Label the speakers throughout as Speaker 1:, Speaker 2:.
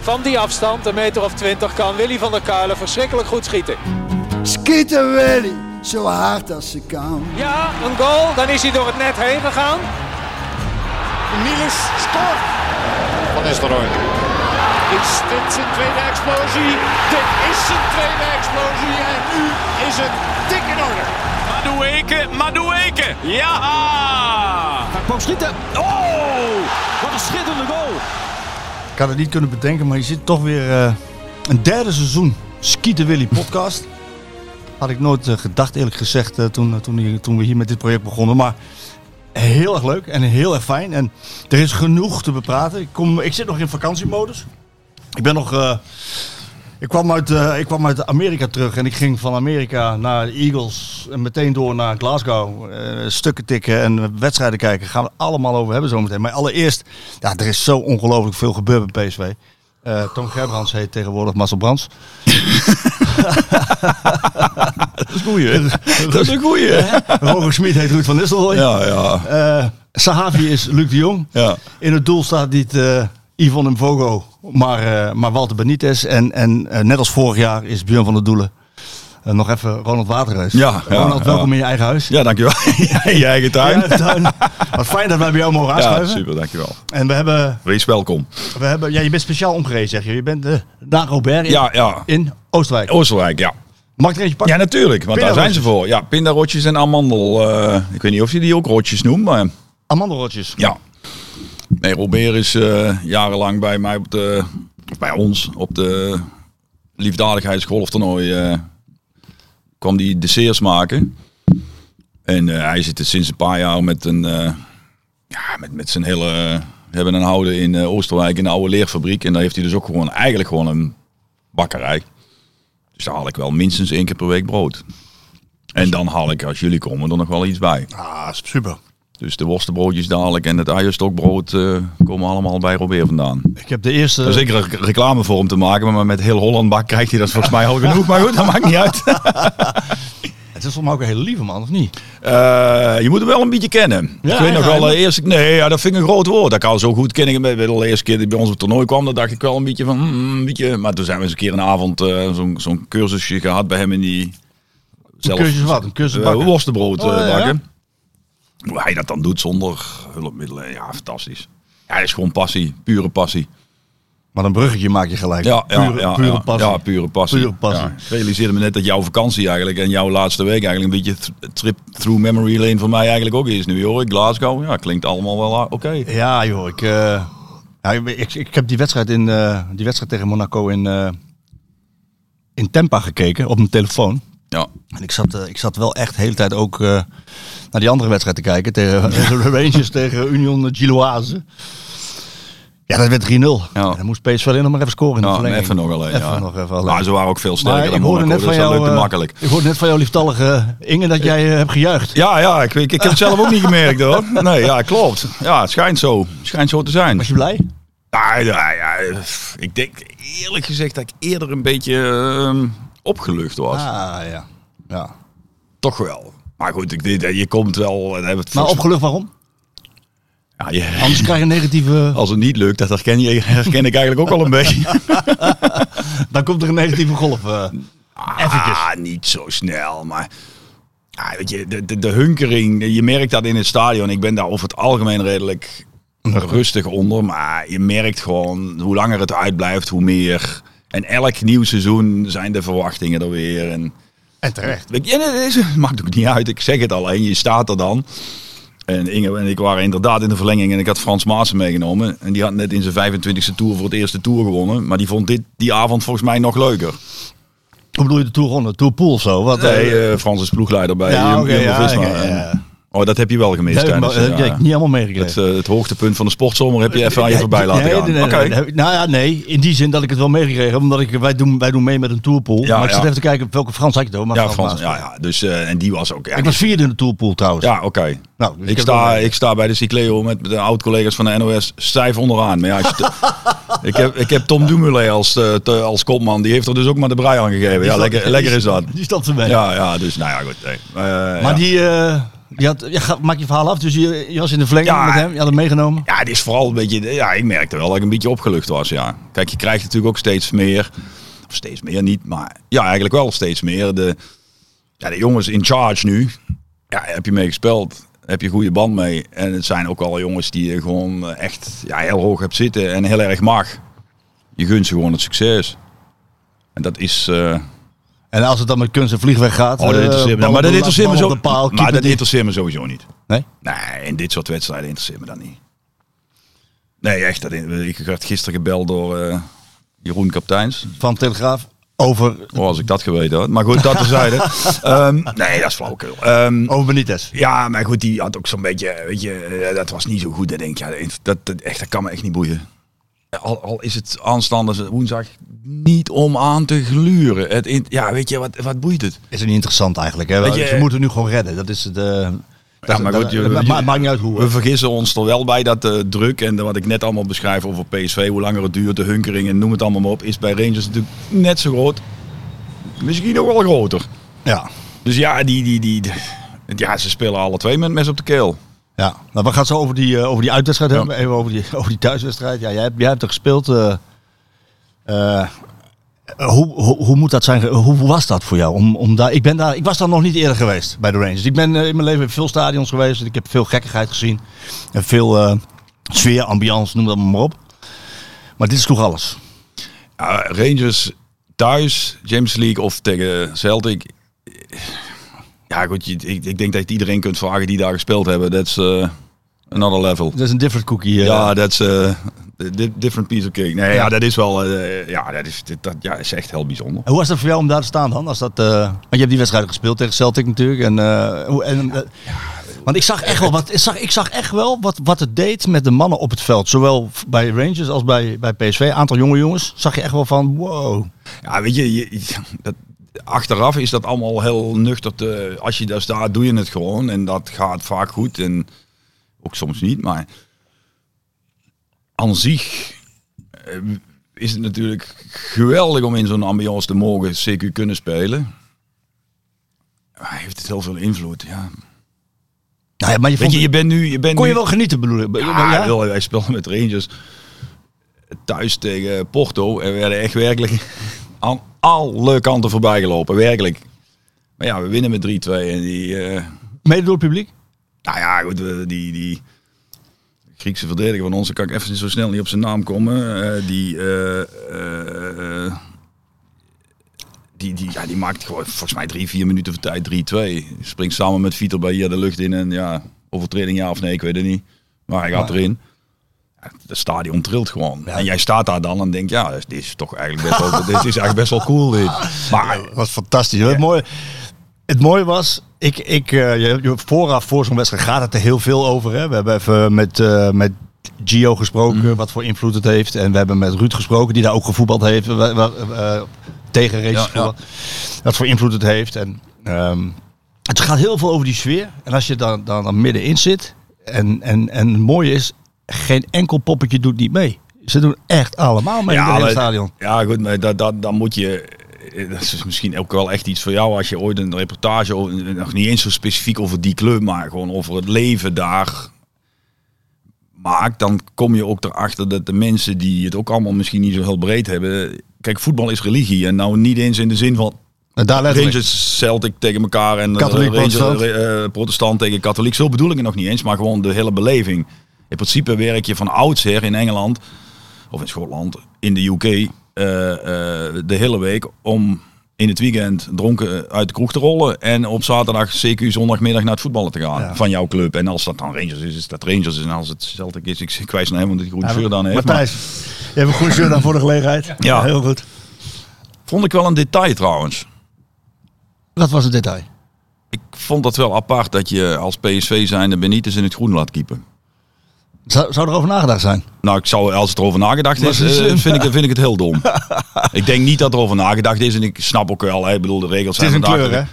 Speaker 1: Van die afstand, een meter of twintig, kan Willy van der Kuilen verschrikkelijk goed schieten.
Speaker 2: Schieten Willy, er zo hard als ze kan.
Speaker 1: Ja, een goal. Dan is hij door het net heen gegaan.
Speaker 3: Niels scoort.
Speaker 4: Van Nistelrooy.
Speaker 3: Is dit zijn tweede explosie? Dit is zijn tweede explosie. En nu is het dik in orde.
Speaker 5: Madueke, Madueke. Ja!
Speaker 6: Hij kwam schieten. Oh! Wat een schitterende goal.
Speaker 7: Ik had het niet kunnen bedenken, maar je zit toch weer eh, een derde seizoen Skieten Willy podcast. Had ik nooit eh, gedacht, eerlijk gezegd, eh, toen, eh, toen, hier- toen we hier met dit project begonnen. Maar heel erg leuk en heel erg fijn. En er is genoeg te bepraten. Ik, kom, ik zit nog in vakantiemodus. Ik ben nog... eh, ik kwam, uit, eh, ik kwam uit Amerika terug en ik ging van Amerika naar de Eagles en meteen door naar Glasgow. Eh, stukken tikken en wedstrijden kijken. Gaan we het allemaal over hebben zometeen. Maar allereerst, ja, er is zo ongelooflijk veel gebeurd bij PSV. Eh Tom Gerbrands heet tegenwoordig Marcel Brands.
Speaker 8: Dat is een goeie. hè? Dat is een goeie. hè?
Speaker 7: Roger Smit heet Ruud van Nistelrooy.
Speaker 8: Ja, ja.
Speaker 7: Eh, Sahavi is Luc de Jong.
Speaker 8: Ja.
Speaker 7: In het doel staat niet eh, Yvonne Mvogo, maar, eh, maar Walter Benitez. En, en eh, net als vorig jaar is Björn van der Doelen. Eh, nog even Ronald Waterhuis.
Speaker 8: Ja, ja,
Speaker 7: Ronald, welkom
Speaker 8: ja.
Speaker 7: in je eigen huis.
Speaker 8: Ja, dankjewel. Ja, in je eigen tuin.
Speaker 7: Ja, tuin. Wat fijn dat wij bij jou mogen
Speaker 8: Ja,
Speaker 7: aanschuiven.
Speaker 8: super, dankjewel.
Speaker 7: en we hebben,
Speaker 8: Wees welkom.
Speaker 7: we hebben ja, je bent speciaal omgereden, zeg je. Je bent de Dagobert in,
Speaker 8: Ja, Oh. ja.
Speaker 7: in Oostenrijk.
Speaker 8: Oostenrijk, ja.
Speaker 7: Mag ik er eentje
Speaker 8: Ja,
Speaker 7: pakken?
Speaker 8: natuurlijk, want daar zijn ze voor. Ja, pindarotjes en amandel. eh, ik weet niet of je die ook rotjes noemt, maar
Speaker 7: Amandelrotjes.
Speaker 8: ja. Nee, Robert is eh, jarenlang bij mij op de, of bij ons, op de liefdadigheidsgolftoernooi eh kwam die desserts maken. En eh, hij zit er sinds een paar jaar met een, eh, ja, met, met zijn hele eh, hebben en houden in eh, Oostenrijk in de oude leerfabriek. En daar heeft hij dus ook gewoon eigenlijk gewoon een bakkerij. Dus daar haal ik wel minstens één keer per week brood. En dan haal ik, als jullie komen, er nog wel iets bij.
Speaker 7: Ah, super.
Speaker 8: Dus de worstenbroodjes dadelijk en het eierstokbrood eh, komen allemaal bij Robert vandaan.
Speaker 7: Ik heb de eerste...
Speaker 8: Daar is zeker een reclame voor om te maken, maar met heel Holland bak krijgt hij dat volgens mij al genoeg. Maar goed, dat maakt niet uit.
Speaker 7: Het is voor mij ook een hele lieve man, of niet?
Speaker 8: Eh, je moet hem wel een beetje kennen.
Speaker 7: Ja,
Speaker 8: ik weet nog
Speaker 7: ja,
Speaker 8: wel, de
Speaker 7: ja.
Speaker 8: eerste, nee, ja, dat vind ik een groot woord. Dat kan zo goed kennen. Ik weet wel, De eerste keer die bij ons op het toernooi kwam, dan dacht ik wel een beetje van, hmm, een beetje. Maar toen zijn we eens een keer een avond eh, zo'n zo'n cursusje gehad bij hem in die...
Speaker 7: Een
Speaker 8: zelf-
Speaker 7: cursus wat? Een cursus
Speaker 8: eh,
Speaker 7: bakken?
Speaker 8: worstenbrood eh,
Speaker 7: Oh, ja, ja.
Speaker 8: bakken. Hoe hij dat dan doet zonder hulpmiddelen, ja, fantastisch. Ja, hij is gewoon passie, pure passie.
Speaker 7: Maar een bruggetje maak je gelijk.
Speaker 8: Ja, ja,
Speaker 7: pure,
Speaker 8: ja,
Speaker 7: pure
Speaker 8: ja.
Speaker 7: passie.
Speaker 8: Ja, pure passie.
Speaker 7: Pure passie.
Speaker 8: Ja. Ik realiseerde me net dat jouw vakantie eigenlijk en jouw laatste week eigenlijk een beetje th- trip through memory lane voor mij eigenlijk ook is nu hoor. Glasgow, ja, klinkt allemaal wel ah, oké.
Speaker 7: Ja, joh. Ik, eh, ja, ik, ik, ik heb die wedstrijd, in, eh, die wedstrijd tegen Monaco in, eh, in Tempa gekeken op mijn telefoon.
Speaker 8: Ja.
Speaker 7: En ik zat, eh, ik zat wel echt de hele tijd ook eh, naar die andere wedstrijd te kijken. Tegen de Rangers tegen Union Giloise. Ja, dat werd 3-0. En dan moest PSV alleen nog maar even scoren in de
Speaker 8: Nou,
Speaker 7: verlenging.
Speaker 8: even nog alleen.
Speaker 7: Even
Speaker 8: ja.
Speaker 7: nog even alleen.
Speaker 8: Maar ze waren ook veel sterker
Speaker 7: Maar
Speaker 8: dan
Speaker 7: ik hoorde net
Speaker 8: Monaco,
Speaker 7: van
Speaker 8: dus dat
Speaker 7: jou,
Speaker 8: lukte
Speaker 7: eh,
Speaker 8: makkelijk.
Speaker 7: Ik hoorde net van jou, lieftallige Inge, dat jij eh, hebt gejuicht.
Speaker 8: Ja, ja, ik, ik, ik heb het zelf ook niet gemerkt hoor. Nee, ja, klopt. Ja, het schijnt zo. Het schijnt zo te zijn.
Speaker 7: Was je blij?
Speaker 8: Ja, Nou, ja, ja, pff, ik denk eerlijk gezegd dat ik eerder een beetje ehm, opgelucht was.
Speaker 7: Ah, ja. ja.
Speaker 8: Toch wel. Maar goed, ik, dit- je komt wel... daar hebben we het
Speaker 7: Maar
Speaker 8: volgens-
Speaker 7: opgelucht waarom?
Speaker 8: Ja, je-
Speaker 7: Anders krijg je een negatieve...
Speaker 8: Als het niet lukt, dat herken, je, herken ik eigenlijk ook al een beetje.
Speaker 7: Dan komt er een negatieve golf. eh.
Speaker 8: Ah, niet zo snel, maar... Ah, weet je, de, de, de hunkering, je merkt dat in het stadion. Ik ben daar over het algemeen redelijk rustig onder. Maar je merkt gewoon, hoe langer het uitblijft, hoe meer... En elk nieuw seizoen zijn de verwachtingen er weer. En
Speaker 7: En terecht.
Speaker 8: Weet je, dat is- maakt ook niet uit. Ik zeg het alleen, je staat er dan. En Inge en ik waren inderdaad in de verlenging en ik had Frans Maassen meegenomen. En die had net in zijn 25e tour voor het eerste tour gewonnen. Maar die vond dit, die avond volgens mij nog leuker.
Speaker 7: Hoe bedoel je de Tour Ronde? Tour Pool of zo? Wat, eh,
Speaker 8: Nee, eh, Frans is ploegleider bij
Speaker 7: Ja,
Speaker 8: Jum-
Speaker 7: oké,
Speaker 8: Jumbo-Visma.
Speaker 7: ja, oké,
Speaker 8: En-
Speaker 7: ja.
Speaker 8: Oh, dat heb je wel gemist.
Speaker 7: dat heb ik
Speaker 8: tijdens,
Speaker 7: maar- dat
Speaker 8: ja.
Speaker 7: heb ik niet allemaal
Speaker 8: het,
Speaker 7: meegekregen.
Speaker 8: eh, het hoogtepunt van de sportzomer heb je even aan je voorbij laten
Speaker 7: nee,
Speaker 8: gaan.
Speaker 7: nee, nee,
Speaker 8: Oké.
Speaker 7: nee, nee. Nou ja, nee. In die zin dat ik het wel meegekregen heb. Omdat ik, wij, doen, wij doen mee met een tourpool.
Speaker 8: Ja,
Speaker 7: maar ik zat
Speaker 8: ja.
Speaker 7: even te kijken op welke Frans had ik het over. Maar
Speaker 8: Ja,
Speaker 7: Frans
Speaker 8: Frans.
Speaker 7: Maas.
Speaker 8: Ja, ja. Dus, eh, en die was ook... Ja,
Speaker 7: Ik was vierde in de tourpool trouwens.
Speaker 8: ja oké.
Speaker 7: Nou, dus
Speaker 8: Ik
Speaker 7: heb
Speaker 8: sta,
Speaker 7: wel-
Speaker 8: ik sta bij de Cycleo met de oud-collega's van de NOS stijf onderaan. Maar ja, als je- ik, heb, ik heb Tom Dumoulin als, eh, te- als kopman. Die heeft er dus ook maar de brei aan gegeven. Ja, lekker, lekker is dat.
Speaker 7: Die stond erbij.
Speaker 8: Ja, ja, dus nou ja, goed. nee. Eh,
Speaker 7: Maar
Speaker 8: ja.
Speaker 7: die, eh, Je had, ja, ga- maak je verhaal af. Dus je, je was in de verlenging
Speaker 8: Ja.
Speaker 7: met hem. Je had hem meegenomen.
Speaker 8: Ja, het is vooral een beetje. Ja, ik merkte wel dat ik een beetje opgelucht was. Ja. Kijk, je krijgt natuurlijk ook steeds meer. Of steeds meer niet, maar ja, eigenlijk wel steeds meer. De, ja, de jongens in charge nu. Ja, heb je mee gespeeld. Heb je goede band mee. En het zijn ook al jongens die je gewoon eh, echt ja, heel hoog hebt zitten en heel erg mag. Je gunt ze gewoon het succes. En dat is. eh,
Speaker 7: Oh, En als het dan met kunst en vliegweg gaat.
Speaker 8: Oh, dat
Speaker 7: eh,
Speaker 8: interesseert me.
Speaker 7: ballen
Speaker 8: maar dat
Speaker 7: op de
Speaker 8: interesseert me
Speaker 7: lat,
Speaker 8: zo.
Speaker 7: ballen op de paal,
Speaker 8: maar
Speaker 7: keeper
Speaker 8: dat
Speaker 7: die-
Speaker 8: interesseert me sowieso niet.
Speaker 7: Nee?
Speaker 8: Nee, in dit soort wedstrijden interesseert me dat niet. Nee, echt. Dat, ik werd gisteren gebeld door eh, Jeroen Kapteins.
Speaker 7: Van Telegraaf. Over,
Speaker 8: Oh, als ik dat geweten had. Maar goed, dat terzijde. Ehm nee, dat is flauwkul. Ehm
Speaker 7: over Benitez.
Speaker 8: ja, maar goed, die had ook zo'n beetje, weet je, eh, dat was niet zo goed. Dan denk je, ja, dat, dat, echt, dat kan me echt niet boeien. Al, al is het aanstaande woensdag niet om aan te gluren. Het, in- ja, weet je, wat, wat boeit het?
Speaker 7: Is het niet interessant eigenlijk. Hè?
Speaker 8: Weet
Speaker 7: Ze
Speaker 8: je-
Speaker 7: moeten nu gewoon redden. Dat is het. eh, dat-
Speaker 8: maar
Speaker 7: dat-
Speaker 8: goed, je-
Speaker 7: dat-
Speaker 8: je-
Speaker 7: ma- maakt niet uit hoe.
Speaker 8: We vergissen ons er wel bij dat de druk en de- wat ik net allemaal beschrijf over PSV, hoe langer het duurt, de hunkering en noem het allemaal maar op, is bij Rangers natuurlijk net zo groot. Misschien nog wel groter.
Speaker 7: Ja.
Speaker 8: Dus ja, die, die, die, die- ja ze spelen alle twee met mes op de keel.
Speaker 7: Ja, nou, we gaan het zo over die, eh, over die uitwedstrijd hebben. Even over die, over die thuiswedstrijd. Ja, jij, hebt- jij hebt er gespeeld. eh, eh, hoe, hoe, hoe moet dat zijn? ge- Hoe, hoe was dat voor jou? Om, om daar, ik, ben daar, ik was daar nog niet eerder geweest bij de Rangers. Ik ben eh, in mijn leven in veel stadions geweest. en Ik heb veel gekkigheid gezien. En veel eh, sfeer, ambiance, noem dat maar op. Maar dit is toch alles.
Speaker 8: Ja, Rangers thuis, James League of tegen Celtic. Ja goed, je- ik, ik denk dat je het iedereen kunt vragen die daar gespeeld hebben. Dat is eh, another level.
Speaker 7: Dat is een different cookie. eh.
Speaker 8: Ja, dat is eh, a di- different piece of cake. Nee, ja, dat is wel, eh, ja, dat is, dat, dat- ja, is echt heel bijzonder.
Speaker 7: En Hoe was dat voor jou om daar te staan dan? Als dat, eh, want je hebt die wedstrijd gespeeld tegen Celtic natuurlijk. En, eh, hoe- en, eh, want ik zag echt wel, wat, ik zag, ik zag echt wel wat, wat het deed met de mannen op het veld. Zowel f- bij Rangers als bij, bij PSV. Een aantal jonge jongens. Zag je echt wel van wow.
Speaker 8: Ja, weet je, je- je- dat, achteraf is dat allemaal heel nuchter. Te, als je dat staat, doe je het gewoon. En dat gaat vaak goed. En ook soms niet, maar aan zich eh, is het natuurlijk geweldig om in zo'n ambiance te mogen CQ kunnen spelen. Maar heeft het heel veel invloed, ja.
Speaker 7: Nou ja, maar je,
Speaker 8: Weet
Speaker 7: vond,
Speaker 8: je, je bent nu... Je bent
Speaker 7: kon je
Speaker 8: nu-
Speaker 7: wel genieten bedoel ik.
Speaker 8: Ja, joh, wij speelden met Rangers thuis tegen Porto en we werden echt werkelijk aan alle kanten voorbij gelopen, werkelijk. Maar ja, we winnen met 3-2 en die, eh,
Speaker 7: Mede door het publiek?
Speaker 8: nou ja, goed, we- die, die Griekse verdediger van ons, daar kan ik even zo snel niet op zijn naam komen, eh, die, eh, eh, eh, die, die, ja, die maakt gewoon volgens mij drie, vier minuten voor tijd 3-2. Springt samen met Vitor bij hier de lucht in en ja, overtreding ja of nee, ik weet het niet. Maar hij gaat erin. Ja, Het stadion trilt gewoon. En jij staat daar dan en denkt, ja, dit is toch eigenlijk best wel, dit is eigenlijk best wel cool dit. Maar
Speaker 7: Dat was fantastisch. hoor. Het, mooie, het mooie was, ik, ik, eh, je, je- vooraf voor zo'n wedstrijd gaat het er heel veel over. Hè? We hebben even met, eh, met Gio gesproken,
Speaker 8: Mhm.
Speaker 7: wat voor invloed het heeft. En we hebben met Ruud gesproken, die daar ook gevoetbald heeft. wa- wa- eh, tegen races
Speaker 8: Ja, ja.
Speaker 7: voetbal. Wat voor invloed het heeft. En, ehm, het gaat heel veel over die sfeer. En als je dan, dan, dan middenin zit. En, en, en het mooie is, geen enkel poppetje doet niet mee. Ze doen echt allemaal mee in het hele
Speaker 8: maar-
Speaker 7: stadion.
Speaker 8: Ja, goed, maar dat, dat, dan moet je. eh, Dat is misschien ook wel echt iets voor jou als je ooit een reportage, over- nog niet eens zo specifiek over die club, maar gewoon over het leven daar maakt. Dan kom je ook erachter dat de mensen die het ook allemaal misschien niet zo heel breed hebben. Kijk, voetbal is religie en nou niet eens in de zin van
Speaker 7: En daar letterlijk.
Speaker 8: Rangers, Celtic tegen elkaar en eh,
Speaker 7: Katholiek,
Speaker 8: Rangers,
Speaker 7: protestant.
Speaker 8: eh, eh, protestant tegen katholiek. Zo bedoel ik het nog niet eens, maar gewoon de hele beleving. In principe werk je van oudsher in Engeland, of in Schotland, in de UK, eh, eh, de hele week om in het weekend dronken uit de kroeg te rollen en op zaterdag, CQ zondagmiddag naar het voetballen te gaan van jouw club. En als dat dan Rangers is, is dat Rangers. En als het Celtic is, ik, ik wijs naar hem, omdat hij groen vuur dan heeft. maar-
Speaker 7: Matthijs, je hebt een goede shirt aan voor de gelegenheid.
Speaker 8: Ja.
Speaker 7: heel goed.
Speaker 8: vond ik wel een detail trouwens.
Speaker 7: Dat was het detail.
Speaker 8: Ik vond dat wel apart dat je als PSV zijnde Benitez in het groen laat keeper.
Speaker 7: Zou, zou erover nagedacht zijn?
Speaker 8: Nou, ik zou, als het erover nagedacht is,
Speaker 7: Maar ze-
Speaker 8: eh, vind, ik, vind ik het heel dom. ik denk niet dat er over nagedacht is en ik snap ook wel, hè, ik bedoel, de regels zijn vandaag...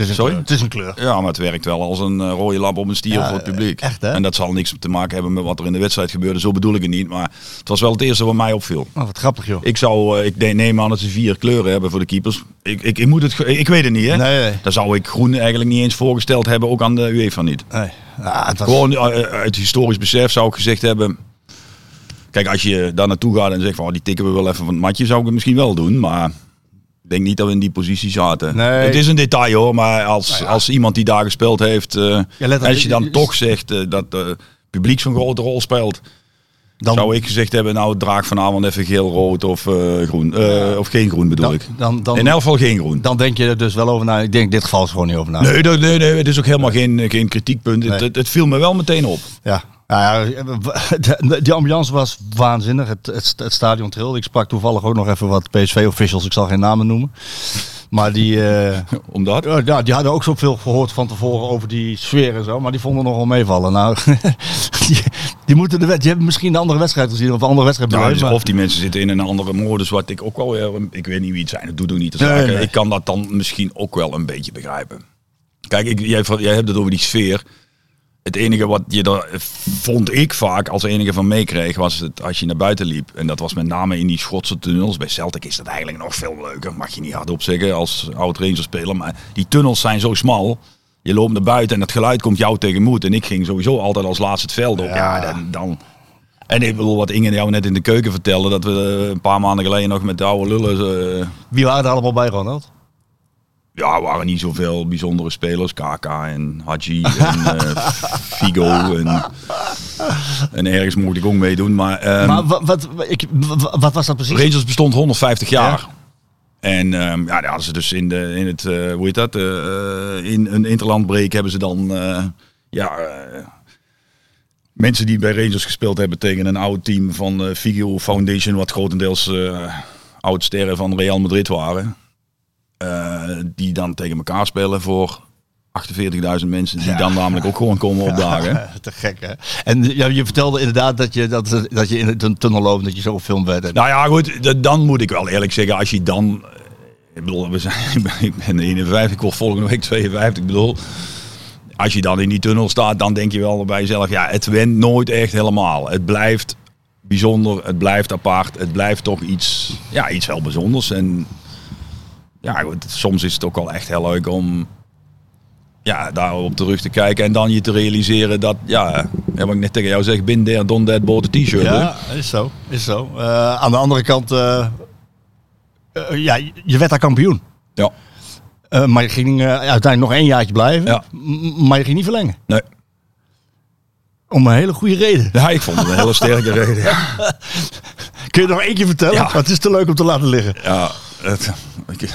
Speaker 7: Het is een
Speaker 8: Sorry?
Speaker 7: kleur. Het is een kleur.
Speaker 8: Ja, maar het werkt wel als een eh, rode lamp op een stier
Speaker 7: Ja,
Speaker 8: voor het publiek.
Speaker 7: echt, hè?
Speaker 8: En dat zal niks te maken hebben met wat er in de wedstrijd gebeurde. Zo bedoel ik het niet. Maar het was wel het eerste wat mij opviel.
Speaker 7: Oh, wat grappig joh.
Speaker 8: Ik zou, eh, ik de- neem aan dat ze vier kleuren hebben voor de keepers. Ik, ik, ik moet het, ge- ik weet het niet, hè?
Speaker 7: Nee, nee.
Speaker 8: Dan zou ik groen eigenlijk niet eens voorgesteld hebben, ook aan de UEFA niet.
Speaker 7: Nee. Ah, het was...
Speaker 8: Gewoon eh, eh, uit historisch besef zou ik gezegd hebben. Kijk, als je daar naartoe gaat en zegt van oh, die tikken we wel even van het matje, zou ik het misschien wel doen. Maar ik denk niet dat we in die positie zaten.
Speaker 7: Nee. Nou
Speaker 8: Het is een detail hoor, maar als, als iemand die daar gespeeld heeft, eh,
Speaker 7: let op,
Speaker 8: als je
Speaker 7: je-
Speaker 8: dan
Speaker 7: je-
Speaker 8: toch zegt eh, dat eh, het publiek zo'n grote rol speelt,
Speaker 7: dan,
Speaker 8: zou ik gezegd hebben, nou draag vanavond even geel-rood of eh, groen. Eh, of geen groen bedoel
Speaker 7: dan,
Speaker 8: ik.
Speaker 7: dan, dan,
Speaker 8: in elk geval geen groen.
Speaker 7: dan denk je er dus wel over na. Ik denk in dit geval is gewoon niet over na.
Speaker 8: Nee, dat- nee, nee, het is ook helemaal geen, eh, geen kritiekpunt. Het,
Speaker 7: Nee.
Speaker 8: het, het viel me wel meteen op.
Speaker 7: Ja. Nou ja, de- die ambiance was waanzinnig. Het, het, het stadion trilde. Ik sprak toevallig ook nog even wat PSV-officials. Ik zal geen namen noemen. Maar die, eh,
Speaker 8: Omdat?
Speaker 7: ja, ja, die hadden ook zoveel gehoord van tevoren over die sfeer en zo. Maar die vonden nogal meevallen. Nou, die, die, moeten de wet, die hebben misschien een andere wedstrijd gezien. Of een andere wedstrijd
Speaker 8: Nou,
Speaker 7: beleefd,
Speaker 8: dus
Speaker 7: maar-
Speaker 8: of die mensen zitten in een andere modus, wat ik ook wel weer, ik weet niet wie het zijn, dat doet ook niet de
Speaker 7: Nee,
Speaker 8: zaken.
Speaker 7: nee.
Speaker 8: Ik kan dat dan misschien ook wel een beetje begrijpen. Kijk, ik, jij, jij hebt het over die sfeer. Het enige wat je daar, vond ik vaak, als enige van meekreeg, was het als je naar buiten liep. En dat was met name in die Schotse tunnels. Bij Celtic is dat eigenlijk nog veel leuker, mag je niet hardop zeggen als oud Ranger speler. Maar die tunnels zijn zo smal. Je loopt naar buiten en het geluid komt jou tegenmoet. En ik ging sowieso altijd als laatste het veld op. Ja, dan, dan, en ik bedoel, wat Inge jou net in de keuken vertelde, dat we eh, een paar maanden geleden nog met de oude lullen... eh,
Speaker 7: Wie waren er allemaal bij, Ronald?
Speaker 8: ja, er waren niet zoveel bijzondere spelers. KK en Haji en eh, Figo. En, en ergens moet ik ook meedoen. Maar, ehm,
Speaker 7: maar wat, wat, ik, wa- wat was dat precies?
Speaker 8: Rangers bestond 150 jaar. En ehm, ja, daar hadden ze dus in, de, in het, eh, hoe heet dat, eh, eh, in een interlandbreek hebben ze dan, eh, ja, eh, mensen die bij Rangers gespeeld hebben tegen een oud team van eh Figio Foundation, wat grotendeels eh oud-sterren van Real Madrid waren. Eh, die dan tegen elkaar spelen voor 48.000 mensen, die dan namelijk ook gewoon komen opdagen.
Speaker 7: Eh, Te gek, hè? En ja, je vertelde inderdaad dat je, dat, dat je in een tunnel loopt en dat je zo gefilmd werd. En-
Speaker 8: Nou ja, goed, d- dan moet ik wel eerlijk zeggen, als je dan... eh, Ik bedoel, we zijn, ik ben 51, ik word volgende week 52, ik bedoel... Als je dan in die tunnel staat, dan denk je wel bij jezelf, ja, het went nooit echt helemaal. Het blijft bijzonder, het blijft apart, het blijft toch iets, ja, iets heel bijzonders. En ja, goed, soms is het ook wel echt heel leuk om ja, daarop terug te kijken en dan je te realiseren dat, ja, ja, wat ik net tegen jou zeg, bin there, done that, bought a t-shirt. hè?
Speaker 7: Ja, is zo. Is zo. Eh, aan de andere kant, eh, eh, ja, je- je werd daar kampioen.
Speaker 8: ja.
Speaker 7: Eh, maar je ging eh, uiteindelijk nog één jaartje blijven.
Speaker 8: Ja.
Speaker 7: M- maar je ging niet verlengen.
Speaker 8: Nee.
Speaker 7: Om een hele goede reden.
Speaker 8: Ja, ik vond het een hele sterke reden. Ja,
Speaker 7: Kun je nog eentje vertellen?
Speaker 8: Ja.
Speaker 7: Want het is te leuk om te laten liggen.
Speaker 8: ja het- ik-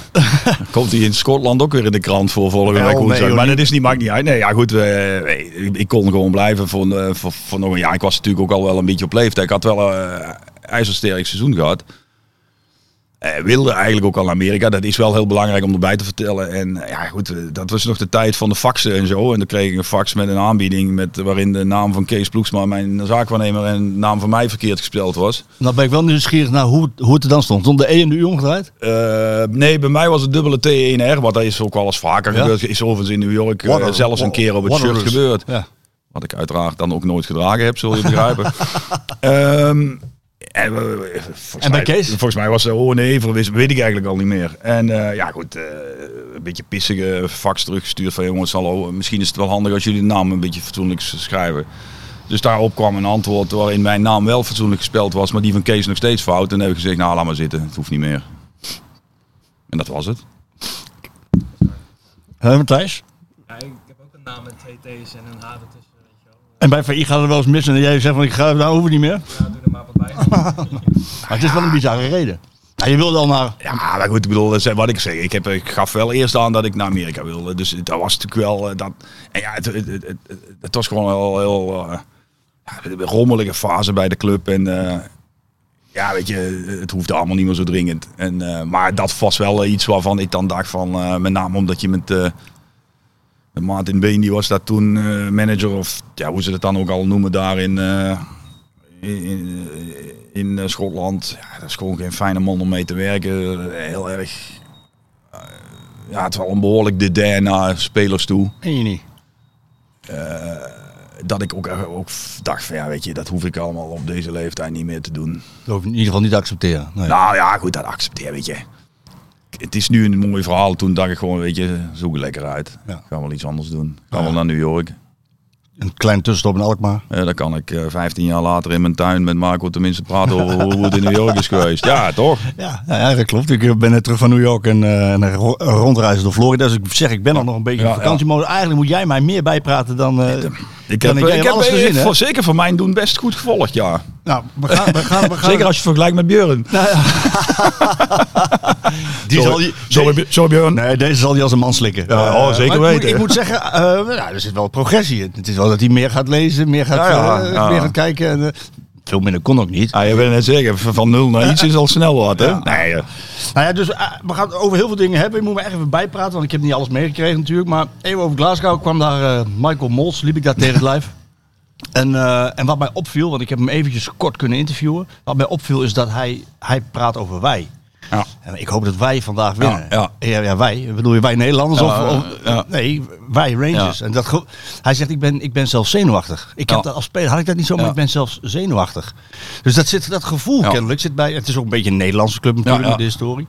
Speaker 8: komt hij in Schotland ook weer in de krant voor volgende
Speaker 7: Wel,
Speaker 8: week
Speaker 7: nee,
Speaker 8: woensdag.
Speaker 7: joh,
Speaker 8: maar
Speaker 7: niet.
Speaker 8: dat is niet, maakt niet uit. Nee, ja goed, eh, nee, ik, ik kon gewoon blijven voor, eh, voor, voor nog een jaar. Ik was natuurlijk ook al wel een beetje op leeftijd. Ik had wel een ijzersterk seizoen gehad. Eh, wilde eigenlijk ook al naar Amerika. Dat is wel heel belangrijk om erbij te vertellen. En eh, ja, goed, eh, dat was nog de tijd van de faxen en zo. En dan kreeg ik een fax met een aanbieding met, waarin de naam van Kees Ploegsma, mijn zaakwaarnemer, en de naam van mij verkeerd gespeld was.
Speaker 7: Nou ben ik wel nieuwsgierig naar hoe, hoe het er dan stond. Stond de E en de U omgedraaid?
Speaker 8: Eh, nee, bij mij was het dubbele T1R, wat dat is ook wel eens vaker
Speaker 7: Ja?
Speaker 8: gebeurd. Is overigens in New York eh,
Speaker 7: Water-
Speaker 8: zelfs een keer op het
Speaker 7: Waterloo.
Speaker 8: shirt gebeurd.
Speaker 7: Ja.
Speaker 8: Wat ik uiteraard dan ook nooit gedragen heb, zul je begrijpen. Ehm, en, eh, volgens
Speaker 7: En bij
Speaker 8: mij-
Speaker 7: Kees?
Speaker 8: Volgens mij was ze, oh nee, voor wist, weet ik eigenlijk al niet meer. En eh, ja goed, eh, een beetje pissige fax teruggestuurd van jongens, hallo, misschien is het wel handig als jullie de naam een beetje fatsoenlijk s- schrijven. Dus daarop kwam een antwoord waarin mijn naam wel fatsoenlijk gespeld was, maar die van Kees nog steeds fout. En dan heb ik gezegd, nou laat maar zitten, het hoeft niet meer. En dat was het.
Speaker 7: Hè, Matthijs?
Speaker 9: Ja, ik heb ook een naam met twee T's en een H ertussen, weet je wel.
Speaker 7: En bij VI gaat het wel eens mis en jij zegt van ik ga, nou hoef het niet meer.
Speaker 9: Ja, doe er maar wat bij.
Speaker 7: Maar het is wel een bizarre reden. Nou, je wilde al naar...
Speaker 8: Ja, maar goed, ik bedoel, dat is wat ik zeg. Ik, heb, ik gaf wel eerst aan dat ik naar Amerika wilde. Dus dat was natuurlijk wel... eh, dat, en ja, het, het, het, het- het was gewoon wel heel... eh, ja, een rommelige fase bij de club. En eh, ja, weet je, het hoefde allemaal niet meer zo dringend. En, eh, maar dat was wel iets waarvan ik dan dacht van... eh, met name omdat je met... eh, met Martin Been, die was daar toen eh, manager of ja, hoe ze dat dan ook al noemen daar in, eh, in, in, in, eh, Schotland. Ja, dat is gewoon geen fijne man om mee te werken. Heel erg eh, ja, het was wel een behoorlijk dédain naar spelers toe.
Speaker 7: En je niet.
Speaker 8: Dat ik ook, eh, ook dacht van ja, weet je, dat hoef ik allemaal op deze leeftijd niet meer te doen.
Speaker 7: Dat hoef je in ieder geval niet te accepteren. Nee.
Speaker 8: Nou ja, goed, dat accepteer, weet je. Het is nu een mooi verhaal. Toen dacht ik gewoon, weet je, zoek er lekker uit.
Speaker 7: Ja.
Speaker 8: Gaan we wel iets anders doen. Gaan
Speaker 7: Ja.
Speaker 8: we naar New York.
Speaker 7: Een klein tussenstop in Alkmaar.
Speaker 8: Eh, dan kan ik eh, 15 jaar later in mijn tuin met Marco tenminste praten over hoe het in New York is geweest. Ja, toch?
Speaker 7: Ja, ja, ja, dat klopt. Ik ben net terug van New York en, eh, en ro- rondreizen door Florida. Dus ik zeg, ik ben al nog een beetje
Speaker 8: Ja,
Speaker 7: op vakantie. Maar eigenlijk moet jij mij meer bijpraten dan... eh,
Speaker 8: Ik
Speaker 7: dan
Speaker 8: heb,
Speaker 7: jij
Speaker 8: ik
Speaker 7: hebt
Speaker 8: heb
Speaker 7: alles
Speaker 8: eh,
Speaker 7: gezien, hè?
Speaker 8: voor, zeker voor mijn doen best goed gevolgd, ja.
Speaker 7: Nou, we gaan... We gaan, we gaan
Speaker 8: Zeker als je vergelijkt met Björn.
Speaker 7: die zal,
Speaker 8: Sorry,
Speaker 7: je-
Speaker 8: sorry, sorry, Björn.
Speaker 7: Nee, deze zal hij als een man slikken.
Speaker 8: Ja, oh,
Speaker 7: Eh,
Speaker 8: zeker
Speaker 7: maar ik Moet, ik
Speaker 8: weten.
Speaker 7: moet zeggen, eh, nou, er zit wel progressie in. Het is wel dat hij meer gaat lezen, meer gaat,
Speaker 8: Ja, ja,
Speaker 7: eh,
Speaker 8: ja.
Speaker 7: Meer gaat kijken. En, eh, veel minder kon ook niet.
Speaker 8: Ah, je bent net zeker, van van nul naar iets is al snel wat, hè?
Speaker 7: Ja.
Speaker 8: Nee, eh,
Speaker 7: Nou ja, dus eh, we gaan het over heel veel dingen hebben. Ik moet me echt even bijpraten, want ik heb niet alles meegekregen natuurlijk. Maar even over Glasgow kwam daar eh, Michael Mols, liep ik daar tegen het lijf. En, eh, en wat mij opviel, want ik heb hem eventjes kort kunnen interviewen. Wat mij opviel is dat hij, hij praat over wij.
Speaker 8: Ja.
Speaker 7: En ik hoop dat wij vandaag winnen.
Speaker 8: Ja,
Speaker 7: ja. ja, wij. Bedoel je wij Nederlanders?
Speaker 8: Ja,
Speaker 7: of, of,
Speaker 8: ja.
Speaker 7: Nee, wij Rangers. En dat ge- hij zegt, ik ben, ik ben zelf zenuwachtig. Ik heb
Speaker 8: Ja.
Speaker 7: dat als speler had ik dat niet zo, maar
Speaker 8: Ja.
Speaker 7: ik ben zelfs zenuwachtig. Dus dat, zit, dat gevoel
Speaker 8: Ja.
Speaker 7: kennelijk zit bij... Het is ook een beetje een Nederlandse club natuurlijk,
Speaker 8: Ja, ja.
Speaker 7: met de historie.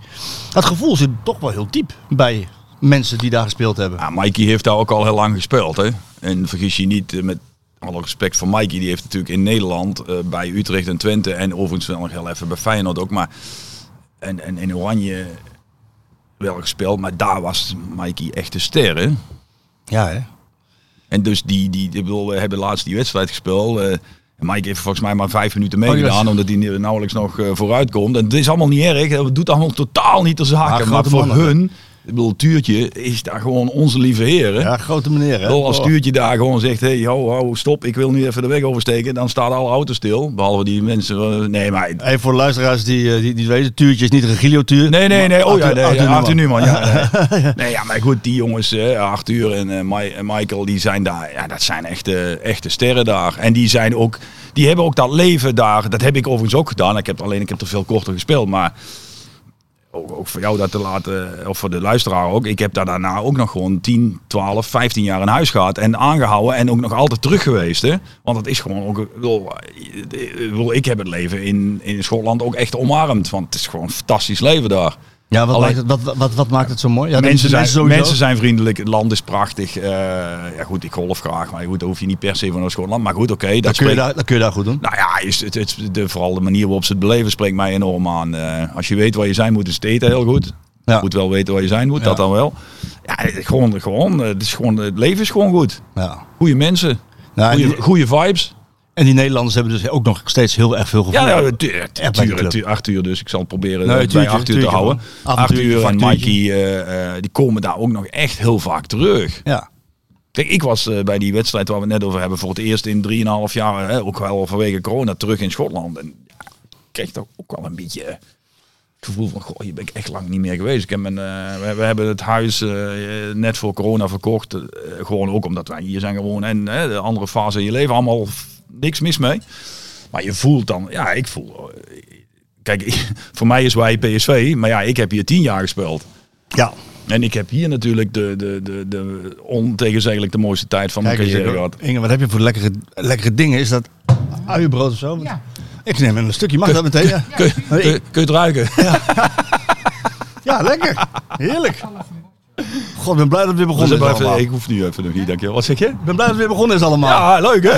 Speaker 7: Dat gevoel zit toch wel heel diep bij mensen die daar gespeeld hebben.
Speaker 8: Ja, Nou, Mikey heeft daar ook al heel lang gespeeld. Hè? En vergis je niet, eh, met alle respect voor Mikey, die heeft natuurlijk in Nederland eh, bij Utrecht en Twente en overigens wel nog heel even bij Feyenoord ook, maar en, en in Oranje wel gespeeld, maar daar was Mikey echt de ster. Hè?
Speaker 7: Ja, hè?
Speaker 8: En dus die, die, ik bedoel, we hebben laatst die wedstrijd gespeeld. eh, en Mike heeft volgens mij maar vijf minuten meegedaan,
Speaker 7: Oh, was-
Speaker 8: omdat hij nu- nauwelijks nog eh, vooruit komt. En het is allemaal niet erg, hè, het doet allemaal totaal niet te zaken.
Speaker 7: Maar
Speaker 8: Maar
Speaker 7: grote
Speaker 8: voor
Speaker 7: mannen.
Speaker 8: hun, ik bedoel, Tuurtje is daar gewoon onze lieve heer. Hè?
Speaker 7: Ja, grote meneer, hè?
Speaker 8: Ik bedoel, als
Speaker 7: Oh.
Speaker 8: Tuurtje daar gewoon zegt, hey, ho, ho, stop, ik wil nu even de weg oversteken. Dan staan alle auto's stil, behalve die mensen. eh, nee, maar...
Speaker 7: Even voor de luisteraars die, eh, die, die het weten, Tuurtje is niet een Gilio-tuur.
Speaker 8: Nee, nee, nee. Oh ja,
Speaker 7: Arthur-
Speaker 8: nee,
Speaker 7: Arthur
Speaker 8: Arthur,
Speaker 7: Newman.
Speaker 8: Newman. Ja, nee. nee, ja, maar goed, die jongens, eh, Arthur en eh, Mi- en Michael, die zijn daar. Ja, dat zijn echte, echte sterren daar. En die zijn ook, die hebben ook dat leven daar. Dat heb ik overigens ook gedaan. Ik heb alleen, ik heb er veel korter gespeeld, maar. Ook, ook voor jou dat te laten, eh, of voor de luisteraar ook. Ik heb daar daarna ook nog gewoon 10, 12, 15 jaar in huis gehad. En aangehouden en ook nog altijd terug geweest. Hè? Want het is gewoon ook. ik bedoel, Ik bedoel, ik heb het leven in, in Schotland ook echt omarmd. Want het is gewoon een fantastisch leven daar.
Speaker 7: Ja, wat,
Speaker 8: Alleen-
Speaker 7: maakt het, wat, wat- wat, wat maakt het zo mooi? Ja,
Speaker 8: Mensen zijn, mensen,
Speaker 7: sowieso.
Speaker 8: zijn vriendelijk, het land is prachtig. Eh, ja goed, ik golf graag, maar goed, daar hoef je niet per se van naar Schotland. Maar goed, oké. dat
Speaker 7: dat, kun je
Speaker 8: spreekt,
Speaker 7: daar, dat kun je daar goed doen.
Speaker 8: Nou ja, is, het, het, de, vooral de manier waarop ze het beleven spreekt mij enorm aan. Eh, als je weet waar je zijn moet, is het eten heel goed.
Speaker 7: Ja.
Speaker 8: Je moet wel weten waar je zijn moet,
Speaker 7: Ja.
Speaker 8: dat dan wel. Ja, het- gewoon, gewoon, eh, het, is gewoon, het leven is gewoon goed.
Speaker 7: Ja.
Speaker 8: Goede mensen,
Speaker 7: Nou, en, die,
Speaker 8: goede, goede vibes.
Speaker 7: en die Nederlanders hebben dus ook nog steeds heel erg veel gevoel.
Speaker 8: Ja, nou,
Speaker 7: Echt bij de club.
Speaker 8: acht uur dus. Ik zal het proberen
Speaker 7: Nee,
Speaker 8: eh, bij
Speaker 7: tuurtje,
Speaker 8: acht uur te
Speaker 7: tuurtje,
Speaker 8: houden.
Speaker 7: man.
Speaker 8: Acht
Speaker 7: Avontuurtje,
Speaker 8: uur en Mikey,
Speaker 7: factuurtje.
Speaker 8: eh, eh, die komen daar ook nog echt heel vaak terug.
Speaker 7: ja.
Speaker 8: Kijk, ik was eh, bij die wedstrijd waar we het net over hebben voor het eerst in 3,5 jaar, hè, ook wel vanwege corona, terug in Schotland. En ja, ik kreeg toch ook wel een beetje eh, het gevoel van, goh, hier ben ik echt lang niet meer geweest. Ik heb mijn, eh, we, we hebben het huis eh, eh, net voor corona verkocht, eh, gewoon ook omdat wij hier zijn gewoon en hè, de andere fase in je leven, allemaal f- niks mis mee. Maar je voelt dan, ja, ik voel... eh, Kijk, voor mij is wij PSV, maar ja, ik heb hier tien jaar gespeeld.
Speaker 7: ja.
Speaker 8: En ik heb hier natuurlijk de, de, de, de ontegenzeggelijk de mooiste tijd van mijn
Speaker 7: Kijk eens,
Speaker 8: carrière
Speaker 7: Inge,
Speaker 8: gehad.
Speaker 7: Inge, wat heb je voor lekkere, lekkere dingen? Is dat uienbrood of zo? Ik neem een stukje, mag dat meteen? Ja,
Speaker 8: Kun, kun, kun je het ruiken?
Speaker 7: Ja, lekker. Heerlijk. God, ik ben blij dat we weer
Speaker 8: Dus
Speaker 7: begonnen is
Speaker 8: even-
Speaker 7: allemaal.
Speaker 8: ik hoef nu even nog niet, dankjewel. Wat zeg je?
Speaker 7: Ik ben blij dat we weer begonnen is allemaal.
Speaker 8: Ja, leuk hè?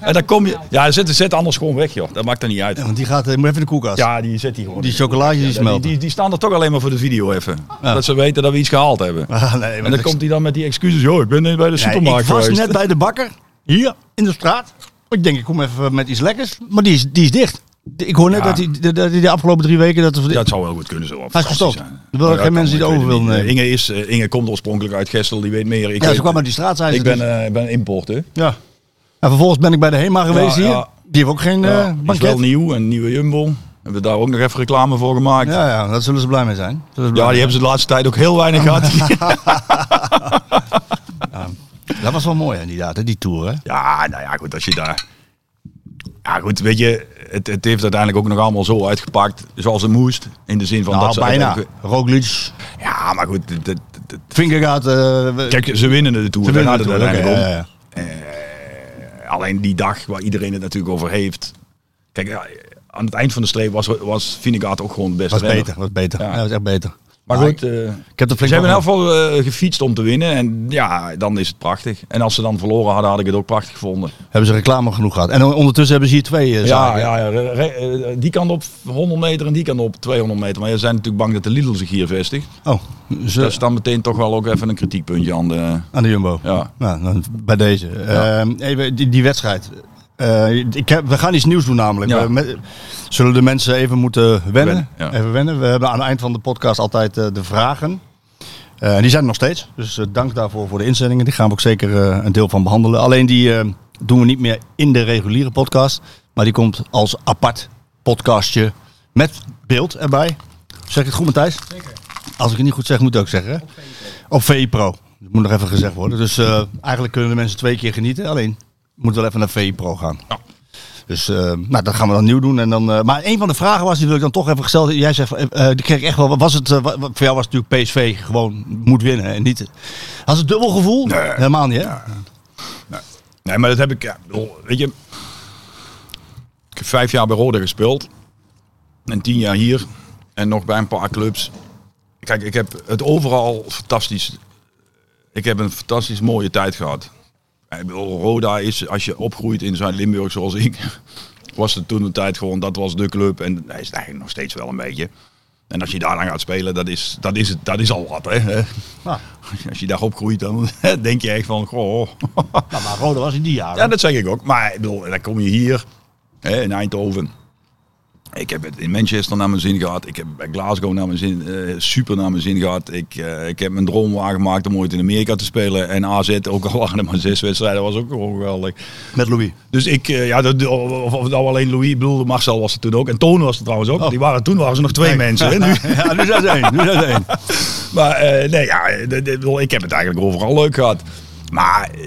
Speaker 8: En dan kom je... Ja, zet, zet anders gewoon weg joh. Dat maakt er niet uit.
Speaker 7: Ja, want die gaat eh, moet even in de koelkast.
Speaker 8: Ja, die zet die gewoon.
Speaker 7: Die chocolaatjes die
Speaker 8: Ja, die,
Speaker 7: smelten.
Speaker 8: die, die staan er toch alleen maar voor de video even. Dat ze weten dat we iets gehaald hebben.
Speaker 7: Ah, nee,
Speaker 8: En dan komt hij dan met die excuses. Joh, ik ben net bij de
Speaker 7: ja,
Speaker 8: supermarkt
Speaker 7: Ik was
Speaker 8: geweest.
Speaker 7: net bij de bakker, hier in de straat. Ik denk, ik kom even met iets lekkers. Maar die is, die is dicht. Ik hoor net
Speaker 8: Ja.
Speaker 7: dat die, dat die de afgelopen drie weken... Dat we,
Speaker 8: Ja, het zou wel goed kunnen zo.
Speaker 7: Hij is gestopt. Er willen geen mensen die het over willen nemen.
Speaker 8: Inge, is, eh, Inge komt oorspronkelijk uit Gestel, die weet meer. Ik
Speaker 7: ja,
Speaker 8: weet-
Speaker 7: ze kwam uit die straat, zei ze.
Speaker 8: Ik ben,
Speaker 7: dus.
Speaker 8: eh, ben importer.
Speaker 7: ja. En vervolgens ben ik bij de HEMA geweest
Speaker 8: Ja,
Speaker 7: hier.
Speaker 8: ja.
Speaker 7: Die heeft ook geen eh
Speaker 8: Ja, die is wel
Speaker 7: banket.
Speaker 8: nieuw, een nieuwe Jumbo. Hebben we daar ook nog even reclame voor gemaakt. Ja,
Speaker 7: Ja, ja, daar zullen ze blij mee zijn. Zullen ze blij
Speaker 8: die
Speaker 7: mee
Speaker 8: hebben ze de laatste tijd ook heel weinig gehad.
Speaker 7: zijn. Dat was wel mooi inderdaad, hè, die tour. Hè?
Speaker 8: ja, nou ja, goed, als je daar... Ja, goed, weet je... eh, het, het heeft uiteindelijk ook nog allemaal zo uitgepakt zoals het moest. In de zin van dat
Speaker 7: Nou,
Speaker 8: ze
Speaker 7: bijna.
Speaker 8: uiteindelijk-
Speaker 7: Roglic,
Speaker 8: Ja, maar goed. dit- dit- dit-
Speaker 7: Vingergaard. eh
Speaker 8: Kijk, ze winnen de Tour.
Speaker 7: ze
Speaker 8: daar
Speaker 7: winnen
Speaker 8: gaat het
Speaker 7: natuurlijk,
Speaker 8: uiteindelijk om.
Speaker 7: ja, ja, ja.
Speaker 8: Alleen die dag waar iedereen het natuurlijk over heeft. Kijk, ja, aan het eind van de streep was, was Vinegaard ook gewoon de beste
Speaker 7: Was
Speaker 8: renner.
Speaker 7: beter, was beter.
Speaker 8: Ja.
Speaker 7: Ja. was echt beter.
Speaker 8: Maar
Speaker 7: Maar
Speaker 8: goed, eh,
Speaker 7: Ik heb er flink
Speaker 8: ze hebben in
Speaker 7: wat
Speaker 8: elk geval eh, gefietst om te winnen. En ja, dan is het prachtig. En als ze dan verloren hadden, had ik het ook prachtig gevonden. Dus
Speaker 7: Hebben ze reclame genoeg gehad. En on- ondertussen hebben ze hier twee eh,
Speaker 8: Ja,
Speaker 7: zaken.
Speaker 8: ja, ja, re- re- eh, die kant op 100 meter en die kant op 200 meter. Maar ze zijn natuurlijk bang dat de Lidl zich hier vestigt.
Speaker 7: Oh, ze,
Speaker 8: Dat is dan meteen toch wel ook even een kritiekpuntje aan de...
Speaker 7: aan de Jumbo.
Speaker 8: Ja.
Speaker 7: Nou, dan bij deze. Ehm, even die, die wedstrijd. Eh, ik heb, we gaan iets nieuws doen namelijk.
Speaker 8: Ja.
Speaker 7: We met- zullen de mensen even moeten wennen.
Speaker 8: Wennen, ja.
Speaker 7: Even wennen. We hebben aan het eind van de podcast altijd eh, de vragen. Eh, en die zijn er nog steeds. Dus eh, dank daarvoor voor de inzendingen. Die gaan we ook zeker eh, een deel van behandelen. Alleen die eh, doen we niet meer in de reguliere podcast. Maar die komt als apart podcastje met beeld erbij. Zeg ik het goed Matthijs? Zeker. Als ik het niet goed zeg moet ik het ook zeggen. hè? Op VI Pro. Dat moet nog even gezegd worden. Dus eh, eigenlijk kunnen de mensen twee keer genieten. Alleen moet wel even naar VI Pro gaan. Dus eh, nou, dat gaan we dan nieuw doen. En dan, eh, maar een van de vragen was, die wil ik dan toch even gesteld. Jij zegt, van, eh, eh, die kreeg ik echt wel. Was het, eh, wa- wa- voor jou was het natuurlijk PSV gewoon moet winnen en niet. Had het dubbel gevoel?
Speaker 8: Nee.
Speaker 7: Helemaal niet, hè?
Speaker 8: Nee, maar dat heb ik... Ja, ik bedoel, weet je, ik heb vijf jaar bij Roda gespeeld. En tien jaar hier. En nog bij een paar clubs. Kijk, ik heb het overal fantastisch... Ik heb een fantastisch mooie tijd gehad. Ik bedoel, Roda is, als je opgroeit in Zuid-Limburg zoals ik... Was het toen de tijd gewoon, dat was de club. En hij is het eigenlijk nog steeds wel een beetje. En als je daar aan gaat spelen, dat is, dat is, het, dat is al wat. Hè?
Speaker 7: Nou,
Speaker 8: Als je daar opgroeit, dan denk je echt van... Goh,
Speaker 7: nou, maar Rode was in die jaren.
Speaker 8: ja, dat zeg ik ook. Maar ik bedoel, dan kom je hier hè, in Eindhoven. Ik heb het in Manchester naar mijn zin gehad. Ik heb bij Glasgow naar mijn zin, eh, super naar mijn zin gehad. Ik, eh, ik heb mijn droom waargemaakt om ooit in Amerika te spelen. En AZ, ook al waren er maar zes wedstrijden, was ook gewoon geweldig.
Speaker 7: Met Louis.
Speaker 8: Dus ik, eh, ja, dat, of, of nou alleen Louis, ik bedoel, Marcel was er toen ook. En Toon was er trouwens ook.
Speaker 7: Oh.
Speaker 8: Die waren, toen waren ze nog twee mensen. Hè, nu.
Speaker 7: Ja, nu zijn ze één. Nu zijn ze één.
Speaker 8: Maar eh, nee, ja, d- d- ik bedoel, ik heb het eigenlijk overal leuk gehad. Maar eh,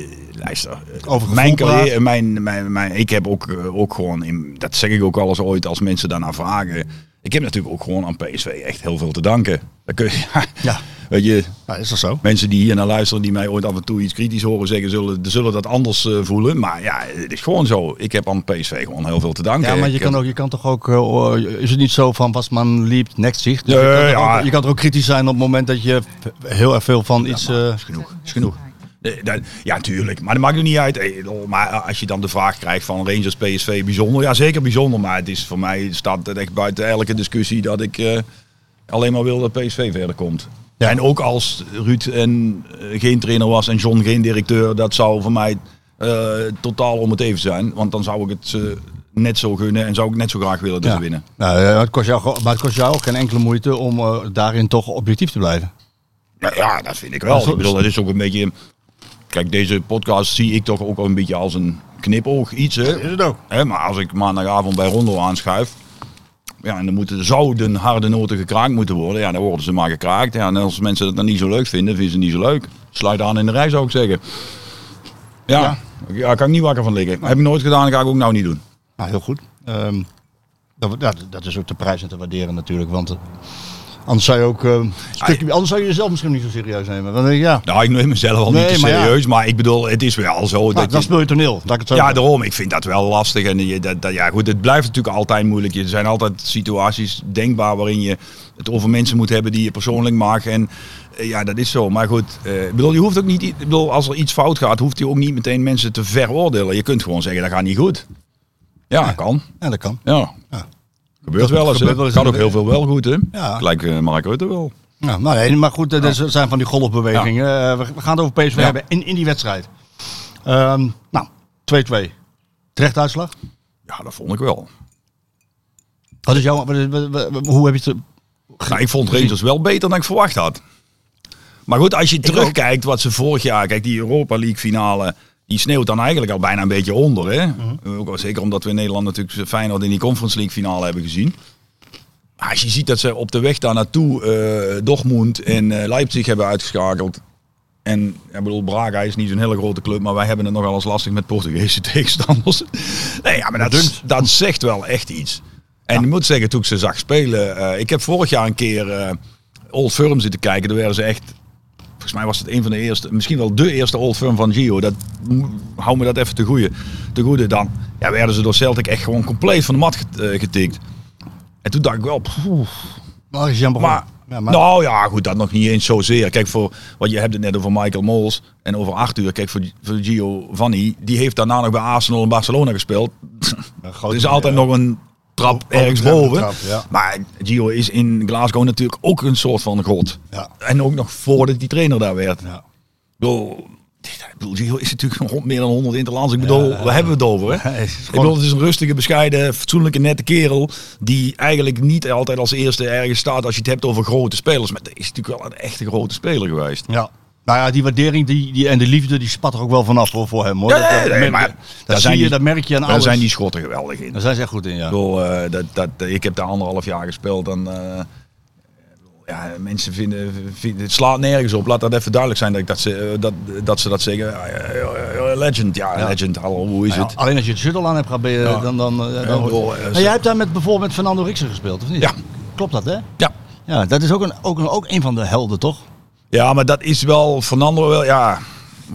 Speaker 8: luister, eh,
Speaker 7: Over gevoel
Speaker 8: mijn
Speaker 7: praat.
Speaker 8: carrière, mijn, mijn, mijn, ik heb ook, eh, ook gewoon, in, dat zeg ik ook al eens ooit als mensen daarna vragen. Ik heb natuurlijk ook gewoon aan PSV echt heel veel te danken. Dat kun je,
Speaker 7: Ja.
Speaker 8: Weet je,
Speaker 7: Ja, is dat zo?
Speaker 8: mensen die hier naar luisteren, die mij ooit af en toe iets kritisch horen zeggen, zullen, zullen dat anders eh, voelen. Maar ja, het is gewoon zo. Ik heb aan PSV gewoon heel veel te danken.
Speaker 7: Ja, maar je
Speaker 8: Ik
Speaker 7: kan,
Speaker 8: heb-
Speaker 7: ook, je kan toch ook, eh, is het niet zo van was man liep, next zicht? Dus
Speaker 8: Nee,
Speaker 7: je, kan toch
Speaker 8: ja.
Speaker 7: ook, je kan er ook kritisch zijn op het moment dat je heel erg veel van iets... eh,
Speaker 8: is genoeg. Is genoeg. Nee, dat- ja, tuurlijk. Maar dat maakt er niet uit. Eh, lol, Maar als je dan de vraag krijgt van Rangers PSV bijzonder. Ja, zeker bijzonder. Maar het is voor mij staat het echt buiten elke discussie dat ik eh, alleen maar wil dat PSV verder komt.
Speaker 7: Ja.
Speaker 8: En ook als Ruud en, eh, geen trainer was en John geen directeur, dat zou voor mij eh, totaal om het even zijn. Want dan zou ik het ze net zo gunnen en zou ik net zo graag willen dat
Speaker 7: Ja.
Speaker 8: ze winnen.
Speaker 7: Nou, eh, het kost jou, gewoon- maar het kost jou ook geen enkele moeite om eh, daarin toch objectief te blijven.
Speaker 8: Nou ja, dat vind ik wel. Ik bedoel, dat is ook een beetje. Kijk, deze podcast zie ik toch ook een beetje als een knipoog iets. Hè?
Speaker 7: Is het ook.
Speaker 8: Hè, maar als ik maandagavond bij Rondo aanschuif. Ja, en dan moeten, zouden harde noten gekraakt moeten worden. Ja, dan worden ze maar gekraakt. Ja, en als mensen dat dan niet zo leuk vinden, vinden ze het niet zo leuk. Sluit aan in de rij, zou ik zeggen. Ja, ja. kan ik niet wakker van liggen. Heb ik nooit gedaan, ga ik ook nou niet doen.
Speaker 7: Nou, heel goed. Ehm, dat, ja, dat is ook te prijzen en te waarderen natuurlijk, want eh, anders zou je ook... ehm, een
Speaker 8: Ah,
Speaker 7: stukje, anders zou je jezelf misschien niet zo serieus nemen. Want, eh, ja,
Speaker 8: Nou, ik neem mezelf al
Speaker 7: Nee,
Speaker 8: niet te
Speaker 7: maar ja.
Speaker 8: serieus. Maar ik bedoel, het is wel zo.
Speaker 7: Nou,
Speaker 8: dat
Speaker 7: dan
Speaker 8: je,
Speaker 7: speel je toneel. laat ik het zo
Speaker 8: Ja,
Speaker 7: zeggen.
Speaker 8: daarom. Ik vind dat wel lastig. En je, dat, dat, ja, goed, het blijft natuurlijk altijd moeilijk. Er zijn altijd situaties denkbaar waarin je het over mensen moet hebben die je persoonlijk mag. En eh, ja, dat is zo. Maar goed, eh, ik bedoel, je hoeft ook niet. Ik bedoel, als er iets fout gaat, hoeft je ook niet meteen mensen te veroordelen. Je kunt gewoon zeggen, dat gaat niet goed. Ja, kan.
Speaker 7: Ja, dat kan.
Speaker 8: Ja.
Speaker 7: Ja.
Speaker 8: Gebeurt wel eens.
Speaker 7: Gebeurt wel
Speaker 8: hè.
Speaker 7: eens.
Speaker 8: Gaat ook heel veel wel goed, hè?
Speaker 7: Ja.
Speaker 8: Gelijk eh, Mark Rutte wel.
Speaker 7: Ja, nou, nee, maar goed, eh, dat is- zijn van die golfbewegingen. Eh, we, we gaan het over PSV
Speaker 8: Ja.
Speaker 7: hebben in, in die wedstrijd. Ehm, nou, 2-2. Terecht uitslag.
Speaker 8: Ja, dat vond ik wel.
Speaker 7: Wat is jouw... wat is- wat- wat- hoe heb je het...
Speaker 8: Nou, ik vond Rangers wel beter dan ik verwacht had. Maar goed, als je terugkijkt wat ze vorig jaar... Kijk, die Europa League finale... Die sneeuwt dan eigenlijk al bijna een beetje onder. Hè? Ook wel zeker omdat we in Nederland natuurlijk Feyenoord in die Conference League finale hebben gezien. Maar als Ah, je ziet dat ze op de weg daar naartoe eh Dortmund en eh, Leipzig hebben uitgeschakeld. En ja, ik bedoel, Braga is niet zo'n hele grote club, maar wij hebben het nogal eens lastig met Portugese tegenstanders. Nee, ja, maar dat, dat zegt wel echt iets. En ik moet zeggen, toen ik ze zag spelen, eh, ik heb vorig jaar een keer eh, Old Firm zitten kijken. Daar werden ze echt, volgens mij was het een van de eerste, misschien wel de eerste Old Firm van Gio. Dat, mm, hou me dat even te goede. Te goede dan ja, werden ze door Celtic echt gewoon compleet van de mat get- eh, getikt. En toen dacht ik wel, poeh,
Speaker 7: Maar is Jan Bron.
Speaker 8: Oh. maar,
Speaker 7: Ja,
Speaker 8: nou ja, goed, dat nog niet eens zozeer. Kijk, voor, want je hebt het net over Michael Mols en over Arthur. Kijk, voor, voor Giovanni, die heeft daarna nog bij Arsenal en Barcelona gespeeld. Er is altijd nog een trap ergens
Speaker 7: trap,
Speaker 8: boven.
Speaker 7: trap, ja.
Speaker 8: Maar Gio is in Glasgow natuurlijk ook een soort van god.
Speaker 7: Ja.
Speaker 8: En ook nog voordat die trainer daar werd.
Speaker 7: Ja.
Speaker 8: Ik bedoel, dit- ik bedoel, Gio is natuurlijk nog meer dan 100 interlands. Ik bedoel, waar hebben we het over? Hè?
Speaker 7: Ja, het is
Speaker 8: ik
Speaker 7: gewoon-
Speaker 8: bedoel, het is een rustige, bescheiden, fatsoenlijke, nette kerel. Die eigenlijk niet altijd als eerste ergens staat als je het hebt over grote spelers. Maar dat is natuurlijk wel een echte grote speler geweest.
Speaker 7: Ja. Nou ja, die waardering die, die, en de liefde die spat er ook wel vanaf hoor, voor hem. Hoor.
Speaker 8: Ja,
Speaker 7: Dat-
Speaker 8: nee,
Speaker 7: dat
Speaker 8: nee,
Speaker 7: merk
Speaker 8: maar
Speaker 7: je.
Speaker 8: daar
Speaker 7: dat
Speaker 8: zijn
Speaker 7: zie je,
Speaker 8: die-
Speaker 7: dat merk je aan
Speaker 8: Daar
Speaker 7: alles.
Speaker 8: zijn die schotten geweldig in.
Speaker 7: Daar zijn ze echt goed in, ja.
Speaker 8: Ik bedoel, eh, dat, dat, ik heb daar anderhalf jaar gespeeld en eh, ja, mensen vinden, vinden, het slaat nergens op. Laat dat even duidelijk zijn dat, ik dat, ze, eh, dat, dat ze dat zeggen. Ja, ja, ja, ja, Legend, ja,
Speaker 7: Ja. Nou
Speaker 8: legend, hallo, hoe is
Speaker 7: Ja,
Speaker 8: het?
Speaker 7: alleen als je het shuttle aan hebt, gaan, ben je,
Speaker 8: Ja.
Speaker 7: dan... dan, eh, dan,
Speaker 8: Ja, ik bedoel, eh,
Speaker 7: Maar
Speaker 8: ze-
Speaker 7: jij hebt daar met, bijvoorbeeld met Fernando Rixen gespeeld, of niet?
Speaker 8: Ja.
Speaker 7: Klopt dat, hè?
Speaker 8: Ja.
Speaker 7: Ja, dat is ook een, ook een, ook een van de helden, toch?
Speaker 8: ja, maar dat is wel, Fernando wel, ja,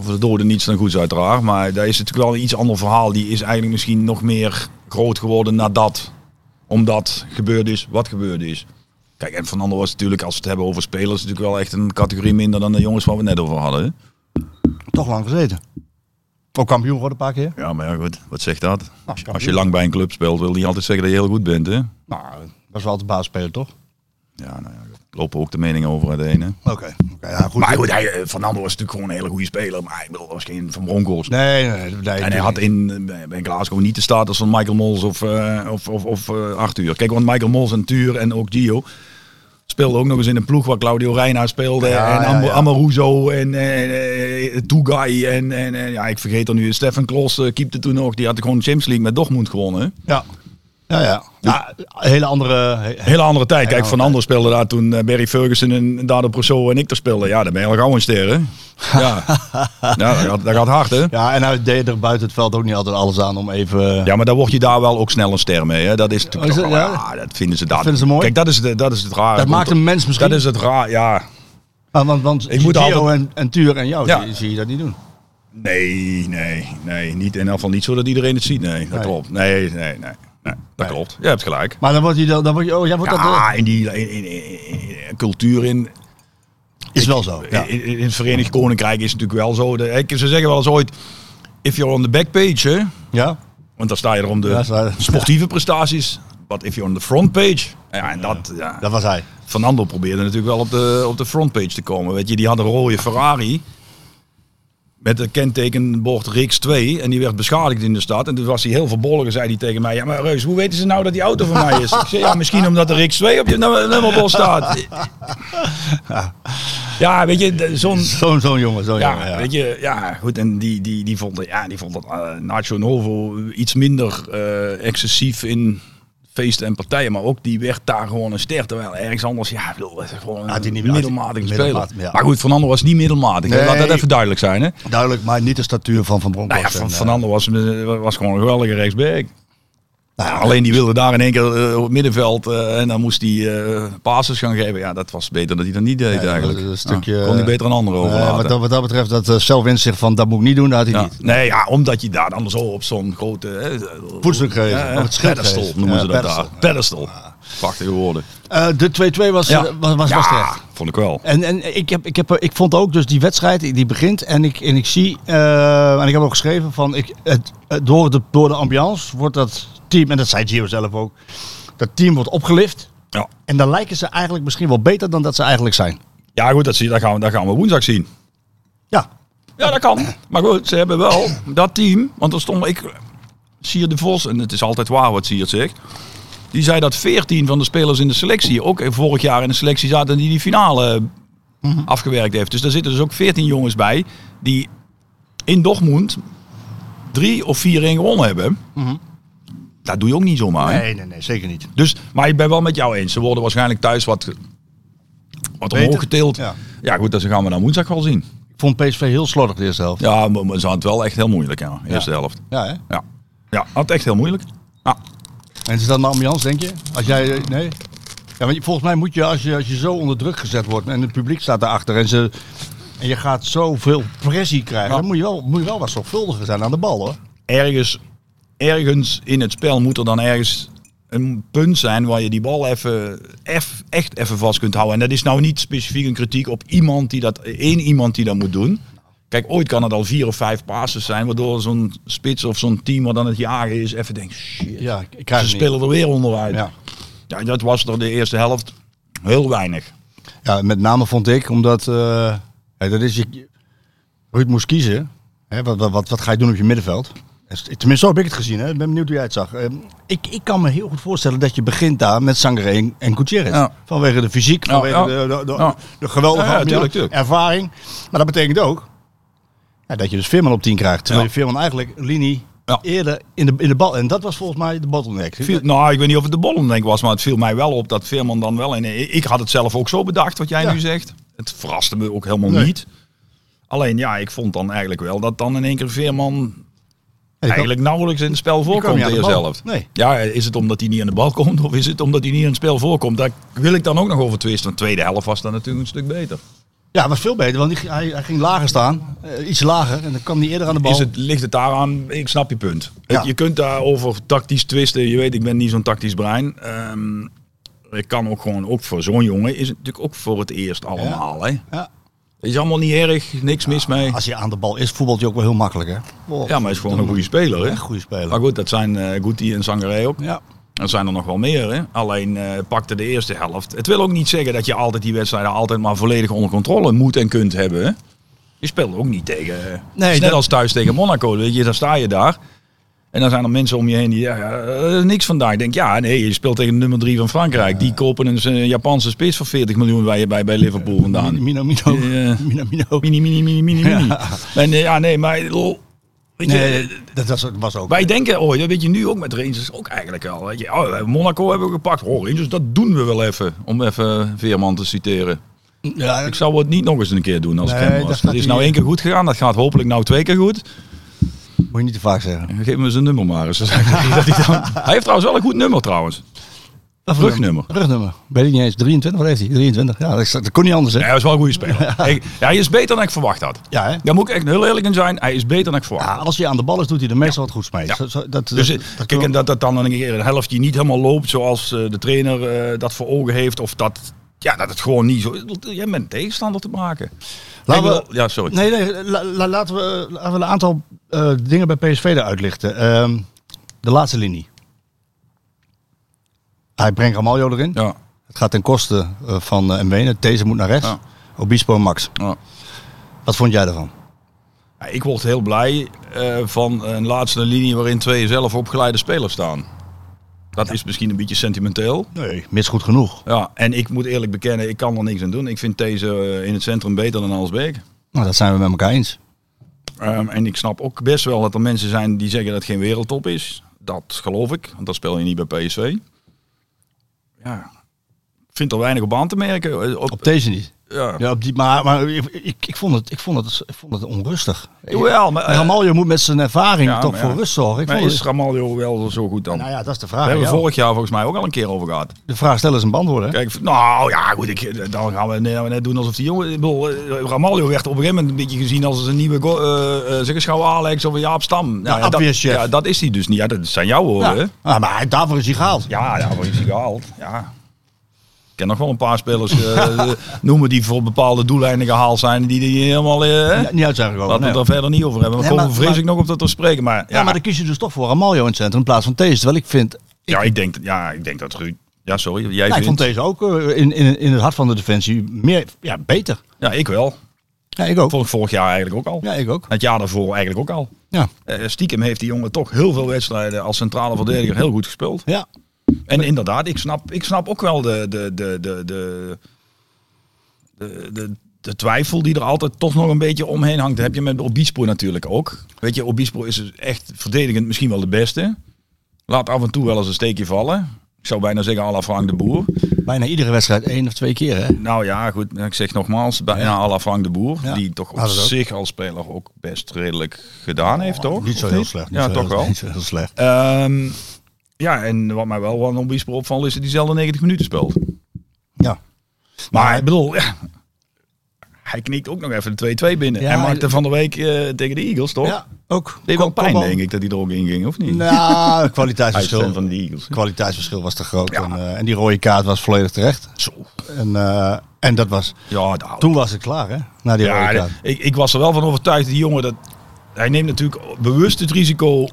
Speaker 8: voor de doden niets dan goeds uiteraard. Maar daar is natuurlijk wel een iets ander verhaal. Die is eigenlijk misschien nog meer groot geworden nadat, omdat gebeurd is wat gebeurd is. Kijk, en Fernando was natuurlijk, als we het hebben over spelers, natuurlijk wel echt een categorie minder dan de jongens waar we het net over hadden. hè?
Speaker 7: Toch lang gezeten. Ook kampioen geworden een paar keer.
Speaker 8: Ja, maar ja, goed. Wat zegt dat?
Speaker 7: kampioen.
Speaker 8: Als je lang bij een club speelt, wil die altijd zeggen dat je heel goed bent, hè?
Speaker 7: Nou, dat is wel altijd basisspeler, toch?
Speaker 8: Ja, nou ja, goed. lopen ook de meningen over uiteen, hè?
Speaker 7: Oké. Oké, ja, goed.
Speaker 8: Maar goed, hij, eh, Fernando was natuurlijk gewoon een hele goede speler, maar ik bedoel, dat was geen Van Bronckhorst.
Speaker 7: Nee, nee, nee. nee
Speaker 8: En hij had in, eh, bij- bij Glasgow niet de status van Michael Mols of, eh of, of, of eh, Arthur. Kijk, want Michael Mols en Tuur en ook Gio speelden ook nog eens in een ploeg waar Claudio Reina speelde.
Speaker 7: Ja,
Speaker 8: en
Speaker 7: ja,
Speaker 8: Am
Speaker 7: ja.
Speaker 8: Amoruso en eh eh, Tugai. En, en, en ja, ik vergeet er nu. Stefan Klos eh, keepte toen nog. Die had gewoon de Champions League met Dortmund gewonnen. hè?
Speaker 7: Ja. Ja, ja. ja hele andere... he- he-
Speaker 8: Hele andere tijd. Kijk,
Speaker 7: andere
Speaker 8: Van Ander speelde daar toen eh, Barry Ferguson en Dado Proso en ik er speelden. Ja, dan ben je al gauw een ster, hè? Ja, ja dat, gaat, dat gaat hard, hè?
Speaker 7: Ja, en hij deed er buiten het veld ook niet altijd alles aan om even... eh,
Speaker 8: Ja, maar dan word je daar wel ook snel een ster mee. Hè? Dat is natuurlijk
Speaker 7: Oh, is
Speaker 8: ook
Speaker 7: dat-
Speaker 8: wel-
Speaker 7: ja?
Speaker 8: ja, dat vinden ze daar.
Speaker 7: vinden ze mooi?
Speaker 8: Kijk, dat is, de, dat is het raar.
Speaker 7: Dat maakt een mens misschien.
Speaker 8: Dat is het raar, ja.
Speaker 7: Maar want, want
Speaker 8: Ik moet
Speaker 7: Gio
Speaker 8: altijd-
Speaker 7: en, en Tuur en jou
Speaker 8: Ja.
Speaker 7: zie, zie je dat niet doen.
Speaker 8: Nee, nee, nee. Niet, in ieder geval niet zo dat iedereen het ziet. Nee, dat
Speaker 7: Nee.
Speaker 8: klopt. Nee, nee, nee. nee. Dat klopt. Je hebt gelijk.
Speaker 7: Maar dan word je... Dan word je oh, jij wordt
Speaker 8: Ja,
Speaker 7: dat...
Speaker 8: in die in, in- in- in- cultuur in,
Speaker 7: Is wel zo. Ja.
Speaker 8: In, in het Verenigd Koninkrijk is het natuurlijk wel zo. De, ik- ze zeggen wel eens ooit, if you're on the back page, hè,
Speaker 7: ja?
Speaker 8: want dan sta je er om de
Speaker 7: Ja, sta je-
Speaker 8: sportieve prestaties. But if you're on the front page, ja, en dat, ja.
Speaker 7: Dat was hij.
Speaker 8: Fernando probeerde natuurlijk wel op de, op de front page te komen. Weet je, die had een rode Ferrari met het kentekenbord Rix 2 en die werd beschadigd in de stad. En toen was hij heel verbolgen, zei hij tegen mij, ja maar Reus, hoe weten ze nou dat die auto van mij is? Ik zei, ja, misschien omdat er Rix 2 op je nummer- nummerbord staat. Ja, weet je, de- zo'n...
Speaker 7: Zo'n zo'n jongen, zo'n
Speaker 8: Ja,
Speaker 7: jongen. Oh, Ja.
Speaker 8: weet je, ja, goed. En die, die, die vond, ja, die vond dat eh, Nacho Novo iets minder eh, excessief in feesten en partijen. Maar ook die werd daar gewoon een ster. Terwijl ergens anders, ja, ik bedoel, dat is
Speaker 7: Had
Speaker 8: gewoon
Speaker 7: hij
Speaker 8: een
Speaker 7: niet- had hij-
Speaker 8: middelmatige speler.
Speaker 7: middelmatig, ja.
Speaker 8: Maar goed, Fernando was niet middelmatig. hè. Laat dat
Speaker 7: Nee.
Speaker 8: even duidelijk zijn, hè.
Speaker 7: Duidelijk, maar niet de statuur van Van
Speaker 8: Nou ja,
Speaker 7: Bronckhorst.
Speaker 8: Van-
Speaker 7: en, eh,
Speaker 8: Fernando was, eh, was gewoon een geweldige rechtsback.
Speaker 7: nou ja,
Speaker 8: Alleen die wilde daar in één keer eh, op het middenveld eh, en dan moest hij eh passes gaan geven. Ja, dat was beter dat hij dat niet deed
Speaker 7: dat-
Speaker 8: eigenlijk.
Speaker 7: dat- dat stukje-
Speaker 8: Ja, kon hij beter een ander
Speaker 7: eh,
Speaker 8: overlaten.
Speaker 7: wat, dat, wat dat betreft, dat eh, zelfwinst zich van dat moet ik niet doen, dat had hij
Speaker 8: Ja.
Speaker 7: niet.
Speaker 8: Nee, ja, omdat je daar dan zo op zo'n grote... eh,
Speaker 7: Voetstuk geweest,
Speaker 8: Ja, ja,
Speaker 7: op het schild
Speaker 8: pedestal
Speaker 7: geweest.
Speaker 8: noemen
Speaker 7: Ja,
Speaker 8: ze dat
Speaker 7: pedestal.
Speaker 8: daar. Pedestal. Prachtige woorden.
Speaker 7: Eh, de 2-2 was, eh, was, was, was terecht.
Speaker 8: vond ik wel.
Speaker 7: En, en ik, heb, ik, heb, ik vond ook dus die wedstrijd die begint en ik, en ik zie, eh, en ik heb ook geschreven van, ik, het, het- door, de, door de ambiance wordt dat team, en dat zei Gio zelf ook, dat team wordt opgelift.
Speaker 8: Ja,
Speaker 7: En dan lijken ze eigenlijk misschien wel beter dan dat ze eigenlijk zijn.
Speaker 8: ja goed, dat, zie, dat, gaan we, dat gaan we woensdag zien.
Speaker 7: Ja,
Speaker 8: Ja, dat kan. Maar goed, ze hebben wel dat team. Want er stond ik. Sier de Vos, en het is altijd waar wat Sier zegt. Die zei dat 14 van de spelers in de selectie ook vorig jaar in de selectie zaten. en die die finale
Speaker 7: Mhm.
Speaker 8: afgewerkt heeft. Dus daar zitten dus ook 14 jongens bij. die in Dortmund drie of vier 1 gewonnen hebben. Dat doe je ook niet zomaar. hè?
Speaker 7: Mhm. nee, nee, nee, zeker niet.
Speaker 8: Dus, maar ik ben wel met jou eens. Ze worden waarschijnlijk thuis wat, wat omhoog getild.
Speaker 7: Ja.
Speaker 8: Ja. goed, dat gaan we dan woensdag wel zien.
Speaker 7: Ik vond PSV heel slordig de eerste helft.
Speaker 8: Ja, maar maar ze hadden het wel echt heel moeilijk, ja. Eerste helft.
Speaker 7: Ja, hè?
Speaker 8: Ja. Ja, had het echt heel moeilijk.
Speaker 7: En is dat een ambiance, denk je? Als jij, eh, nee? Ja, want je- volgens mij moet je als, je, als je zo onder druk gezet wordt en het publiek staat daarachter en, ze, en je gaat zoveel pressie krijgen, dan moet je, wel, moet je wel wat zorgvuldiger zijn aan de bal, hoor.
Speaker 8: Ergens, ergens in het spel moet er dan ergens een punt zijn waar je die bal even, eff- echt even vast kunt houden. En dat is nou niet specifiek een kritiek op iemand die dat, één iemand die dat moet doen. Kijk, ooit kan het al vier of vijf passes zijn, waardoor zo'n spits of zo'n team wat dan het jagen is, even denkt, shit,
Speaker 7: Ja, ik krijg
Speaker 8: ze
Speaker 7: het niet.
Speaker 8: spelen er weer onderuit.
Speaker 7: Ja.
Speaker 8: Ja. dat was er de eerste helft heel weinig.
Speaker 7: Ja, met name vond ik, omdat eh, hè, dat is je, Ruud moest kiezen. Hè, wat, wat, wat, wat ga je doen op je middenveld? En st- Tenminste, zo heb ik het gezien. Hè. Ik ben benieuwd hoe jij het zag. Eh, ik, ik kan me heel goed voorstellen dat je begint daar met Sangre en, en Gutierrez.
Speaker 8: Ja.
Speaker 7: Vanwege de fysiek, vanwege
Speaker 8: ja.
Speaker 7: de, de, de,
Speaker 8: Ja.
Speaker 7: de geweldige
Speaker 8: Ja, ja,
Speaker 7: ambiance,
Speaker 8: tuurlijk, tuurlijk.
Speaker 7: ervaring. Maar dat betekent ook ja, dat je dus Veerman op 10 krijgt. Terwijl
Speaker 8: Ja.
Speaker 7: je Veerman eigenlijk linie
Speaker 8: Ja.
Speaker 7: eerder in de, in de bal... En dat was volgens mij de bottleneck.
Speaker 8: Viel, nou, ik weet niet of het de bollen denk ik was, maar het viel mij wel op dat Veerman dan wel in. Ik ik had het zelf ook zo bedacht wat jij
Speaker 7: Ja.
Speaker 8: nu zegt. Het verraste me ook helemaal
Speaker 7: Nee.
Speaker 8: niet. Alleen ja, ik vond dan eigenlijk wel dat dan in één keer Veerman
Speaker 7: Ja, die kwam-
Speaker 8: eigenlijk nauwelijks in het spel
Speaker 7: kwam
Speaker 8: voorkomt
Speaker 7: niet
Speaker 8: de
Speaker 7: aan de
Speaker 8: eerste
Speaker 7: bal.
Speaker 8: helft.
Speaker 7: Nee.
Speaker 8: Ja, is het omdat hij niet aan de bal komt of is het omdat hij niet in het spel voorkomt? Daar wil ik dan ook nog over twisten. Want de tweede helft was dan natuurlijk een stuk beter.
Speaker 7: Ja, was veel beter, want die, hij, hij ging lager staan. Eh, iets lager. En dan kwam hij eerder aan de bal.
Speaker 8: Is het, ligt het daaraan? Ik snap je punt.
Speaker 7: Ja.
Speaker 8: Het- Je kunt daarover tactisch twisten. Je weet, ik ben niet zo'n tactisch brein. Ehm, ik kan ook gewoon, ook voor zo'n jongen, is het natuurlijk ook voor het eerst allemaal. Hè?
Speaker 7: Ja.
Speaker 8: Is allemaal niet erg, niks mis mee.
Speaker 7: Als je aan de bal is, voetbalt je ook wel heel makkelijk, hè?
Speaker 8: Ja, maar hij is gewoon een goede speler. Hè?
Speaker 7: Echt goede speler.
Speaker 8: Maar goed, dat zijn eh Guti en Sangaré ook.
Speaker 7: Ja.
Speaker 8: Er zijn er nog wel meer. Hè? Alleen eh, pakte de eerste helft. Het wil ook niet zeggen dat je altijd die wedstrijden altijd maar volledig onder controle moet en kunt hebben. Hè? Je speelt ook niet tegen. eh,
Speaker 7: Nee,
Speaker 8: het is net
Speaker 7: dat-
Speaker 8: als thuis tegen Monaco. Weet je, dan sta je daar. En dan zijn er mensen om je heen die ja, eh, niks vandaag. Ik denk, ja, nee, je speelt tegen nummer drie van Frankrijk. Die kopen een eh, Japanse spits voor 40 miljoen bij, bij, bij Liverpool vandaan.
Speaker 7: Mino, Mino.
Speaker 8: Ja.
Speaker 7: Mino, Mino.
Speaker 8: Mini, mini, mini, mini, mini. En, eh, ja, nee, maar... lol, weet je,
Speaker 7: Nee, dat was, was ook.
Speaker 8: eh, wij denken, oh, dat weet je nu ook met Rangers ook eigenlijk wel. Weet je, oh, we hebben Monaco hebben we gepakt. Oh, Rangers, dat doen we wel even. Om even Veerman te citeren.
Speaker 7: Ja,
Speaker 8: Ik zou het niet nog eens een keer doen als
Speaker 7: Nee,
Speaker 8: ik hem
Speaker 7: dat
Speaker 8: was.
Speaker 7: gaat
Speaker 8: Dat is
Speaker 7: hij
Speaker 8: nou
Speaker 7: niet.
Speaker 8: één keer goed gegaan. Dat gaat hopelijk nou twee keer goed.
Speaker 7: moet je niet te vaak zeggen.
Speaker 8: Geef me zijn nummer maar eens. Dan zeg ik dat hij, dan... hij heeft trouwens wel een goed nummer trouwens. Rugnummer.
Speaker 7: Rugnummer. Weet ik niet eens. 23, wat heeft hij? 23. Ja, dat, is- dat kon niet anders, hè?
Speaker 8: Ja, hij is wel een goede speler. Hij, ja, hij is beter dan ik verwacht had.
Speaker 7: Ja, hè?
Speaker 8: Daar moet ik echt heel eerlijk in zijn. Hij is beter dan ik verwacht
Speaker 7: Ja,
Speaker 8: had.
Speaker 7: als hij aan de bal is, doet hij er meestal wat goeds mee.
Speaker 8: Ja.
Speaker 7: Zo- zo- dat,
Speaker 8: Dus
Speaker 7: dat-
Speaker 8: eh,
Speaker 7: dat
Speaker 8: kijk,
Speaker 7: kan-
Speaker 8: en dat dat dan een keer een helftje niet helemaal loopt zoals eh, de trainer eh, dat voor ogen heeft. Of dat, ja, dat het gewoon niet zo... Jij bent tegenstander te maken.
Speaker 7: Laten
Speaker 8: Ik
Speaker 7: we-
Speaker 8: wil- ja, sorry.
Speaker 7: Nee, nee la- la- laten, we, laten we een aantal eh, dingen bij PSV eruit lichten. Ehm, de laatste linie. Hij brengt Ramaljo erin.
Speaker 8: Ja,
Speaker 7: Het gaat ten koste eh, van eh Mwene. Deze moet naar rechts.
Speaker 8: Ja.
Speaker 7: Obispo en Max.
Speaker 8: ja.
Speaker 7: Wat vond jij daarvan?
Speaker 8: Ja, Ik word heel blij eh, van een laatste linie waarin twee zelf opgeleide spelers staan. Dat is misschien een beetje sentimenteel.
Speaker 7: Nee. Mis goed genoeg.
Speaker 8: Ja, en ik moet eerlijk bekennen, ik kan er niks aan doen. Ik vind deze eh, in het centrum beter dan Alsbeek.
Speaker 7: Nou, dat zijn we met elkaar eens.
Speaker 8: Ehm, en ik snap ook best wel dat er mensen zijn die zeggen dat het geen wereldtop is. Dat geloof ik, want dat speel je niet bij PSV. Ja, ik vind er weinig op aan te merken. Eh, Op,
Speaker 7: Op deze niet.
Speaker 8: ja.
Speaker 7: Ja, op die, maar maar ik, ik, ik vond het, ik, vond het, ik vond het onrustig.
Speaker 8: Jawel, maar, eh,
Speaker 7: Ramaljo moet met zijn ervaring
Speaker 8: ja,
Speaker 7: toch
Speaker 8: maar ja.
Speaker 7: voor rust zorgen. Ik
Speaker 8: maar
Speaker 7: vond
Speaker 8: is
Speaker 7: het,
Speaker 8: Ramaljo wel zo goed dan?
Speaker 7: nou ja, dat is de
Speaker 8: We
Speaker 7: vraag.
Speaker 8: hebben
Speaker 7: Ja.
Speaker 8: vorig jaar volgens mij ook al een keer over gehad.
Speaker 7: De vraag stellen is een beantwoorden. hè?
Speaker 8: Kijk, nou ja, goed, ik, dan gaan we net- net doen alsof die jongen... Ik bedoel, eh, Ramaljo werd op een gegeven moment een beetje gezien als een nieuwe... go- eh, eh, Zeg eens gauw Alex of een Jaap Stam. Nou, ja,
Speaker 7: obvious,
Speaker 8: dat,
Speaker 7: chef.
Speaker 8: ja, dat is hij dus niet. Ja, dat zijn jouw woorden. hè?
Speaker 7: Ja. Ah, maar hij- daarvoor is hij gehaald.
Speaker 8: Ja, ja, wat is hij gehaald? Ja. Ik ken nog wel een paar spelers eh, noemen die voor bepaalde doeleinden gehaald zijn. Die, die helemaal... eh,
Speaker 7: Ja, niet uit zijn gekomen.
Speaker 8: Laten we
Speaker 7: nee.
Speaker 8: het daar verder niet over hebben. We
Speaker 7: Nee,
Speaker 8: komen
Speaker 7: maar-
Speaker 8: vrees
Speaker 7: maar-
Speaker 8: ik nog op dat te spreken. Maar, ja,
Speaker 7: Ja, maar dan kies je dus toch voor Ramaljo in het centrum in plaats van Thees. Terwijl ik vind...
Speaker 8: ja, ik denk, ja, ik denk dat Ruud... Ja, sorry. Jij
Speaker 7: Ja, ik vond
Speaker 8: vindt...
Speaker 7: deze ook eh, in, in, in het hart van de defensie meer, ja, beter.
Speaker 8: Ja, ik wel.
Speaker 7: Ja, ik ook.
Speaker 8: Vond ik vorig jaar eigenlijk ook al.
Speaker 7: Ja, ik ook.
Speaker 8: Het jaar daarvoor eigenlijk ook al.
Speaker 7: Ja.
Speaker 8: Eh, stiekem heeft die jongen toch heel veel wedstrijden als centrale verdediger heel goed gespeeld.
Speaker 7: Ja.
Speaker 8: En inderdaad, ik snap, ik snap ook wel de, de, de, de, de, de, de, de twijfel die er altijd toch nog een beetje omheen hangt. Dat heb je met Obispo natuurlijk ook. Weet je, Obispo is dus echt verdedigend misschien wel de beste. Laat af en toe wel eens een steekje vallen. Ik zou bijna zeggen à la Frank de Boer.
Speaker 7: Bijna iedere wedstrijd één of twee keer, hè?
Speaker 8: Nou ja, goed. Ik zeg nogmaals, bijna à la Frank de Boer.
Speaker 7: Ja.
Speaker 8: Die toch op
Speaker 7: Had het ook. Oh,
Speaker 8: zich als speler ook best redelijk gedaan heeft, toch?
Speaker 7: Niet zo
Speaker 8: Of
Speaker 7: heel slecht. niet
Speaker 8: Ja,
Speaker 7: zo
Speaker 8: toch
Speaker 7: heel,
Speaker 8: wel.
Speaker 7: Niet zo heel slecht.
Speaker 8: Ehm, ja, en wat mij wel wat een bijzonder opvalt is dat hij zelden 90 minuten speelt.
Speaker 7: Ja.
Speaker 8: Maar ik bedoel, ja, hij knikt ook nog even de 2-2 binnen.
Speaker 7: Ja,
Speaker 8: hij
Speaker 7: hij-
Speaker 8: maakte van de week eh, tegen de Eagles, toch?
Speaker 7: Ja, ook.
Speaker 8: Deed wel pijn,
Speaker 7: Kopbal.
Speaker 8: denk ik, dat hij er ook in ging, of niet?
Speaker 7: Nou, het
Speaker 8: hij is fan
Speaker 7: kwaliteitsverschil,
Speaker 8: van de Eagles.
Speaker 7: het kwaliteitsverschil was te groot.
Speaker 8: eh, Ja.
Speaker 7: En, eh, en die rode kaart was volledig terecht.
Speaker 8: Zo.
Speaker 7: En, eh, en dat was,
Speaker 8: Ja, nou,
Speaker 7: toen was het klaar, hè? Na die
Speaker 8: ja
Speaker 7: rode
Speaker 8: de-
Speaker 7: kaart.
Speaker 8: ik, ik was er wel van overtuigd, die jongen, dat, hij neemt natuurlijk bewust het risico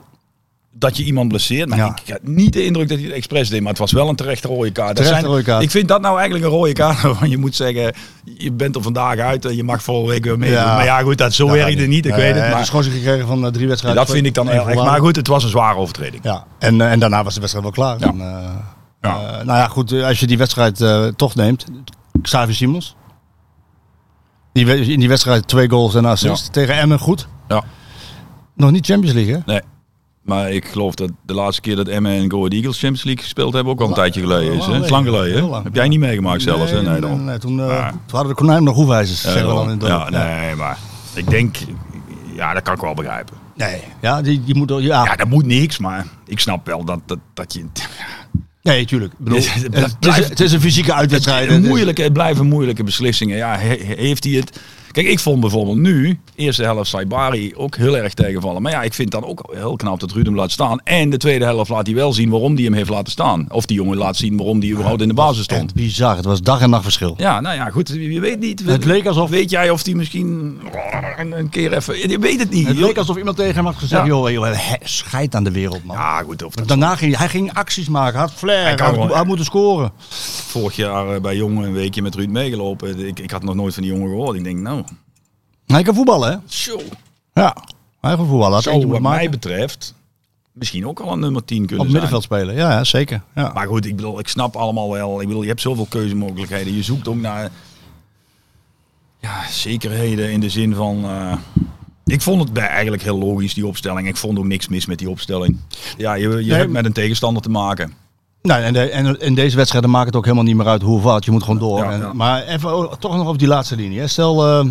Speaker 8: dat je iemand blesseert. Maar
Speaker 7: Ja.
Speaker 8: ik had niet de indruk dat hij het expres deed, maar het was wel een terechte rode kaart. Dat
Speaker 7: Terechte rode kaart.
Speaker 8: Ik vind dat nou eigenlijk een rode kaart, waarvan je moet zeggen, je bent er vandaag uit en je mag volgende week weer mee.
Speaker 7: Ja.
Speaker 8: Maar ja, goed, dat, zo
Speaker 7: Dat gaat
Speaker 8: werkte niet, ik
Speaker 7: Eh,
Speaker 8: weet
Speaker 7: hij
Speaker 8: het.
Speaker 7: heeft
Speaker 8: Maar
Speaker 7: een schorsing gekregen van eh, drie wedstrijden.
Speaker 8: dat vind Nou, ik dan
Speaker 7: Eén
Speaker 8: heel echt.
Speaker 7: verwarring.
Speaker 8: Maar goed, het was een zware overtreding.
Speaker 7: Ja, en, eh, en daarna was de wedstrijd wel klaar.
Speaker 8: Ja.
Speaker 7: En, eh,
Speaker 8: Ja.
Speaker 7: eh, nou ja, goed, eh, als je die wedstrijd eh, toch neemt, Xavier Simons. Die, we- in die wedstrijd twee goals en een assist. Tegen Emmen goed.
Speaker 8: Ja.
Speaker 7: Nog niet Champions League, hè?
Speaker 8: Nee. Maar ik geloof dat de laatste keer dat Emmen en Go Ahead Eagles Champions League gespeeld hebben ook al een tijdje geleden is. hè? Het is lang geleden.
Speaker 7: Oh, Heel
Speaker 8: hè?
Speaker 7: lang.
Speaker 8: Heb jij niet meegemaakt zelfs? hè?
Speaker 7: nee,
Speaker 8: Nee,
Speaker 7: nee,
Speaker 8: dan.
Speaker 7: nee, toen, eh,
Speaker 8: Ja.
Speaker 7: toen hadden de konijnen nog hoefijzers, zeggen we dan in het dorp.
Speaker 8: Ja, nee, maar ik denk, ja, dat kan ik wel begrijpen.
Speaker 7: Nee. Ja, die, die moet... door- Ja,
Speaker 8: Ja, dat moet niks, maar ik snap wel dat, dat, dat je...
Speaker 7: nee, tuurlijk. Ik bedoel,
Speaker 8: Het- het
Speaker 7: het, is,
Speaker 8: blijft-
Speaker 7: het is een fysieke uitwedstrijd.
Speaker 8: Het,
Speaker 7: Het is-
Speaker 8: moeilijke, het blijven moeilijke beslissingen. Ja, he- he- heeft hij het... Kijk, ik vond bijvoorbeeld nu, eerste helft Saibari ook heel erg tegenvallen. Maar ja, ik vind dan ook heel knap dat Ruud hem laat staan. En de tweede helft laat hij wel zien waarom hij hem heeft laten staan. Of die jongen laat zien waarom hij überhaupt in de basis stond.
Speaker 7: Echt bizar. Het was dag en nacht verschil.
Speaker 8: Ja, nou ja, goed. Je weet niet.
Speaker 7: Het leek alsof-
Speaker 8: Weet jij of die misschien een, een keer even... Je weet het niet.
Speaker 7: Het leek alsof iemand tegen hem had gezegd,
Speaker 8: Ja.
Speaker 7: joh, joh, he- scheid aan de wereld, man.
Speaker 8: Ja, goed. Of dat
Speaker 7: Daarna ging hij ging acties maken, had flair, hij,
Speaker 8: kan
Speaker 7: had-
Speaker 8: wel,
Speaker 7: hij
Speaker 8: ja.
Speaker 7: had moeten scoren.
Speaker 8: vorig jaar eh, bij Jongen een weekje met Ruud meegelopen. Ik, ik had nog nooit van die jongen gehoord. Ik denk, nou...
Speaker 7: Hij kan voetballen, hè?
Speaker 8: Zo,
Speaker 7: Ja, hij kan voetballen. Had
Speaker 8: zou
Speaker 7: eentje
Speaker 8: wat
Speaker 7: moeten
Speaker 8: mij
Speaker 7: maken.
Speaker 8: betreft misschien ook al een nummer 10
Speaker 7: Op
Speaker 8: kunnen
Speaker 7: het
Speaker 8: zijn.
Speaker 7: middenveld spelen, ja, ja, zeker. Ja.
Speaker 8: Maar goed, ik bedoel, ik snap allemaal wel. Ik bedoel, je hebt zoveel keuzemogelijkheden. Je zoekt ook naar ja, zekerheden in de zin van... eh, ik vond het bij- eigenlijk heel logisch, die opstelling. Ik vond ook niks mis met die opstelling. Ja, je, je hebt met een tegenstander te maken.
Speaker 7: Nou, en, de, en in deze wedstrijden maakt het ook helemaal niet meer uit hoe of wat. Je moet gewoon door.
Speaker 8: Ja,
Speaker 7: en,
Speaker 8: ja.
Speaker 7: Maar even o- toch nog over die laatste linie. Hè. Stel, ehm,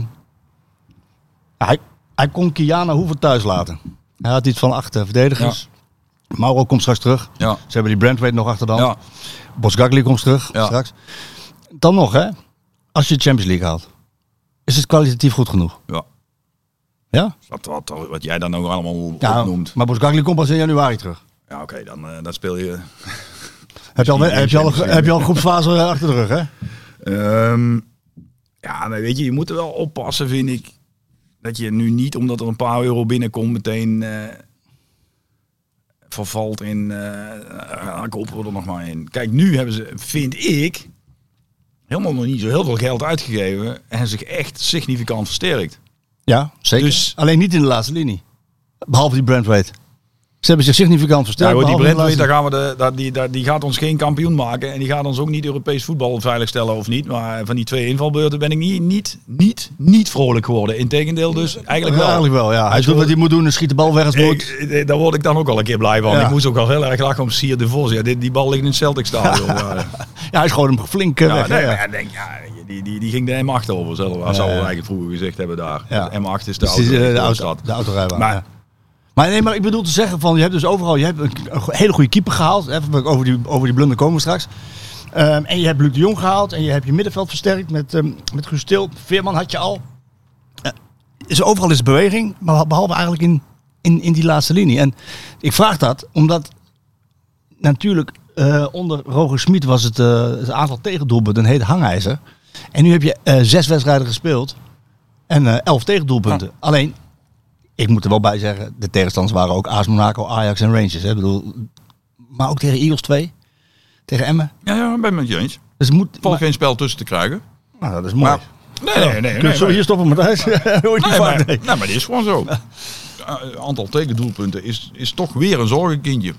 Speaker 7: hij, hij kon Kiana hoeven thuis laten. Hij had iets van acht eh, verdedigers. Mauro komt straks terug.
Speaker 8: Ja.
Speaker 7: Ze hebben die Brandweight nog achter de hand.
Speaker 8: Ja.
Speaker 7: Bosgagli komt terug
Speaker 8: Ja.
Speaker 7: straks. Dan nog, hè? Als je de Champions League haalt, is het kwalitatief goed genoeg?
Speaker 8: Ja.
Speaker 7: Ja?
Speaker 8: Wat, wat, wat jij dan ook allemaal
Speaker 7: ja
Speaker 8: opnoemt.
Speaker 7: maar Bosgagli komt pas in januari terug.
Speaker 8: Ja, oké, dan, eh, dan speel je...
Speaker 7: Heb je, al,
Speaker 8: Misschien
Speaker 7: heb, je al,
Speaker 8: geen
Speaker 7: heb je al een groepsfase achter de rug, hè?
Speaker 8: Ehm, ja, maar weet je, je moet er wel oppassen, vind ik. Dat je nu niet, omdat er een paar euro binnenkomt, meteen eh, vervalt in... eh ah, ik hoop er nog maar in. Kijk, nu hebben ze, vind ik, helemaal nog niet zo heel veel geld uitgegeven. En zich echt significant versterkt.
Speaker 7: Ja, zeker.
Speaker 8: Dus-
Speaker 7: Alleen niet in de laatste linie. Behalve die Brandweight. Ze hebben zich significant
Speaker 8: Ja,
Speaker 7: versterkt.
Speaker 8: hoor, die
Speaker 7: behalve in
Speaker 8: Brent,
Speaker 7: de laatste-
Speaker 8: daar gaan we de, daar, die, daar, die gaat ons geen kampioen maken. En die gaat ons ook niet Europees voetbal veiligstellen of niet. Maar van die twee invalbeurten ben ik niet, niet, niet, niet vrolijk geworden. Integendeel dus, eigenlijk
Speaker 7: Ja,
Speaker 8: wel.
Speaker 7: eigenlijk wel, ja. Hij doet wat hij moet doen en schiet de bal weg als het
Speaker 8: Ik,
Speaker 7: moet.
Speaker 8: eh, daar word ik dan ook al een keer blij van.
Speaker 7: Ja.
Speaker 8: Ik moest ook al heel erg lachen om Sier de Vos. Ja, dit- die bal ligt in het Celtic Stadion. ja,
Speaker 7: Ja, hij schoot hem flink eh,
Speaker 8: ja,
Speaker 7: weg.
Speaker 8: nee,
Speaker 7: hè,
Speaker 8: maar ik denk, ja, die, die, die ging de M8 over. Zelf. Dat zou we eigenlijk vroeger gezegd hebben daar.
Speaker 7: Ja.
Speaker 8: De M8 is de
Speaker 7: Dus
Speaker 8: auto.
Speaker 7: die, eh,
Speaker 8: die
Speaker 7: de,
Speaker 8: door
Speaker 7: auto,
Speaker 8: staat.
Speaker 7: de autorijbaan.
Speaker 8: Maar-
Speaker 7: ja. Maar nee, maar ik bedoel te zeggen van, je hebt dus overal, je hebt een, een go- hele goede keeper gehaald. Even over die, over die blunder komen we straks. Ehm, en je hebt Luc de Jong gehaald en je hebt je middenveld versterkt met, ehm met Guus Til. Veerman had je al. Eh, is, overal is beweging, maar behalve eigenlijk in, in, in die laatste linie. En ik vraag dat omdat natuurlijk eh, onder Roger Smit was het, eh, het aantal tegendoelpunten een heet hangijzer. En nu heb je eh, zes wedstrijden gespeeld en eh, elf tegendoelpunten. Alleen ik moet er wel bij zeggen, de tegenstanders waren ook AS Monaco, Ajax en Rangers. Hè. Ik bedoel, maar ook tegen Eagles 2, tegen Emmen.
Speaker 8: Ja, ja, ik ben met je eens. Er
Speaker 7: Dus het moet,
Speaker 8: valt
Speaker 7: maar-
Speaker 8: geen spel tussen te krijgen.
Speaker 7: nou, dat is mooi.
Speaker 8: Maar- Nee, nee, nee. nee,
Speaker 7: Kun je zo
Speaker 8: maar-
Speaker 7: hier stoppen, Matthijs? Hoor je die
Speaker 8: Nee,
Speaker 7: vaak?
Speaker 8: maar,
Speaker 7: Nee.
Speaker 8: nee, maar dit is gewoon zo. Ja, Een aantal tegendoelpunten is, is toch weer een zorgenkindje.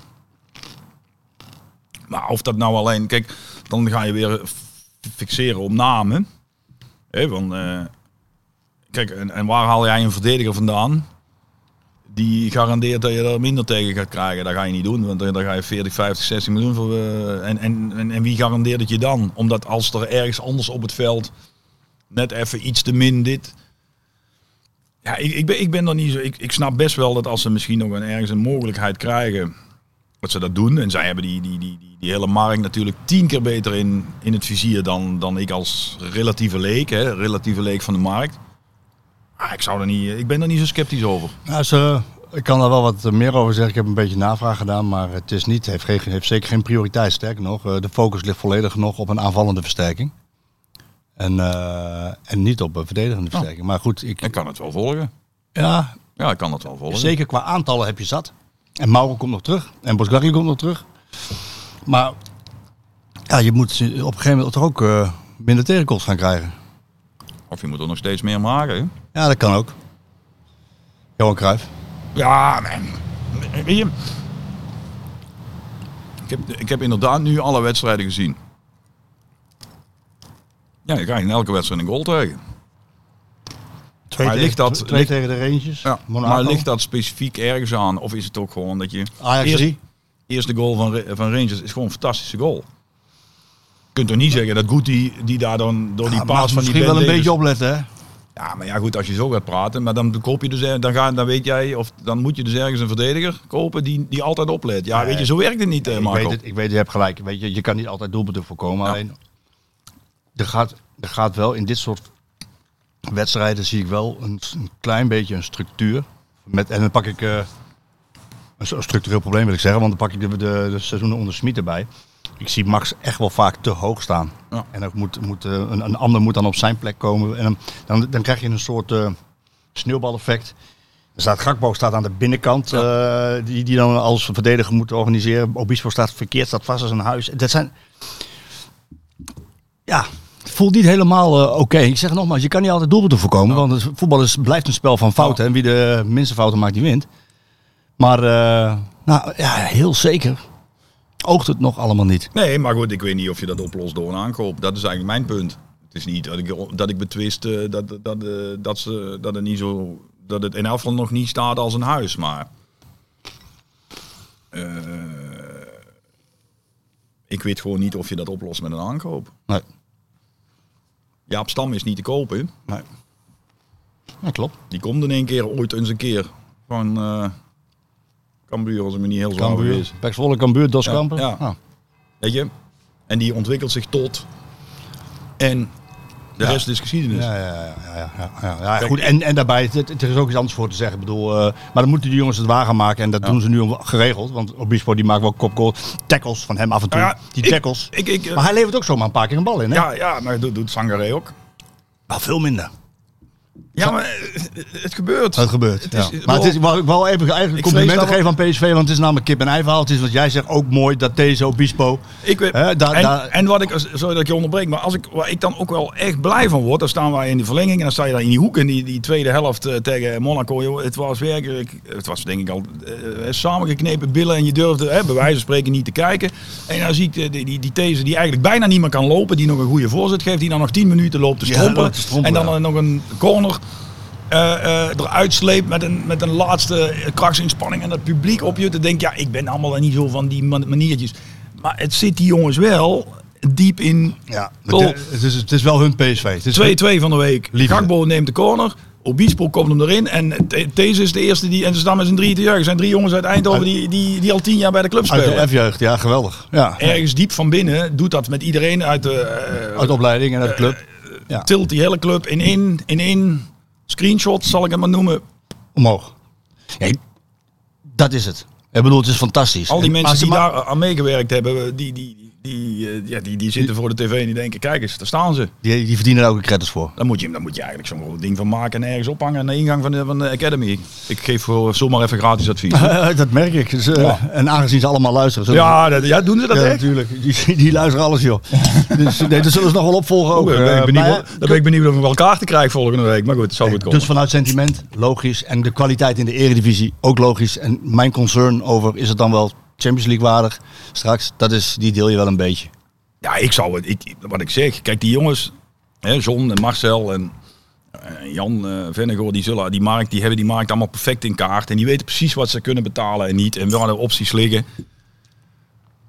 Speaker 8: Maar of dat nou alleen... Kijk, dan ga je weer f- fixeren op namen. Hè, van, eh, kijk, en, en waar haal jij een verdediger vandaan... die garandeert dat je er minder tegen gaat krijgen. Dat ga je niet doen, want dan dan ga je 40, 50, 60 miljoen voor. eh, en, en, en, en wie garandeert het je dan? Omdat als er ergens anders op het veld net even iets te min dit. Ja, ik, ik, ben, ik ben dan niet zo. Ik, ik snap best wel dat als ze misschien nog een, ergens een mogelijkheid krijgen. Dat ze dat doen. En zij hebben die, die, die, die, die hele markt natuurlijk tien keer beter in, in het vizier dan, dan ik als relatieve leek. Hè, relatieve leek van de markt. Ah, ik, zou er niet, ik ben er niet zo sceptisch over.
Speaker 7: Nou, ze, ik kan daar wel wat meer over zeggen. Ik heb een beetje navraag gedaan, maar het is niet, heeft, geen, heeft zeker geen prioriteit. Sterker nog, eh, de focus ligt volledig nog op een aanvallende versterking. En, eh, en niet op een verdedigende
Speaker 8: Oh.
Speaker 7: versterking. Maar goed, ik,
Speaker 8: Ik kan het wel volgen.
Speaker 7: ja,
Speaker 8: Ja, ik kan het wel volgen.
Speaker 7: zeker qua aantallen heb je zat. En Mauro komt nog terug. En Bosgarri komt nog terug. Maar ja, je moet op een gegeven moment toch ook eh, minder tegenkomst gaan krijgen.
Speaker 8: Of je moet er nog steeds meer maken. hè?
Speaker 7: Ja, dat kan ook. Johan Cruijff.
Speaker 8: Ja, man. Weet je, ik heb, ik heb inderdaad nu alle wedstrijden gezien. Ja, je krijgt in elke wedstrijd een goal tegen.
Speaker 7: Twee, tegen,
Speaker 8: Maar ligt dat-
Speaker 7: twee
Speaker 8: ligt-
Speaker 7: tegen de Rangers. Monaco.
Speaker 8: Maar ligt dat specifiek ergens aan? Of is het ook gewoon dat je...
Speaker 7: Ajax
Speaker 8: eerst-
Speaker 7: drie.
Speaker 8: eerste goal van, Ra- van Rangers is gewoon een fantastische goal. Je kunt toch niet zeggen dat Guti die daar dan door die
Speaker 7: Ja, maar
Speaker 8: paas van die
Speaker 7: misschien wel een
Speaker 8: Ben Davis-
Speaker 7: beetje opletten, hè?
Speaker 8: Ja, maar ja, goed, als je zo gaat praten, maar dan koop je dus, er- dan, ga, dan weet jij, of dan moet je dus ergens een verdediger kopen die, die altijd oplet. Ja, weet je, zo werkt het niet, eh,
Speaker 7: ik,
Speaker 8: Marco. Nou.
Speaker 7: weet het, ik weet, je hebt gelijk. Weet je, je kan niet altijd doelpunten voorkomen. Alleen, er gaat, er gaat wel in dit soort wedstrijden zie ik wel een, een klein beetje een structuur. Met, en dan pak ik eh, een soort structureel probleem, wil ik zeggen. Want dan pak ik de, de, de seizoenen onder Smit erbij. Ik zie Max echt wel vaak te hoog staan.
Speaker 8: Ja.
Speaker 7: En ook moet, moet, eh, een, een ander moet dan op zijn plek komen. En dan, dan, dan krijg je een soort eh sneeuwbaleffect. Er staat Gakbo staat aan de binnenkant, eh, die, die dan als verdediger moet organiseren. Obispo staat verkeerd, staat vast als een huis. Dat zijn... Ja, het voelt niet helemaal eh, oké. Ik zeg nogmaals, je kan niet altijd doelpunten voorkomen. Want het voetbal is, blijft een spel van fouten. En wie de minste fouten maakt, die wint. Maar eh, nou, ja, heel zeker oogt het nog allemaal niet.
Speaker 8: Nee, maar goed, ik weet niet of je dat oplost door een aankoop. Dat is eigenlijk mijn punt. Het is niet dat ik, dat ik betwist eh, dat, dat, eh, dat, ze, dat, het niet zo, dat het in afval nog niet staat als een huis, maar... eh, ik weet gewoon niet of je dat oplost met een aankoop.
Speaker 7: Nee,
Speaker 8: Jaap Stam is niet te kopen.
Speaker 7: nee. Dat klopt.
Speaker 8: Die komt in één keer ooit eens een keer van eh Cambuur, als het me niet heel zwaar
Speaker 7: Cambuur,
Speaker 8: is.
Speaker 7: Pek Zwolle, Cambuur, Dos Kampen.
Speaker 8: ja.
Speaker 7: Nou,
Speaker 8: Weet je? En die ontwikkelt zich tot. En de rest is geschiedenis.
Speaker 7: Ja, ja, ja, ja, ja, ja, ja. ja goed. En, en daarbij, het, het- er is ook iets anders voor te zeggen. Ik bedoel, eh, maar dan moeten die jongens het wagen maken. En dat doen ze nu al geregeld. Want Obispo die maakt wel kopgoal. Tackles van hem af en toe.
Speaker 8: Nou ja,
Speaker 7: die
Speaker 8: ik-
Speaker 7: tackles.
Speaker 8: ik- ik, eh,
Speaker 7: maar hij levert ook zomaar een paar keer een bal in. Hè?
Speaker 8: Ja, ja, maar dat doet Sangaré ook.
Speaker 7: Maar veel minder.
Speaker 8: Ja, maar eh, het gebeurt.
Speaker 7: Dat gebeurt.
Speaker 8: is-
Speaker 7: ja. Maar het is, ik wou, ik wou even eigenlijk
Speaker 8: vrees
Speaker 7: complimenten
Speaker 8: dat wel-
Speaker 7: geven aan PSV. Want het is namelijk kip en ei verhaal. Het is wat jij zegt ook mooi. Dat deze Obispo.
Speaker 8: Ik weet,
Speaker 7: Hè, daar-
Speaker 8: en,
Speaker 7: daar-
Speaker 8: en wat ik, sorry dat ik je onderbreek, maar als ik, waar ik dan ook wel echt blij van word, dan staan wij in de verlenging en dan sta je dan in die hoek in die, die tweede helft eh, tegen Monaco. Joh, het was werkelijk, het was denk ik al eh, samengeknepen billen en je durfde eh, bij wijze van spreken niet te kijken. En dan zie ik de- die, die, die These die eigenlijk bijna niet meer kan lopen, die nog een goede voorzet geeft, die dan nog 10 minuten loopt te
Speaker 7: Ja,
Speaker 8: strompelen.
Speaker 7: loopt te strompelen,
Speaker 8: en dan
Speaker 7: ja.
Speaker 8: eh, nog een corner. eh, eh, eruit sleept met een, met een laatste krachtsinspanning en dat publiek op je te denken, ja, ik ben allemaal niet zo van die man- maniertjes. Maar het zit die jongens wel diep in.
Speaker 7: Ja,
Speaker 8: Goal.
Speaker 7: het, is, het is wel hun PSV. Het is
Speaker 8: 2-2 van de week.
Speaker 7: Liefde.
Speaker 8: Gakbo neemt de corner. Obispo komt hem erin. En Te- deze is de eerste die. En ze staan met z'n drie te juichen. Er zijn drie jongens uit Eindhoven die, die, die al tien jaar bij de club
Speaker 7: Uit de
Speaker 8: spelen.
Speaker 7: F-jeugd. Ja, geweldig. Ja.
Speaker 8: Ergens diep van binnen doet dat met iedereen uit de. eh,
Speaker 7: Uit de opleiding en uit de club. Ja.
Speaker 8: tilt die hele club in één, in één screenshot, zal ik het maar noemen.
Speaker 7: omhoog. Ja, dat is het. Ik bedoel, het is fantastisch.
Speaker 8: Al die
Speaker 7: En- maar
Speaker 8: mensen
Speaker 7: ze
Speaker 8: die
Speaker 7: ma-
Speaker 8: daar eh, aan meegewerkt hebben, eh, die, die, die, eh, ja, die, die zitten voor de tv en die denken: kijk eens, daar staan ze.
Speaker 7: die, die verdienen daar ook een credits voor.
Speaker 8: Dan moet je, dan moet je eigenlijk zo'n groot ding van maken en ergens ophangen aan de ingang van de, van de Academy. Ik geef voor zomaar even gratis advies.
Speaker 7: Eh, dat merk ik. Ze- En aangezien ze allemaal luisteren. zullen-
Speaker 8: ja, dat, ja, doen ze dat
Speaker 7: Ja,
Speaker 8: echt?
Speaker 7: natuurlijk. Die, die luisteren alles, joh. dus nee, dat zullen ze nog wel opvolgen ook.
Speaker 8: Oeh, dan ben, Oh, ik
Speaker 7: Eh,
Speaker 8: benieuwd,
Speaker 7: maar
Speaker 8: of- dan ben ik benieuwd of ik wel kaarten krijg volgende week. Maar goed, het zal goed komen.
Speaker 7: Dus vanuit sentiment, logisch. En de kwaliteit in de eredivisie, ook logisch. En mijn concern over, is het dan wel Champions League waardig straks? Dat is, die deel je wel een beetje.
Speaker 8: ja, ik zou het, ik, wat ik zeg. Kijk, die jongens, hè, John en Marcel en, En Jan eh Vennegoor, die, zullen, die, markt, die hebben die markt allemaal perfect in kaart. En die weten precies wat ze kunnen betalen en niet. En waar de opties liggen.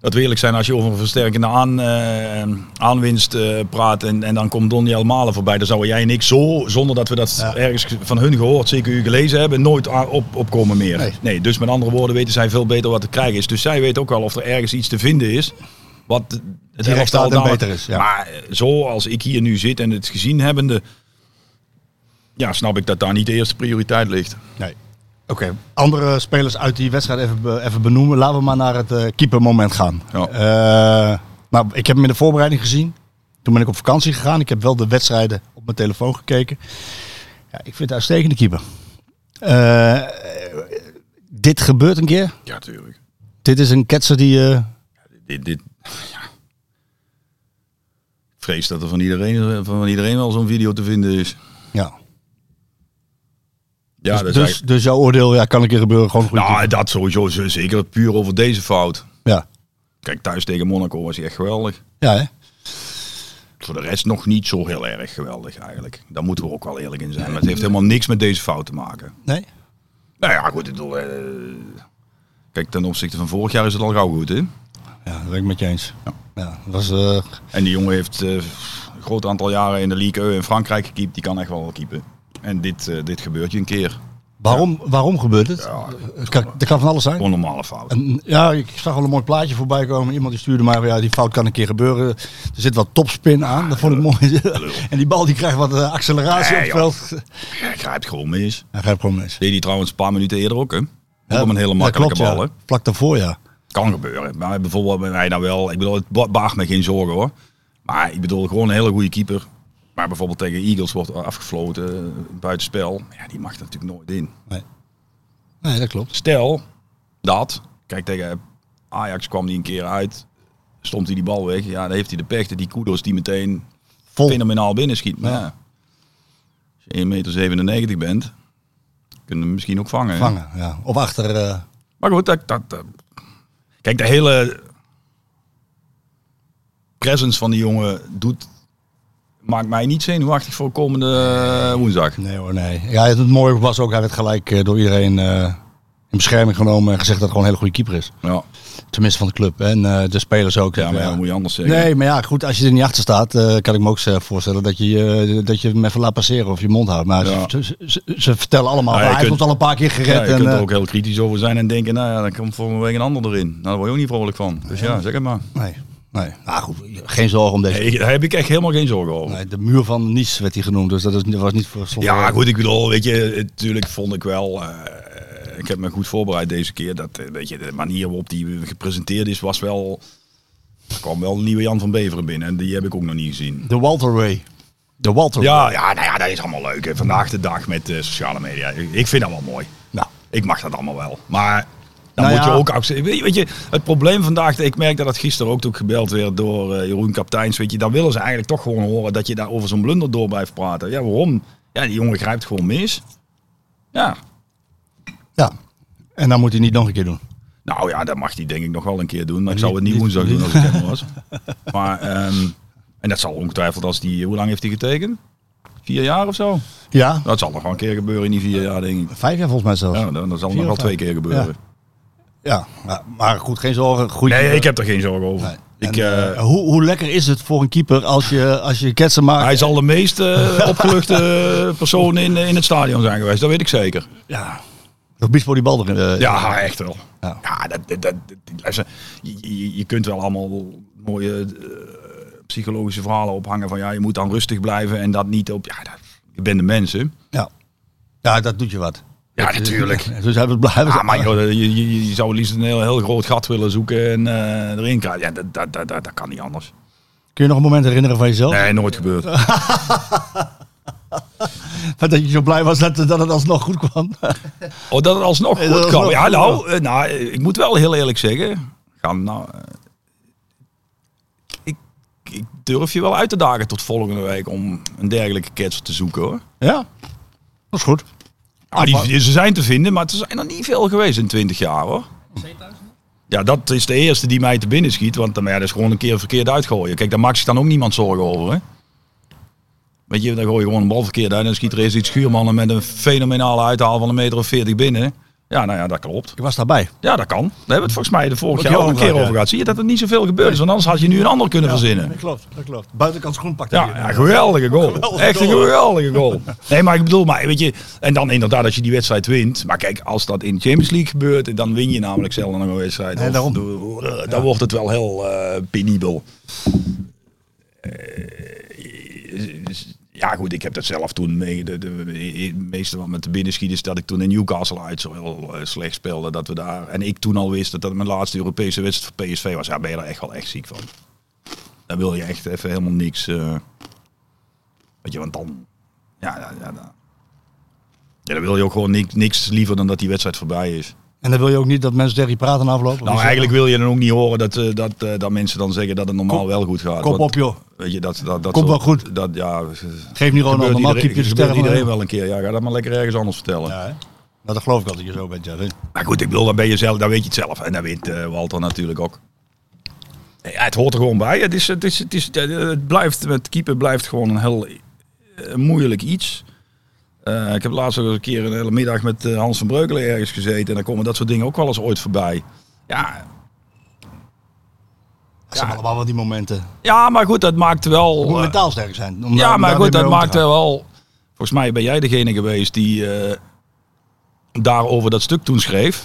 Speaker 8: Dat we eerlijk zijn als je over een versterkende aan, eh, aanwinst eh, praat. En, en dan komt Donny Malen voorbij. Dan zouden jij en ik zo, zonder dat we dat
Speaker 7: Ja.
Speaker 8: ergens van hun gehoord, zeker u gelezen hebben, nooit aan- op, opkomen meer.
Speaker 7: Nee.
Speaker 8: dus met andere woorden weten zij veel beter wat te krijgen is. Dus zij weten ook wel of er ergens iets te vinden is. Wat het elftal
Speaker 7: resultaat en
Speaker 8: dadelijk-
Speaker 7: beter is, ja.
Speaker 8: Maar eh, zoals ik hier nu zit en het gezien hebbende, ja, snap ik dat daar niet de eerste prioriteit ligt.
Speaker 7: Nee. Oké, andere spelers uit die wedstrijd even, be- even benoemen. Laten we maar naar het eh, keepermoment gaan.
Speaker 8: Ja.
Speaker 7: Eh, nou, ik heb hem in de voorbereiding gezien. Toen ben ik op vakantie gegaan. Ik heb wel de wedstrijden op mijn telefoon gekeken. Ja, ik vind het een uitstekende keeper. Eh, eh, dit gebeurt een keer.
Speaker 8: Ja, tuurlijk.
Speaker 7: Dit is een ketser die... eh,
Speaker 8: Dit, dit, ja. Ik Vrees dat er van iedereen, van iedereen wel zo'n video te vinden is.
Speaker 7: ja.
Speaker 8: Ja,
Speaker 7: dus,
Speaker 8: dat
Speaker 7: dus,
Speaker 8: is eigenlijk-
Speaker 7: dus jouw oordeel ja, kan een keer gebeuren. Gewoon goed.
Speaker 8: nou, dat sowieso z- zeker puur over deze fout.
Speaker 7: Ja.
Speaker 8: Kijk, thuis tegen Monaco was hij echt geweldig.
Speaker 7: Ja, hè?
Speaker 8: Voor de rest nog niet zo heel erg geweldig eigenlijk. Daar moeten we ook wel eerlijk in zijn. Maar het heeft helemaal niks met deze fout te maken.
Speaker 7: Nee?
Speaker 8: Nou ja, goed. Ik bedoel, eh, kijk, ten opzichte van vorig jaar is het al gauw goed, hè?
Speaker 7: Ja, dat ben ik met je eens. Ja. dat was... eh,
Speaker 8: En die jongen heeft eh, een groot aantal jaren in de Ligue 1 in Frankrijk gekiept. Die kan echt wel keepen. En dit, eh, dit gebeurt je een keer.
Speaker 7: waarom, waarom gebeurt het? Het kan, dat kan van alles zijn.
Speaker 8: Gewoon normale fout.
Speaker 7: En, ja, ik zag al een mooi plaatje voorbij komen. Iemand die stuurde mij, ja, die fout kan een keer gebeuren. Er zit wat topspin aan, dat vond ik mooi. en die bal die krijgt wat eh, acceleratie
Speaker 8: Nee,
Speaker 7: op het veld.
Speaker 8: Hij grijpt gewoon mis.
Speaker 7: Hij gaat gewoon mis.
Speaker 8: Deed hij trouwens een paar minuten eerder ook, hè? Ook om een hele
Speaker 7: Ja,
Speaker 8: makkelijke
Speaker 7: klopt,
Speaker 8: bal, hè?
Speaker 7: Ja. Vlak daarvoor, ja.
Speaker 8: Kan gebeuren. Maar bijvoorbeeld bij mij dan wel. Ik bedoel, het ba- baagt me geen zorgen, hoor. Maar ik bedoel, gewoon een hele goede keeper. Maar bijvoorbeeld tegen Eagles wordt afgefloten eh, buitenspel. Ja, die mag er natuurlijk nooit in.
Speaker 7: Nee, dat klopt.
Speaker 8: Stel dat, kijk tegen Ajax kwam die een keer uit, stond hij die bal weg. Ja, dan heeft hij de pech dat die kudos die meteen
Speaker 7: Vol.
Speaker 8: fenomenaal binnenschiet. Maar
Speaker 7: Oh. Ja.
Speaker 8: ja. als je 1,97 meter bent, kun je hem misschien ook vangen. hè?
Speaker 7: Vangen, ja. Of achter. eh,
Speaker 8: Maar goed, dat, dat, eh, kijk, de hele presence van die jongen doet, maakt mij niet zenuwachtig voor komende eh, woensdag.
Speaker 7: nee hoor, nee. Ja, het mooie was ook, hij werd gelijk eh, door iedereen eh, in bescherming genomen en gezegd dat het gewoon een hele goede keeper is.
Speaker 8: Ja,
Speaker 7: Tenminste van de club. En eh, de spelers ook.
Speaker 8: ja
Speaker 7: zeggen,
Speaker 8: maar ja, dat moet je anders zeggen.
Speaker 7: Nee, maar ja, goed, als je er niet achter staat, eh, kan ik me ook eh, voorstellen dat je, eh, dat je hem even laat passeren of je mond houdt. Maar
Speaker 8: Ja.
Speaker 7: ze, ze- ze- ze vertellen allemaal,
Speaker 8: Ja, je
Speaker 7: hij heeft
Speaker 8: kunt-
Speaker 7: ons al een paar keer
Speaker 8: Ja,
Speaker 7: gered.
Speaker 8: je
Speaker 7: en,
Speaker 8: kunt er
Speaker 7: eh,
Speaker 8: ook heel kritisch over zijn en denken, nou ja, dan komt volgende week een ander erin. Nou, daar word je ook niet vrolijk van. Dus ja, zeg het maar.
Speaker 7: Nee, nee. Nou goed, geen zorgen om deze.
Speaker 8: Nee, daar heb ik echt helemaal geen zorgen over.
Speaker 7: Nee, de muur van Nice werd hij genoemd, dus dat, is, dat was niet voor zonder-
Speaker 8: Ja, goed, ik bedoel, weet je, natuurlijk vond ik wel, eh, ik heb me goed voorbereid deze keer, dat, eh, weet je, de manier waarop die gepresenteerd is, was wel, er kwam wel een nieuwe Jan van Beveren binnen en die heb ik ook nog niet gezien.
Speaker 7: De Walter Way. De Walter Way.
Speaker 8: Ja, ja, nou ja, dat is allemaal leuk. hè. Vandaag de dag met eh, sociale media. Ik ik vind dat wel mooi.
Speaker 7: Nou,
Speaker 8: Ik mag dat allemaal wel. Maar dan
Speaker 7: Nou
Speaker 8: moet
Speaker 7: ja.
Speaker 8: je ook accepteren. Weet, je- weet je, het probleem vandaag, ik merk dat het gisteren ook toen gebeld werd door eh, Jeroen Kapteins. Weet je, dan willen ze eigenlijk toch gewoon horen dat je daar over zo'n blunder door blijft praten. Ja, waarom? Ja, die jongen grijpt gewoon mis. Ja.
Speaker 7: ja. En dan moet hij niet nog een keer doen.
Speaker 8: Nou ja, dat mag hij denk ik nog wel een keer doen. Maar ik
Speaker 7: niet-
Speaker 8: zou het niet
Speaker 7: niet-
Speaker 8: woensdag
Speaker 7: niet-
Speaker 8: doen als ik hem was. Maar, ehm, en dat zal ongetwijfeld als die, hoe lang heeft hij getekend? Vier jaar of zo?
Speaker 7: Ja,
Speaker 8: Dat zal nog wel een keer gebeuren in die vier jaar, denk ik.
Speaker 7: vijf jaar volgens mij zelfs.
Speaker 8: Ja,
Speaker 7: Ja,
Speaker 8: dat, dat zal
Speaker 7: Vier
Speaker 8: nog wel
Speaker 7: of
Speaker 8: twee
Speaker 7: vijf.
Speaker 8: keer gebeuren.
Speaker 7: maar, maar goed, eh, geen zorgen. Goeie
Speaker 8: Nee,
Speaker 7: keeper.
Speaker 8: ik heb er geen zorgen over.
Speaker 7: Nee.
Speaker 8: Ik,
Speaker 7: En,
Speaker 8: eh,
Speaker 7: eh, hoe, hoe lekker is het voor een keeper als je, als je ketsen maakt?
Speaker 8: Hij zal de meest eh, opgeluchte persoon in, eh, in het stadion zijn geweest, dat weet ik zeker.
Speaker 7: Ja. Of Bispo die bal erin. eh,
Speaker 8: Ja, echt wel.
Speaker 7: Ja.
Speaker 8: Ja, dat, dat, dat- dat- luister, je- je, je kunt wel allemaal mooie eh, psychologische verhalen ophangen van ja, je moet dan rustig blijven en dat niet op. Ja, dat, je bent de mensen.
Speaker 7: Ja. ja, dat doet je wat.
Speaker 8: Ja, natuurlijk.
Speaker 7: Dus hij was blij.
Speaker 8: Ja, Ah, maar joh, je, je, je zou het liefst een heel, heel groot gat willen zoeken en eh, erin krijgen. Ja, dat, dat, dat, dat, dat kan niet anders.
Speaker 7: Kun je nog een moment herinneren van jezelf?
Speaker 8: Nee, nooit gebeurd.
Speaker 7: Dat je zo blij was dat, dat het alsnog goed kwam.
Speaker 8: Oh, dat het alsnog
Speaker 7: Nee,
Speaker 8: goed
Speaker 7: dat het
Speaker 8: kwam.
Speaker 7: alsnog
Speaker 8: Ja,
Speaker 7: goed
Speaker 8: nou, eh, nou, eh, ik moet wel heel eerlijk zeggen. Ga nou, eh, ik, ik durf je wel uit te dagen tot volgende week om een dergelijke ketser te zoeken hoor.
Speaker 7: Ja, dat is goed.
Speaker 8: Ah, die, ze zijn te vinden, maar er zijn er niet veel geweest in 20 jaar hoor. Ja, dat is de eerste die mij te binnen nou schiet. Want eh, maar ja, dat is gewoon een keer verkeerd uitgooien. Kijk, daar maakt zich dan ook niemand zorgen over. Hè? Weet je, dan gooi je gewoon een bal verkeerd uit. Dan schiet er eens iets schuurmannen met een fenomenale uithaal van een meter of veertig binnen. Ja, nou ja, dat klopt.
Speaker 7: Ik was daarbij.
Speaker 8: Ja, dat kan. Daar hebben we het volgens mij de vorige
Speaker 7: Ook
Speaker 8: jaar
Speaker 7: heel
Speaker 8: al een keer
Speaker 7: vaak, ja.
Speaker 8: over gehad. Zie je dat er niet zoveel gebeurd is? Want anders had je nu een ander kunnen verzinnen.
Speaker 7: Dat klopt, dat klopt. Buitenkant groen pakte
Speaker 8: Ja, ja, geweldige goal. Echt een geweldige goal. Nee, maar ik bedoel, maar weet je, en dan inderdaad dat je die wedstrijd wint. Maar kijk, als dat in de Champions League gebeurt, dan win je namelijk zelden nog een wedstrijd.
Speaker 7: Nee,
Speaker 8: Of-
Speaker 7: daarom.
Speaker 8: Dan wordt het wel heel eh penibel. Eh, ja, goed, ik heb dat zelf toen mee. De, de, de- meeste wat met de binnenschieters dat ik toen in Newcastle uit zo heel eh, slecht speelde. Dat we daar, en ik toen al wist dat dat mijn laatste Europese wedstrijd voor PSV was. Ja, ben je er echt wel echt ziek van. Dan wil je echt even helemaal niks. eh, weet je, want dan. Ja, ja, ja, ja. ja, dan wil je ook gewoon niks, niks liever dan dat die wedstrijd voorbij is.
Speaker 7: En dan wil je ook niet dat mensen tegen je praten aflopen.
Speaker 8: Nou, eigenlijk wil je dan ook niet horen dat, eh, dat, eh, dat mensen dan zeggen dat het normaal
Speaker 7: Kop-
Speaker 8: wel goed gaat.
Speaker 7: Kop
Speaker 8: Want,
Speaker 7: op joh.
Speaker 8: Weet je, dat, dat, dat
Speaker 7: Kop wel
Speaker 8: soort-
Speaker 7: goed.
Speaker 8: Dat, ja,
Speaker 7: Geef niet
Speaker 8: gebeurt
Speaker 7: Ronald, normaal
Speaker 8: iedereen,
Speaker 7: keep je de
Speaker 8: gebeurt
Speaker 7: sterren van
Speaker 8: iedereen
Speaker 7: hem.
Speaker 8: wel een keer. Ja, ga dat maar lekker ergens anders vertellen.
Speaker 7: Ja, hè? Nou, dat geloof ik altijd je zo bent, ja.
Speaker 8: Maar goed, ik bedoel, dan ben je zelf, dan weet je het zelf. En dat weet eh, Walter natuurlijk ook. Ja, het hoort er gewoon bij. Het, is, het, is, het, is, het blijft, met keeper blijft gewoon een heel eh, moeilijk iets. Eh, ik heb laatst ook eens een keer een hele middag met eh, Hans van Breukelen ergens gezeten. En dan komen dat soort dingen ook wel eens ooit voorbij. Ja,
Speaker 7: Dat zijn allemaal wel die momenten.
Speaker 8: ja maar goed, dat maakt wel...
Speaker 7: Je moet
Speaker 8: Oh, eh,
Speaker 7: mentaal sterk zijn. om daar-
Speaker 8: Ja,
Speaker 7: om daar
Speaker 8: maar goed,
Speaker 7: weer mee
Speaker 8: dat
Speaker 7: om te
Speaker 8: maakt
Speaker 7: gaan.
Speaker 8: wel. Volgens mij ben jij degene geweest die eh, daarover dat stuk toen schreef.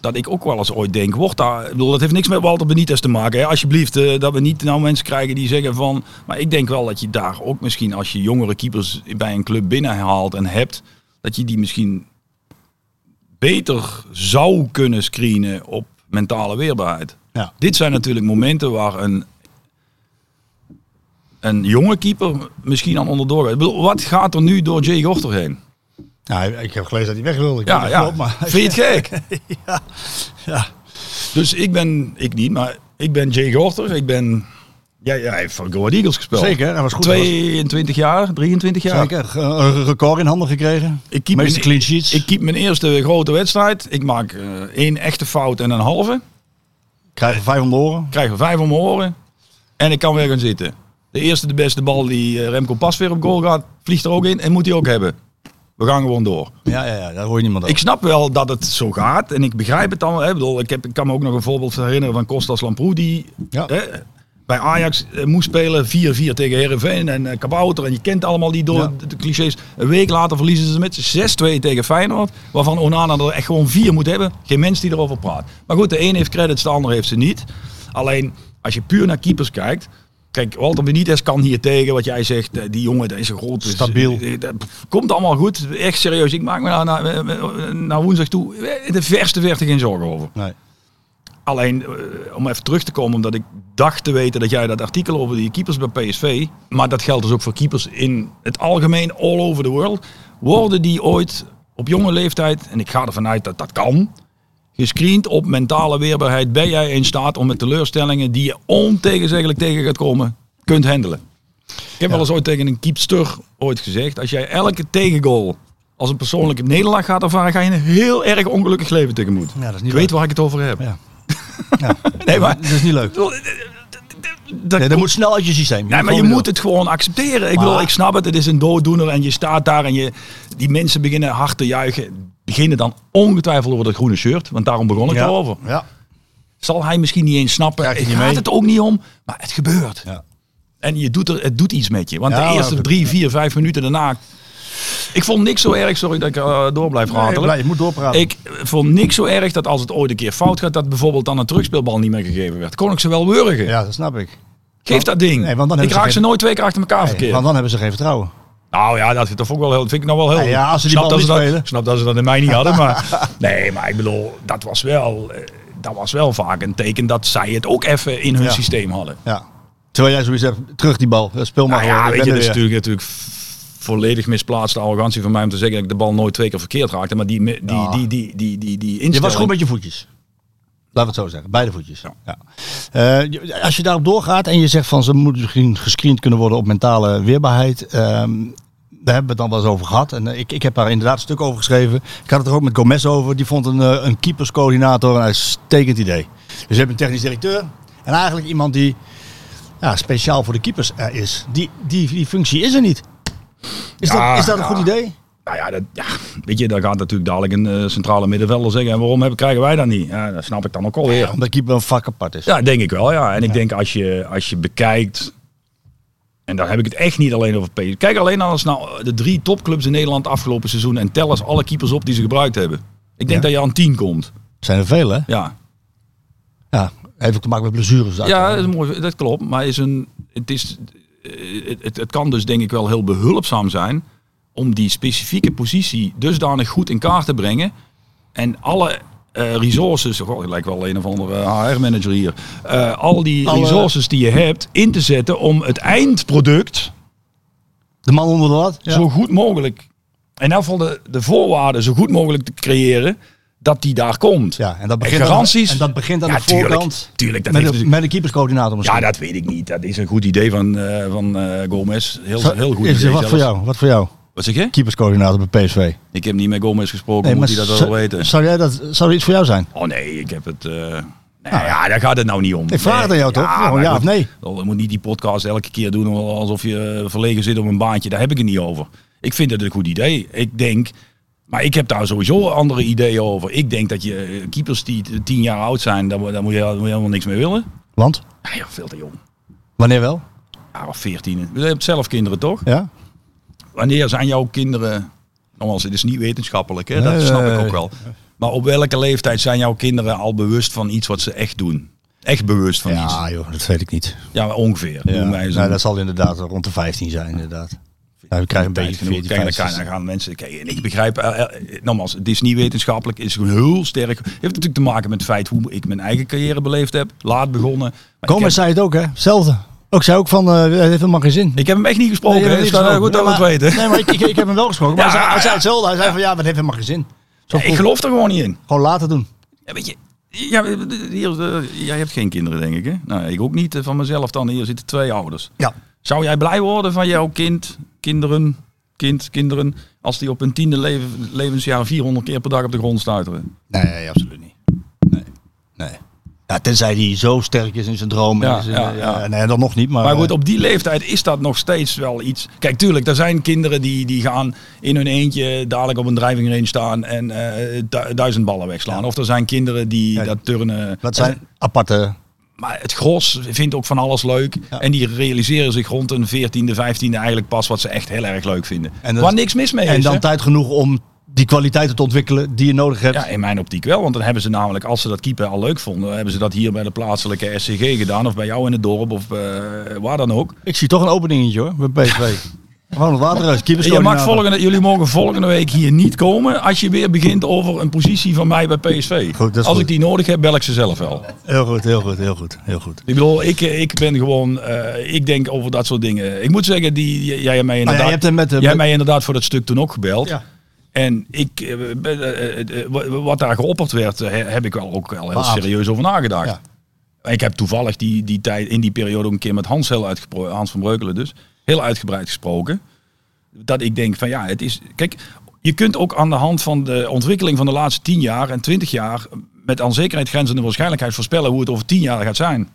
Speaker 8: Dat ik ook wel eens ooit denk, wordt daar. Ik bedoel, dat heeft niks met Walter Benitez te maken. Hè? Alsjeblieft, eh, dat we niet nou mensen krijgen die zeggen van. Maar ik denk wel dat je daar ook misschien als je jongere keepers bij een club binnenhaalt en hebt, dat je die misschien beter zou kunnen screenen op mentale weerbaarheid.
Speaker 7: Ja.
Speaker 8: Dit zijn natuurlijk momenten waar een, een jonge keeper misschien aan onderdoor gaat. Ik bedoel, wat gaat er nu door Jay Gorter heen?
Speaker 7: Ja, ik heb gelezen dat hij weg wilde. Ik
Speaker 8: Ja,
Speaker 7: weet
Speaker 8: ja.
Speaker 7: niet of klopt, maar-
Speaker 8: Vind je het gek?
Speaker 7: ja.
Speaker 8: Dus ik ben, ik niet, maar ik ben Jay Gorter. Ik ben, jij jij heeft voor Go Ahead Eagles gespeeld.
Speaker 7: Zeker, hij was goed.
Speaker 8: 22 jaar, 23 jaar.
Speaker 7: Zeker. Ge- Een record in handen gekregen.
Speaker 8: Ik keep
Speaker 7: Meeste
Speaker 8: mijn-
Speaker 7: clean sheets.
Speaker 8: Ik keep mijn eerste grote wedstrijd. Ik maak eh, één echte fout en een halve.
Speaker 7: krijg er 500 oren.
Speaker 8: krijg er vijf om mijn oren. En ik kan weer gaan zitten. De eerste, de beste bal die eh, Remco Pas weer op goal gaat, vliegt er ook in en moet hij ook hebben. We gaan gewoon door.
Speaker 7: Ja, ja, ja, daar hoor je niemand over.
Speaker 8: Ik snap wel dat het zo gaat en ik begrijp het allemaal. hè. Ik, bedoel, ik, heb, ik kan me ook nog een voorbeeld herinneren van Kostas Lamproe die
Speaker 7: Ja.
Speaker 8: hè, bij Ajax eh, moest spelen 4-4 tegen Herenveen en eh, Kabouter en je kent allemaal die door
Speaker 7: Ja.
Speaker 8: de, de clichés. Een week later verliezen ze met 6-2 tegen Feyenoord, waarvan Onana er echt gewoon vier moet hebben. Geen mens die erover praat. Maar goed, de een heeft credits, de ander heeft ze niet. Alleen als je puur naar keepers kijkt. Kijk, Walter Benitez kan hier tegen wat jij zegt. eh, Die jongen, dat is een grote...
Speaker 7: Stabiel.
Speaker 8: Eh, dat Komt allemaal goed. Echt serieus. Ik maak me nou naar, naar, naar woensdag toe eh, de verste verte geen zorgen over.
Speaker 7: Nee.
Speaker 8: Alleen, eh, om even terug te komen, omdat ik dacht te weten dat jij dat artikel over die keepers bij PSV, maar dat geldt dus ook voor keepers in het algemeen, all over the world, worden die ooit op jonge leeftijd, en ik ga ervan uit dat dat kan, gescreend op mentale weerbaarheid, ben jij in staat om met teleurstellingen die je ontegenzeggelijk tegen gaat komen, kunt handelen. Ik heb wel eens ooit tegen een keepster ooit gezegd, als jij elke tegengoal als een persoonlijke nederlaag gaat ervaren, ga je een heel erg ongelukkig leven tegemoet.
Speaker 7: Ja, dat is niet
Speaker 8: Ik
Speaker 7: leuk.
Speaker 8: weet waar ik het over heb.
Speaker 7: Ja. Ja.
Speaker 8: Nee, maar...
Speaker 7: Dat is niet leuk.
Speaker 8: Dat,
Speaker 7: Nee, dat moet snel uit je systeem.
Speaker 8: nee, maar je moet het gewoon accepteren. Ik,
Speaker 7: Maar-
Speaker 8: bedoel, ik snap het, het is een dooddoener en je staat daar en je, die mensen beginnen hard te juichen. Beginnen dan ongetwijfeld over dat groene shirt, want daarom begon ik
Speaker 7: Ja.
Speaker 8: erover.
Speaker 7: Ja.
Speaker 8: Zal hij misschien niet eens snappen,
Speaker 7: Krijgt hij
Speaker 8: het
Speaker 7: niet
Speaker 8: gaat
Speaker 7: mee.
Speaker 8: het ook niet om, maar het gebeurt.
Speaker 7: Ja.
Speaker 8: En je doet er, het doet iets met je, want
Speaker 7: Ja,
Speaker 8: de eerste
Speaker 7: maar-
Speaker 8: drie, vier, vijf minuten daarna... Ik vond niks zo erg, sorry dat ik eh, door blijf
Speaker 7: Nee,
Speaker 8: ratelen.
Speaker 7: blij, je moet doorpraten.
Speaker 8: Ik vond niks zo erg dat als het ooit een keer fout gaat, dat bijvoorbeeld dan een terugspeelbal niet meer gegeven werd. Kon ik ze wel wurgen.
Speaker 7: Ja, dat snap ik.
Speaker 8: Geef dat ding.
Speaker 7: Nee, want dan
Speaker 8: ik
Speaker 7: hebben ze
Speaker 8: raak ze
Speaker 7: geen-
Speaker 8: nooit twee keer achter elkaar verkeerd.
Speaker 7: Want dan hebben ze geen vertrouwen.
Speaker 8: Nou ja, dat, dat, vond ik wel heel, dat vind ik nou wel heel...
Speaker 7: Ja, ja, als ze die
Speaker 8: snap
Speaker 7: bal
Speaker 8: dat
Speaker 7: niet
Speaker 8: ze dat-
Speaker 7: spelen.
Speaker 8: snap dat ze dat in mij niet hadden, maar... Nee, maar ik bedoel, dat was wel, eh, dat was wel vaak een teken dat zij het ook even in hun
Speaker 7: Ja.
Speaker 8: systeem hadden.
Speaker 7: Ja. Terwijl jij zoiets hebt, terug die bal. Speel maar
Speaker 8: Nou ja,
Speaker 7: gewoon. Ik
Speaker 8: weet je,
Speaker 7: ben
Speaker 8: dat
Speaker 7: er
Speaker 8: is
Speaker 7: weer.
Speaker 8: natuurlijk, natuurlijk volledig misplaatste arrogantie van mij om te zeggen dat ik de bal nooit twee keer verkeerd raakte. Maar die, me- die,
Speaker 7: Ja.
Speaker 8: die, die, die, die, die
Speaker 7: Je
Speaker 8: instelling...
Speaker 7: was goed met je voetjes. Laten we het zo zeggen. Beide voetjes. Ja. Eh, je- als je daarop doorgaat en je zegt van ze moeten misschien gescreend kunnen worden op mentale weerbaarheid. ehm, daar hebben we het dan wel eens over gehad. En eh, ik, ik heb daar inderdaad een stuk over geschreven. Ik had het er ook met Gomez over. Die vond een, eh, een keeperscoördinator een uitstekend idee. Dus je hebt een technisch directeur. En eigenlijk iemand die ja, speciaal voor de keepers er is. Die, die, die functie is er niet. Is,
Speaker 8: Ja,
Speaker 7: dat, is dat een
Speaker 8: ja.
Speaker 7: goed idee?
Speaker 8: Nou ja, dat, ja, weet je, daar gaat natuurlijk dadelijk een eh, centrale middenvelder zeggen. En waarom hebben, krijgen wij dat niet? Ja, dat snap ik dan ook alweer.
Speaker 7: Omdat keeper een vak apart is.
Speaker 8: Ja, denk ik wel. Ja. En ik denk als je, als je bekijkt. En daar heb ik het echt niet alleen over PSV. Kijk alleen als nou de drie topclubs in Nederland afgelopen seizoen. En tel eens alle keepers op die ze gebruikt hebben. Ik denk
Speaker 7: Ja.
Speaker 8: dat je aan tien komt.
Speaker 7: Het zijn er veel, hè?
Speaker 8: Ja,
Speaker 7: Ja. Heeft ook te maken met blessures.
Speaker 8: ja dat, is mooi, dat klopt. Maar is een, het, is, eh, het, het, het kan dus denk ik wel heel behulpzaam zijn. Om die specifieke positie dusdanig goed in kaart te brengen. En alle eh, resources. Oh, het lijkt wel een of andere HR-manager hier. eh, al die
Speaker 7: Alle-
Speaker 8: resources die je hebt in te zetten om het eindproduct
Speaker 7: De man onder de lat. Ja.
Speaker 8: zo goed mogelijk. In ieder geval de, de voorwaarden zo goed mogelijk te creëren dat die daar komt.
Speaker 7: Ja, en dat
Speaker 8: En
Speaker 7: begint
Speaker 8: garanties?
Speaker 7: Aan, en dat begint aan
Speaker 8: Ja,
Speaker 7: de
Speaker 8: tuurlijk.
Speaker 7: voorkant.
Speaker 8: Tuurlijk, dat
Speaker 7: met,
Speaker 8: heeft
Speaker 7: de,
Speaker 8: natuurlijk-
Speaker 7: met de keeperscoördinator misschien.
Speaker 8: Ja, dat weet ik niet. Dat is een goed idee van, eh, van eh, Gomez. Heel, heel goed
Speaker 7: Even
Speaker 8: idee
Speaker 7: zeggen, wat voor
Speaker 8: zelfs.
Speaker 7: jou? Wat voor jou?
Speaker 8: Wat zeg je?
Speaker 7: Keeperscoördinator bij PSV.
Speaker 8: Ik heb niet met Gomez gesproken, moet hij dat
Speaker 7: zou-
Speaker 8: wel weten?
Speaker 7: Zou, jij dat, zou er iets voor jou zijn?
Speaker 8: Oh nee, ik heb het... eh, nee, ja, daar gaat het nou niet om.
Speaker 7: Ik vraag het aan jou toch? Gewoon
Speaker 8: maar
Speaker 7: ja
Speaker 8: goed,
Speaker 7: of nee?
Speaker 8: Je moet niet die podcast elke keer doen alsof je verlegen zit op een baantje. Daar heb ik het niet over. Ik vind het een goed idee. Ik denk... Maar ik heb daar sowieso andere ideeën over. Ik denk dat je eh, keepers die t- tien jaar oud zijn, daar, mo- daar moet, je, daar moet je helemaal niks mee willen.
Speaker 7: Want?
Speaker 8: Ja, joh, veel te jong.
Speaker 7: Wanneer wel?
Speaker 8: Ja, of veertien. Je hebt zelf kinderen, toch?
Speaker 7: Ja?
Speaker 8: wanneer zijn jouw kinderen. Nogmaals, het is niet wetenschappelijk, hè? dat
Speaker 7: Nee,
Speaker 8: snap
Speaker 7: nee,
Speaker 8: ik
Speaker 7: nee.
Speaker 8: ook wel. Maar op welke leeftijd zijn jouw kinderen al bewust van iets wat ze echt doen? Echt bewust van iets?
Speaker 7: Ja joh, dat weet ik niet.
Speaker 8: Ja, ongeveer.
Speaker 7: Ja.
Speaker 8: Noem mij zo'n
Speaker 7: Nou, dat zal inderdaad rond de 15 zijn inderdaad. Nou, we krijgen een
Speaker 8: tijd
Speaker 7: beetje
Speaker 8: genoeg.
Speaker 7: 14,
Speaker 8: Kijk, dan, kan,
Speaker 7: 15.
Speaker 8: dan gaan mensen... Kijk, en ik begrijp... eh, eh, nogmaals, het is niet wetenschappelijk. Het is gewoon heel sterk. heeft natuurlijk te maken met het feit hoe ik mijn eigen carrière beleefd heb. Laat begonnen. Maar ik,
Speaker 7: Gomez
Speaker 8: heb,
Speaker 7: zei het ook hè, hetzelfde. Ook zei ook van, eh, het heeft helemaal geen zin.
Speaker 8: ik heb hem echt niet gesproken.
Speaker 7: Nee, je
Speaker 8: hè,
Speaker 7: hebt
Speaker 8: dus
Speaker 7: niks
Speaker 8: dan, eh, goed
Speaker 7: gedaan.
Speaker 8: dat we het
Speaker 7: Nee,
Speaker 8: weten.
Speaker 7: maar- Nee, maar ik, ik, ik heb hem wel gesproken. Maar
Speaker 8: Ja,
Speaker 7: hij, zei, hij zei
Speaker 8: ja.
Speaker 7: hetzelfde. Hij zei van, ja, maar het heeft helemaal geen zin. Zo
Speaker 8: Ik
Speaker 7: gewoon-
Speaker 8: geloof er gewoon niet in.
Speaker 7: Gewoon laten doen.
Speaker 8: Ja, weet je, ja, hier, eh, jij hebt geen kinderen, denk ik. Hè? Nou, ik ook niet eh, van mezelf dan. Hier zitten twee ouders.
Speaker 7: Ja.
Speaker 8: Zou jij blij worden van jouw kind, kinderen, kind, kinderen, als die op hun tiende leven- levensjaar 400 keer per dag op de grond stuiteren?
Speaker 7: Nee, absoluut niet. Nee. nee. Ja, tenzij die zo sterk is in zijn droom.
Speaker 8: Ja,
Speaker 7: en zijn-
Speaker 8: ja,
Speaker 7: ja,
Speaker 8: ja.
Speaker 7: Nee, dan nog niet. Maar,
Speaker 8: Maar goed,
Speaker 7: eh,
Speaker 8: op die leeftijd is dat nog steeds wel iets. Kijk, tuurlijk, er zijn kinderen die, die gaan in hun eentje dadelijk op een driving range staan en eh, du- duizend ballen wegslaan. Of er zijn kinderen die
Speaker 7: Ja.
Speaker 8: dat turnen.
Speaker 7: dat zijn aparte...
Speaker 8: Maar het gros vindt ook van alles leuk.
Speaker 7: Ja.
Speaker 8: En die realiseren zich rond hun 14e, 15e eigenlijk pas wat ze echt heel erg leuk vinden.
Speaker 7: En dat-
Speaker 8: Waar niks mis mee
Speaker 7: En
Speaker 8: is. hè?
Speaker 7: dan tijd genoeg om die kwaliteiten te ontwikkelen die je nodig hebt.
Speaker 8: Ja, in mijn optiek wel. Want dan hebben ze namelijk, als ze dat keeper al leuk vonden, hebben ze dat hier bij de plaatselijke SCG gedaan. Of bij jou in het dorp of eh, waar dan ook.
Speaker 7: Ik zie toch een openingetje hoor, bij PSV. Gewoon het water uit,
Speaker 8: Je mag
Speaker 7: keeperscoördinator.
Speaker 8: volgende, jullie mogen volgende week hier niet komen als je weer begint over een positie van mij bij PSV.
Speaker 7: Goed, dat is
Speaker 8: als
Speaker 7: goed.
Speaker 8: ik die nodig heb, bel ik ze zelf wel.
Speaker 7: Heel goed, heel goed, heel goed, heel goed.
Speaker 8: Ik bedoel, ik, ik ben gewoon, eh, ik denk over dat soort dingen. Ik moet zeggen, die, jij hebt
Speaker 7: Nou
Speaker 8: mij
Speaker 7: ja,
Speaker 8: inderdaad,
Speaker 7: je hebt hem met de-
Speaker 8: jij hebt mij inderdaad voor dat stuk toen ook gebeld.
Speaker 7: Ja.
Speaker 8: En ik, eh, ben, eh, eh, eh, wa- wat daar geopperd werd, eh, heb ik wel ook wel heel
Speaker 7: Beaamd.
Speaker 8: serieus over nagedacht. Ik heb toevallig die, die tijd, in die periode ook een keer met Hans, heel uitgepro- Hans van Breukelen dus, heel uitgebreid gesproken. Dat ik denk van ja, het is, kijk, je kunt ook aan de hand van de ontwikkeling van de laatste 10 jaar en 20 jaar met aan zekerheid grenzende waarschijnlijkheid voorspellen hoe het over 10 jaar gaat zijn.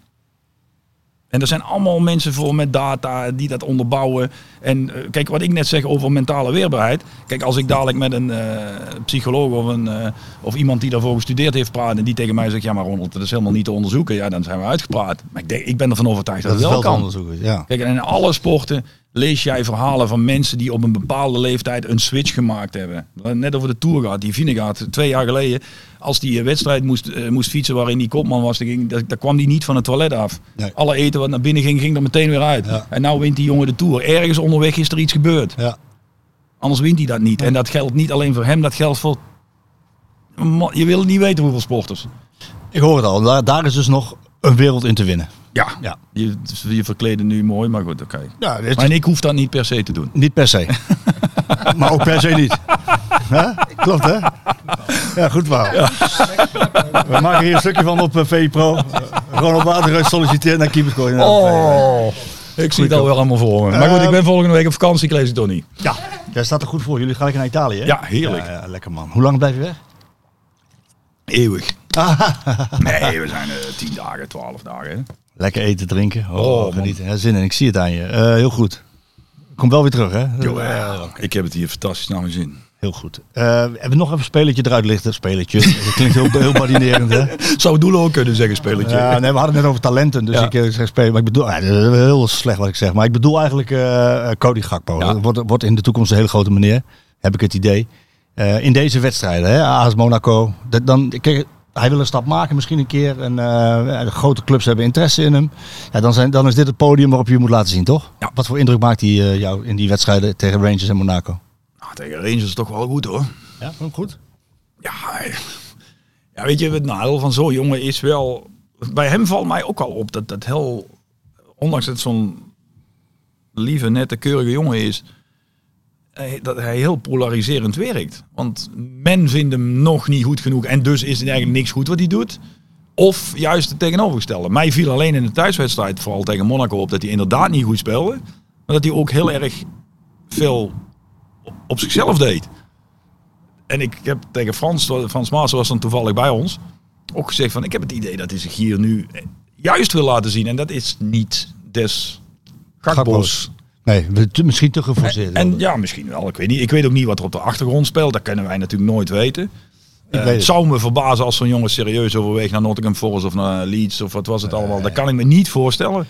Speaker 8: En er zijn allemaal mensen voor met data die dat onderbouwen. En eh, kijk, wat ik net zeg over mentale weerbaarheid. Kijk, als ik dadelijk met een eh, psycholoog of, een, eh, of iemand die daarvoor gestudeerd heeft praat. en die tegen mij zegt: Ja, maar Ronald, dat is helemaal niet te onderzoeken. Ja, dan zijn we uitgepraat. Maar ik, denk, ik ben ervan overtuigd dat,
Speaker 7: Dat is
Speaker 8: het
Speaker 7: wel
Speaker 8: wel
Speaker 7: te
Speaker 8: kan.
Speaker 7: onderzoeken, ja.
Speaker 8: Kijk, en in alle sporten lees jij verhalen van mensen die op een bepaalde leeftijd een switch gemaakt hebben. Net over de Tour gaat, die Vinegaard, twee jaar geleden. Als die eh, wedstrijd moest, eh, moest fietsen waarin die kopman was, dan, ging, daar, daar kwam die niet van het toilet af.
Speaker 7: Nee.
Speaker 8: Alle eten wat naar binnen ging, ging er meteen weer uit.
Speaker 7: Ja.
Speaker 8: En nou wint die jongen de Tour. Ergens onderweg is er iets gebeurd.
Speaker 7: Ja.
Speaker 8: Anders wint hij dat niet. En dat geldt niet alleen voor hem, dat geldt voor... Man, Je wil niet weten hoeveel sporters.
Speaker 7: Ik hoor het al, daar, daar is dus nog een wereld in te winnen.
Speaker 8: Ja,
Speaker 7: Ja.
Speaker 8: Je, je verkleden nu mooi, maar goed, oké.
Speaker 7: Ja, dit Nou, is
Speaker 8: Maar en ik hoef dat niet per se te doen.
Speaker 7: niet per se. maar ook per se niet. Hè? Klopt hè? Ja, goed waar. We maken hier een stukje van op eh, VI Pro. Ronald Waterhuis solliciteert naar keeperscoördinator.
Speaker 8: Oh. Ik zie het alweer allemaal voor me. Maar goed, ik ben volgende week op vakantie, ik lees het toch niet.
Speaker 7: Ja, jij staat er goed voor. Jullie gaan lekker naar Italië hè?
Speaker 8: Ja, heerlijk.
Speaker 7: Ja, ja, lekker man. Hoe lang blijf je weg?
Speaker 8: Eeuwig. Nee, we zijn eh, tien dagen, twaalf dagen. hè.
Speaker 7: Lekker eten, drinken. Oh,
Speaker 8: Oh, man.
Speaker 7: genieten. Ja, zin in. Ik zie het aan je. Eh, heel goed. Kom wel weer terug, hè?
Speaker 8: Jawel. Ik heb het hier fantastisch naar mijn zin.
Speaker 7: Heel goed. Eh, hebben we nog even een spelletje eruit lichten? Spelletje. Dat klinkt heel, heel badinerend, hè?
Speaker 8: Zou Doelen ook kunnen zeggen, spelletje.
Speaker 7: Ja, nee, we hadden het net over talenten, dus
Speaker 8: Ja.
Speaker 7: ik eh, zeg spelen. Maar ik bedoel, eh, dat is heel slecht wat ik zeg. Maar ik bedoel eigenlijk eh, eh, Cody Gakpo.
Speaker 8: Ja.
Speaker 7: Dat Wordt, wordt in de toekomst een hele grote meneer, heb ik het idee. Eh, in deze wedstrijden, hè, AS Monaco. Dat, dan, kijk, hij wil een stap maken misschien een keer. En eh, de grote clubs hebben interesse in hem. Ja, dan, zijn, dan is dit het podium waarop je je moet laten zien, toch?
Speaker 8: Ja.
Speaker 7: Wat voor indruk maakt hij eh, jou in die wedstrijden tegen Rangers en Monaco?
Speaker 8: Nou, tegen Rangers is toch wel goed hoor.
Speaker 7: Ja, goed.
Speaker 8: Ja, hij- ja weet je, het nadeel van zo'n jongen is wel... Bij hem valt mij ook al op dat dat heel... Ondanks dat het zo'n lieve, nette, keurige jongen is... hij- Dat hij heel polariserend werkt. Want men vindt hem nog niet goed genoeg. En dus is het eigenlijk niks goed wat hij doet. Of juist het tegenovergestelde. Mij viel alleen in de thuiswedstrijd, vooral tegen Monaco, op dat hij inderdaad niet goed speelde. Maar dat hij ook heel erg veel op- op zichzelf deed. En ik heb tegen Frans, Frans Maas was dan toevallig bij ons, ook gezegd van ik heb het idee dat hij zich hier nu eh, juist wil laten zien. En dat is niet des Gakpo's.
Speaker 7: Nee, we- te- misschien te geforceerd.
Speaker 8: En ja, misschien wel. Ik weet, niet. ik weet ook niet wat er op de achtergrond speelt. Dat kunnen wij natuurlijk nooit weten. Eh,
Speaker 7: weet
Speaker 8: het
Speaker 7: het.
Speaker 8: zou me verbazen als zo'n jongen serieus overweegt naar Nottingham Forest of naar Leeds of wat was het allemaal. Dat kan ik me niet voorstellen.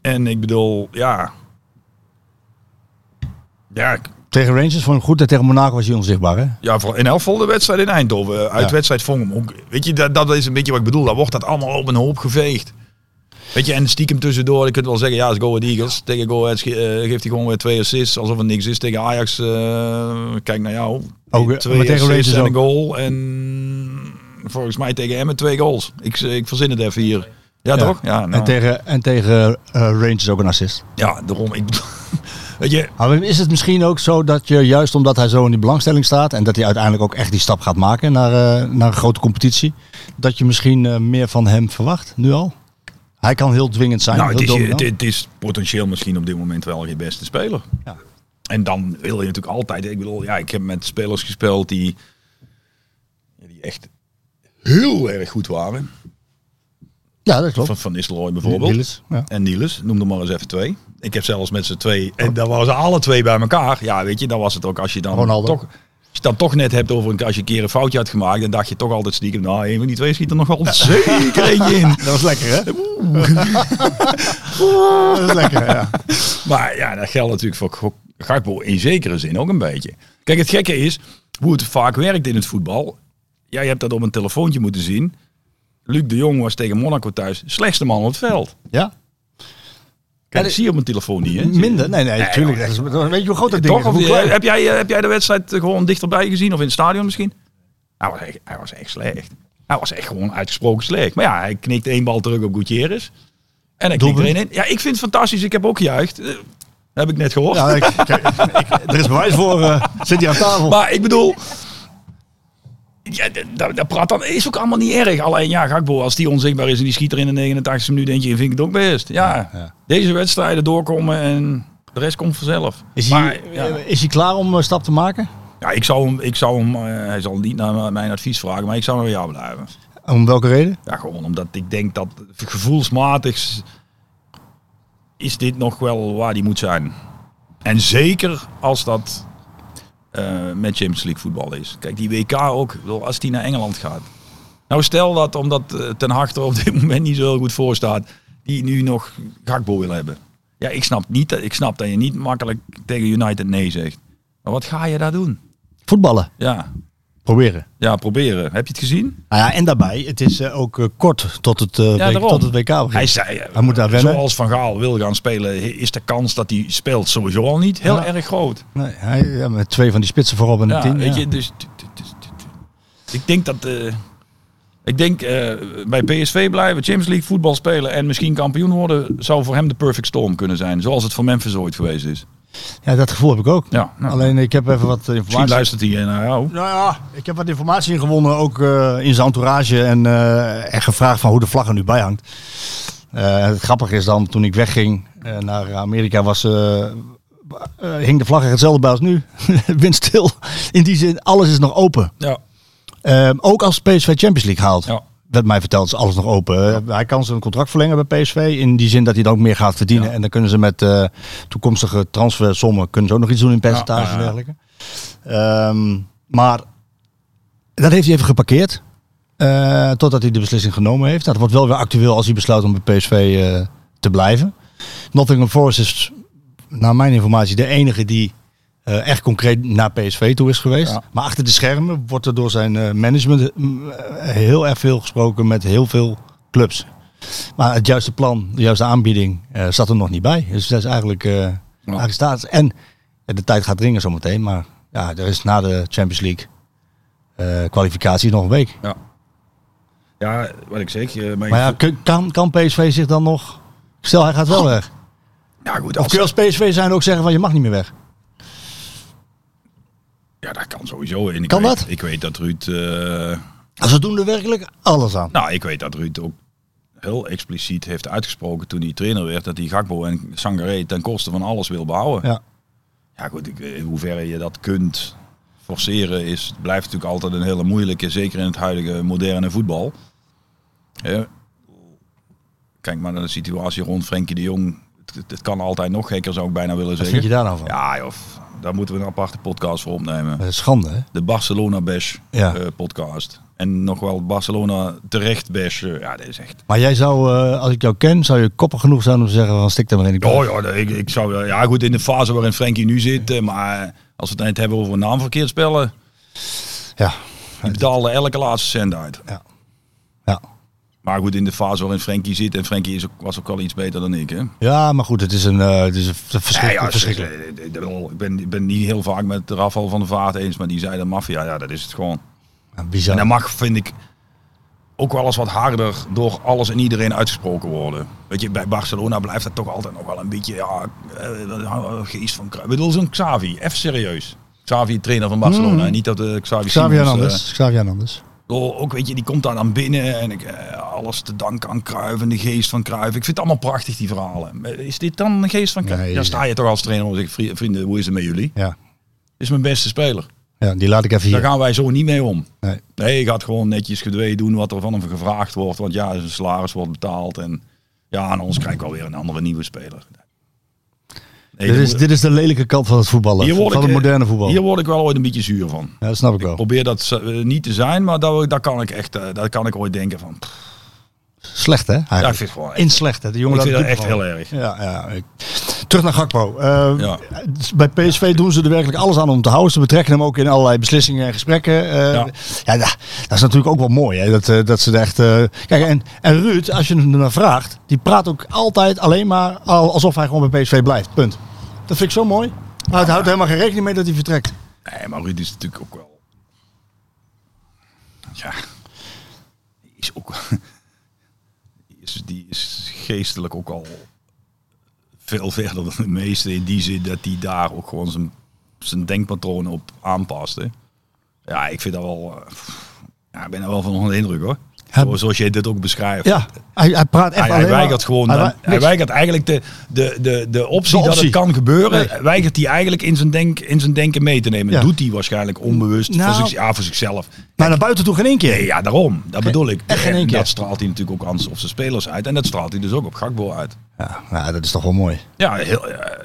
Speaker 8: En ik bedoel, ja. Ja, ik-
Speaker 7: Tegen Rangers vond ik hem goed en tegen Monaco was hij onzichtbaar, hè?
Speaker 8: Ja, voor- in elk geval de wedstrijd in Eindhoven. Eh, Uitwedstrijd vond ik hem ook. Weet je, dat, dat is een beetje wat ik bedoel. Dan wordt dat allemaal op een hoop geveegd. Weet je, en stiekem tussendoor. Je kunt wel zeggen, ja, het is Go Ahead Eagles. Tegen Go Ahead ge- eh, geeft hij gewoon weer twee assists. Alsof er niks is. Tegen Ajax, eh, kijk naar jou.
Speaker 7: Ook, eh,
Speaker 8: twee
Speaker 7: maar tegen Rangers
Speaker 8: assists en een
Speaker 7: ook.
Speaker 8: goal. En volgens mij tegen Emmen twee goals. Ik, eh, ik verzin het even hier. Ja, toch? Ja, nou,
Speaker 7: En tegen, en tegen eh, Rangers ook een assist.
Speaker 8: ja daarom. Ik, bedoel- weet je,
Speaker 7: Maar is het misschien ook zo dat je juist omdat hij zo in die belangstelling staat en dat hij uiteindelijk ook echt die stap gaat maken naar, eh, naar een grote competitie, dat je misschien eh, meer van hem verwacht nu al? Hij kan heel dwingend zijn.
Speaker 8: Nou,
Speaker 7: heel
Speaker 8: het is,
Speaker 7: dominant.
Speaker 8: het, het is potentieel misschien op dit moment wel je beste speler.
Speaker 7: Ja.
Speaker 8: En dan wil je natuurlijk altijd. Ik bedoel, ja, ik heb met spelers gespeeld die, die echt heel erg goed waren.
Speaker 7: ja, dat klopt.
Speaker 8: Van Van Nistelrooy bijvoorbeeld.
Speaker 7: Niels, ja.
Speaker 8: En Niels, noem er maar eens even twee. Ik heb zelfs met z'n twee,
Speaker 7: Oh.
Speaker 8: en dan waren ze alle twee bij elkaar. Ja, weet je, dan was het ook als je dan
Speaker 7: Ronaldo.
Speaker 8: toch... Als je het dan toch net hebt over een, als je een keer een foutje had gemaakt, dan dacht je toch altijd stiekem, nou, een van die twee schiet er nog wel zeker eentje in.
Speaker 7: Dat was lekker, hè? dat is lekker, ja.
Speaker 8: Maar ja, dat geldt natuurlijk voor Gok- Gakpo in zekere zin ook een beetje. Kijk, het gekke is hoe het vaak werkt in het voetbal. Jij hebt dat op een telefoontje moeten zien. Luc de Jong was tegen Monaco thuis slechtste man op het veld.
Speaker 7: Ja?
Speaker 8: Kijk, dat zie je op een telefoon niet, hè?
Speaker 7: Minder? Nee, nee, natuurlijk. dat is- dat- Weet je hoe groot dat ding
Speaker 8: Toch?
Speaker 7: is? Hoe
Speaker 8: Of, eh,
Speaker 7: klein?
Speaker 8: heb, jij, heb jij de wedstrijd eh, gewoon dichterbij gezien of in het stadion misschien? Hij was echt, hij was echt slecht. Hij was echt gewoon uitgesproken slecht. Maar ja, hij knikt één bal terug op Gutierrez. En hij knikt er
Speaker 7: Doelpunt.
Speaker 8: één in. Ja, ik vind het fantastisch. Ik heb ook gejuicht. Eh, heb ik net gehoord.
Speaker 7: Ja, ik, kijk, ik- er is bewijs voor. eh, zit hij aan tafel?
Speaker 8: Maar ik bedoel. Ja, d- dat, dat praat dan is ook allemaal niet erg. Alleen ja, Gakbo, als die onzichtbaar is en die schiet er in de 89e minuut eentje in, vind ik het ook best. Ja, deze wedstrijden doorkomen en de rest komt vanzelf.
Speaker 7: is,
Speaker 8: maar,
Speaker 7: hij,
Speaker 8: ja,
Speaker 7: eh, is hij klaar om een stap te maken?
Speaker 8: ja, ik zou hem, ik zou hem eh, hij zal niet naar mijn advies vragen, maar ik zou hem bij jou blijven.
Speaker 7: Om welke reden?
Speaker 8: Ja, gewoon omdat ik denk dat gevoelsmatig is dit nog wel waar die moet zijn. En zeker als dat eh, met Champions League voetbal is. Kijk, die WK ook, ik bedoel, als die naar Engeland gaat. Nou, stel dat omdat eh, Ten Hag er op dit moment niet zo heel goed voor staat, die nu nog Gakbo wil hebben. Ja, ik snap, niet, dat- ik snap dat je niet makkelijk tegen United nee zegt. Maar wat ga je daar doen?
Speaker 7: Voetballen.
Speaker 8: Ja,
Speaker 7: Proberen.
Speaker 8: ja proberen. Heb je het gezien?
Speaker 7: Nou ja, en daarbij, het is eh, ook eh, kort tot het, eh, W-
Speaker 8: daarom.
Speaker 7: tot het WK begint.
Speaker 8: Hij zei, eh,
Speaker 7: Hij moet daar wennen.
Speaker 8: zoals Van Gaal wil gaan spelen, is de kans dat hij speelt sowieso al niet heel
Speaker 7: Ja.
Speaker 8: erg groot.
Speaker 7: Nee, hij ja, met twee van die spitsen voorop en een
Speaker 8: Ja,
Speaker 7: tien.
Speaker 8: weet
Speaker 7: ja.
Speaker 8: je, dus t- t- t- t- t- ik denk dat eh, ik denk eh, bij PSV blijven, Champions League voetbal spelen en misschien kampioen worden, zou voor hem de perfect storm kunnen zijn, zoals het voor Memphis ooit geweest is.
Speaker 7: Ja, dat gevoel heb ik ook.
Speaker 8: Ja, nou,
Speaker 7: Alleen ik heb even wat eh,
Speaker 8: misschien
Speaker 7: informatie.
Speaker 8: luistert hij naar jou.
Speaker 7: Nou ja, ik heb wat informatie ingewonnen, ook eh, in zijn entourage. En, eh, en gevraagd van hoe de vlag er nu bij hangt. Eh, het grappige is dan, toen ik wegging eh, naar Amerika, was, eh, eh, hing de vlag er hetzelfde bij als nu. Windstil. In die zin, alles is nog open.
Speaker 8: Ja,
Speaker 7: Ehm, ook als PSV Champions League haalt.
Speaker 8: ja.
Speaker 7: werd mij verteld, is alles nog open. Hij kan zijn contract verlengen bij PSV. In die zin dat hij dan ook meer gaat verdienen. En dan kunnen ze met eh, toekomstige transfersommen kunnen ze ook nog iets doen in percentage en dergelijke. Ehm, maar dat heeft hij even geparkeerd. eh, totdat hij de beslissing genomen heeft. Nou, Dat wordt wel weer actueel als hij besluit om bij PSV eh, te blijven. Nottingham Forest is, naar mijn informatie, de enige die eh, echt concreet naar PSV toe is geweest. Maar achter de schermen wordt er door zijn eh, management mm, eh, heel erg veel gesproken met heel veel clubs. Maar het juiste plan, de juiste aanbieding eh, zat er nog niet bij. Dus dat is eigenlijk, eh eigenlijk staat. En eh, de tijd gaat dringen zometeen. Maar ja, er is na de Champions League eh, kwalificatie nog een week.
Speaker 8: Ja, wat ik zeg. eh, mijn
Speaker 7: Maar ja,
Speaker 8: gevoel-
Speaker 7: kun- kan, kan PSV zich dan nog... Stel, hij gaat wel weg.
Speaker 8: ja, goed,
Speaker 7: Of kun je als PSV zijn ook zeggen van je mag niet meer weg?
Speaker 8: ja, dat kan sowieso. En ik
Speaker 7: Kan
Speaker 8: weet,
Speaker 7: dat?
Speaker 8: Ik weet dat Ruud... eh,
Speaker 7: Ze doen er werkelijk alles aan.
Speaker 8: nou, ik weet dat Ruud ook heel expliciet heeft uitgesproken toen hij trainer werd... dat hij Gakbo en Sangaré ten koste van alles wil behouden.
Speaker 7: Nou. Ja.
Speaker 8: Ja, goed, ik, eh, in hoeverre je dat kunt forceren is, blijft natuurlijk altijd een hele moeilijke, zeker in het huidige moderne voetbal. Hè? Kijk maar naar de situatie rond Frenkie de Jong. Het, het- het kan altijd nog gekker, zou ik bijna willen
Speaker 7: Wat
Speaker 8: zeggen.
Speaker 7: vind je daar nou van?
Speaker 8: Ja, joh, f- daar moeten we een aparte podcast voor opnemen.
Speaker 7: Dat is schande, hè?
Speaker 8: De Barcelona Bash
Speaker 7: Ja.
Speaker 8: eh, podcast. En nog wel Barcelona terecht Bash. eh, ja, dat is echt...
Speaker 7: Maar jij zou, eh, als ik jou ken, zou je koppig genoeg zijn om te zeggen van stik er maar in. Ik blijf.
Speaker 8: Oh ja, dat- ik, ik zou, ja, goed, in de fase waarin Frenkie nu zit. eh, Maar als we het eind hebben over naamverkeerd spellen...
Speaker 7: ja.
Speaker 8: Die betaalde elke laatste cent uit.
Speaker 7: Ja.
Speaker 8: Maar goed, in de fase waarin Frenkie zit. En Frenkie is ook, was ook al iets beter dan ik. Hè?
Speaker 7: ja, maar goed, het is een, eh, het is een v- verschrik-
Speaker 8: Ja, ja,
Speaker 7: verschrikkelijk.
Speaker 8: eh, eh, eh, Ik ben, ik ben niet heel vaak met Rafael van der Vaart eens. Maar die zei dat maffia, ja, dat is het gewoon.
Speaker 7: Ja,
Speaker 8: En
Speaker 7: bizar.
Speaker 8: dat mag, vind ik, ook wel eens wat harder door alles en iedereen uitgesproken worden. Weet je, bij Barcelona blijft dat toch altijd nog wel een beetje, ja, eh, geest van... Cru- Ik bedoel, zo'n Xavi, even serieus. Xavi, trainer van Barcelona. En niet dat de Xavi,
Speaker 7: Hmm. Xavi
Speaker 8: Simons, eh,
Speaker 7: Hernandez. Xavi Hernandez.
Speaker 8: Door, ook weet je, die komt daar dan binnen en ik, eh, alles te danken aan Cruijff en de geest van Cruijff. Ik vind het allemaal prachtig, die verhalen. Maar Is dit dan de geest van Cruijff?
Speaker 7: Nee,
Speaker 8: dan sta je toch als trainer en zeg je, "Vri- vrienden, hoe is het met jullie?
Speaker 7: Ja.
Speaker 8: Dit is mijn beste speler.
Speaker 7: ja, die laat ik even
Speaker 8: Daar
Speaker 7: hier.
Speaker 8: gaan wij zo niet mee om.
Speaker 7: Nee.
Speaker 8: Nee, je gaat gewoon netjes gedwee doen wat er van hem gevraagd wordt. Want ja, zijn salaris wordt betaald en ja, aan ons krijg ik wel weer een andere nieuwe speler. Nee,
Speaker 7: Dit
Speaker 8: dan
Speaker 7: is,
Speaker 8: moet-
Speaker 7: dit is de lelijke kant van het voetballen.
Speaker 8: hier word
Speaker 7: van
Speaker 8: ik,
Speaker 7: het
Speaker 8: eh,
Speaker 7: moderne voetbal.
Speaker 8: Hier word ik wel ooit een beetje zuur van.
Speaker 7: Ja, dat snap ik
Speaker 8: Ik
Speaker 7: wel.
Speaker 8: probeer dat eh, niet te zijn, maar daar dat kan ik echt, eh, daar kan ik ooit denken van. pff,
Speaker 7: Slecht, hè?
Speaker 8: ja, ik
Speaker 7: eigenlijk.
Speaker 8: vind het gewoon echt-
Speaker 7: In slecht, hè? De jongen
Speaker 8: Ik vind
Speaker 7: laat
Speaker 8: dat
Speaker 7: het
Speaker 8: echt
Speaker 7: diep
Speaker 8: heel
Speaker 7: vallen.
Speaker 8: erg.
Speaker 7: Ja, ja. ik- Terug naar Gakpo. Eh,
Speaker 8: Ja.
Speaker 7: Bij PSV doen ze er werkelijk alles aan om te houden. Ze betrekken hem ook in allerlei beslissingen en gesprekken. Eh, ja.
Speaker 8: Ja.
Speaker 7: da- dat is natuurlijk ook wel mooi. Hè? Dat, eh, dat ze er echt. eh, Kijk, en, en Ruud, als je hem ernaar vraagt, die praat ook altijd alleen maar al- alsof hij gewoon bij PSV blijft. Punt. Dat vind ik zo mooi. Maar het houdt helemaal geen rekening mee dat hij vertrekt.
Speaker 8: Nee, maar Ruud is natuurlijk ook wel. Ja. Die is ook. Die is, die is geestelijk ook al veel verder dan de meeste. In die zin dat hij daar ook gewoon zijn, zijn denkpatroon op aanpast. Hè. Ja, ik vind dat wel. eh, pff, Ja, ik ben er wel van onder de indruk hoor.
Speaker 7: Hij-
Speaker 8: Zo- Zoals jij dit ook beschrijft.
Speaker 7: Ja, hij, hij praat echt
Speaker 8: Hij, hij
Speaker 7: alleen maar.
Speaker 8: weigert gewoon.
Speaker 7: hij
Speaker 8: dan-
Speaker 7: wei-
Speaker 8: hij
Speaker 7: niks.
Speaker 8: weigert eigenlijk de, de, de, de optie
Speaker 7: De
Speaker 8: dat
Speaker 7: optie.
Speaker 8: het kan gebeuren.
Speaker 7: Nee.
Speaker 8: Weigert hij eigenlijk in zijn, denk, in zijn denken mee te nemen.
Speaker 7: Ja.
Speaker 8: Dat doet hij waarschijnlijk onbewust
Speaker 7: Nou.
Speaker 8: voor, zich, ja, voor zichzelf.
Speaker 7: Maar naar buiten toe geen één keer.
Speaker 8: Nee, ja, daarom. Dat bedoel ik.
Speaker 7: echt geen
Speaker 8: En
Speaker 7: één keer.
Speaker 8: Dat straalt hij natuurlijk ook aan zijn- op zijn spelers uit. En dat straalt hij dus ook op Gakbo uit.
Speaker 7: Ja, nou, dat is toch wel mooi.
Speaker 8: Ja, heel, eh,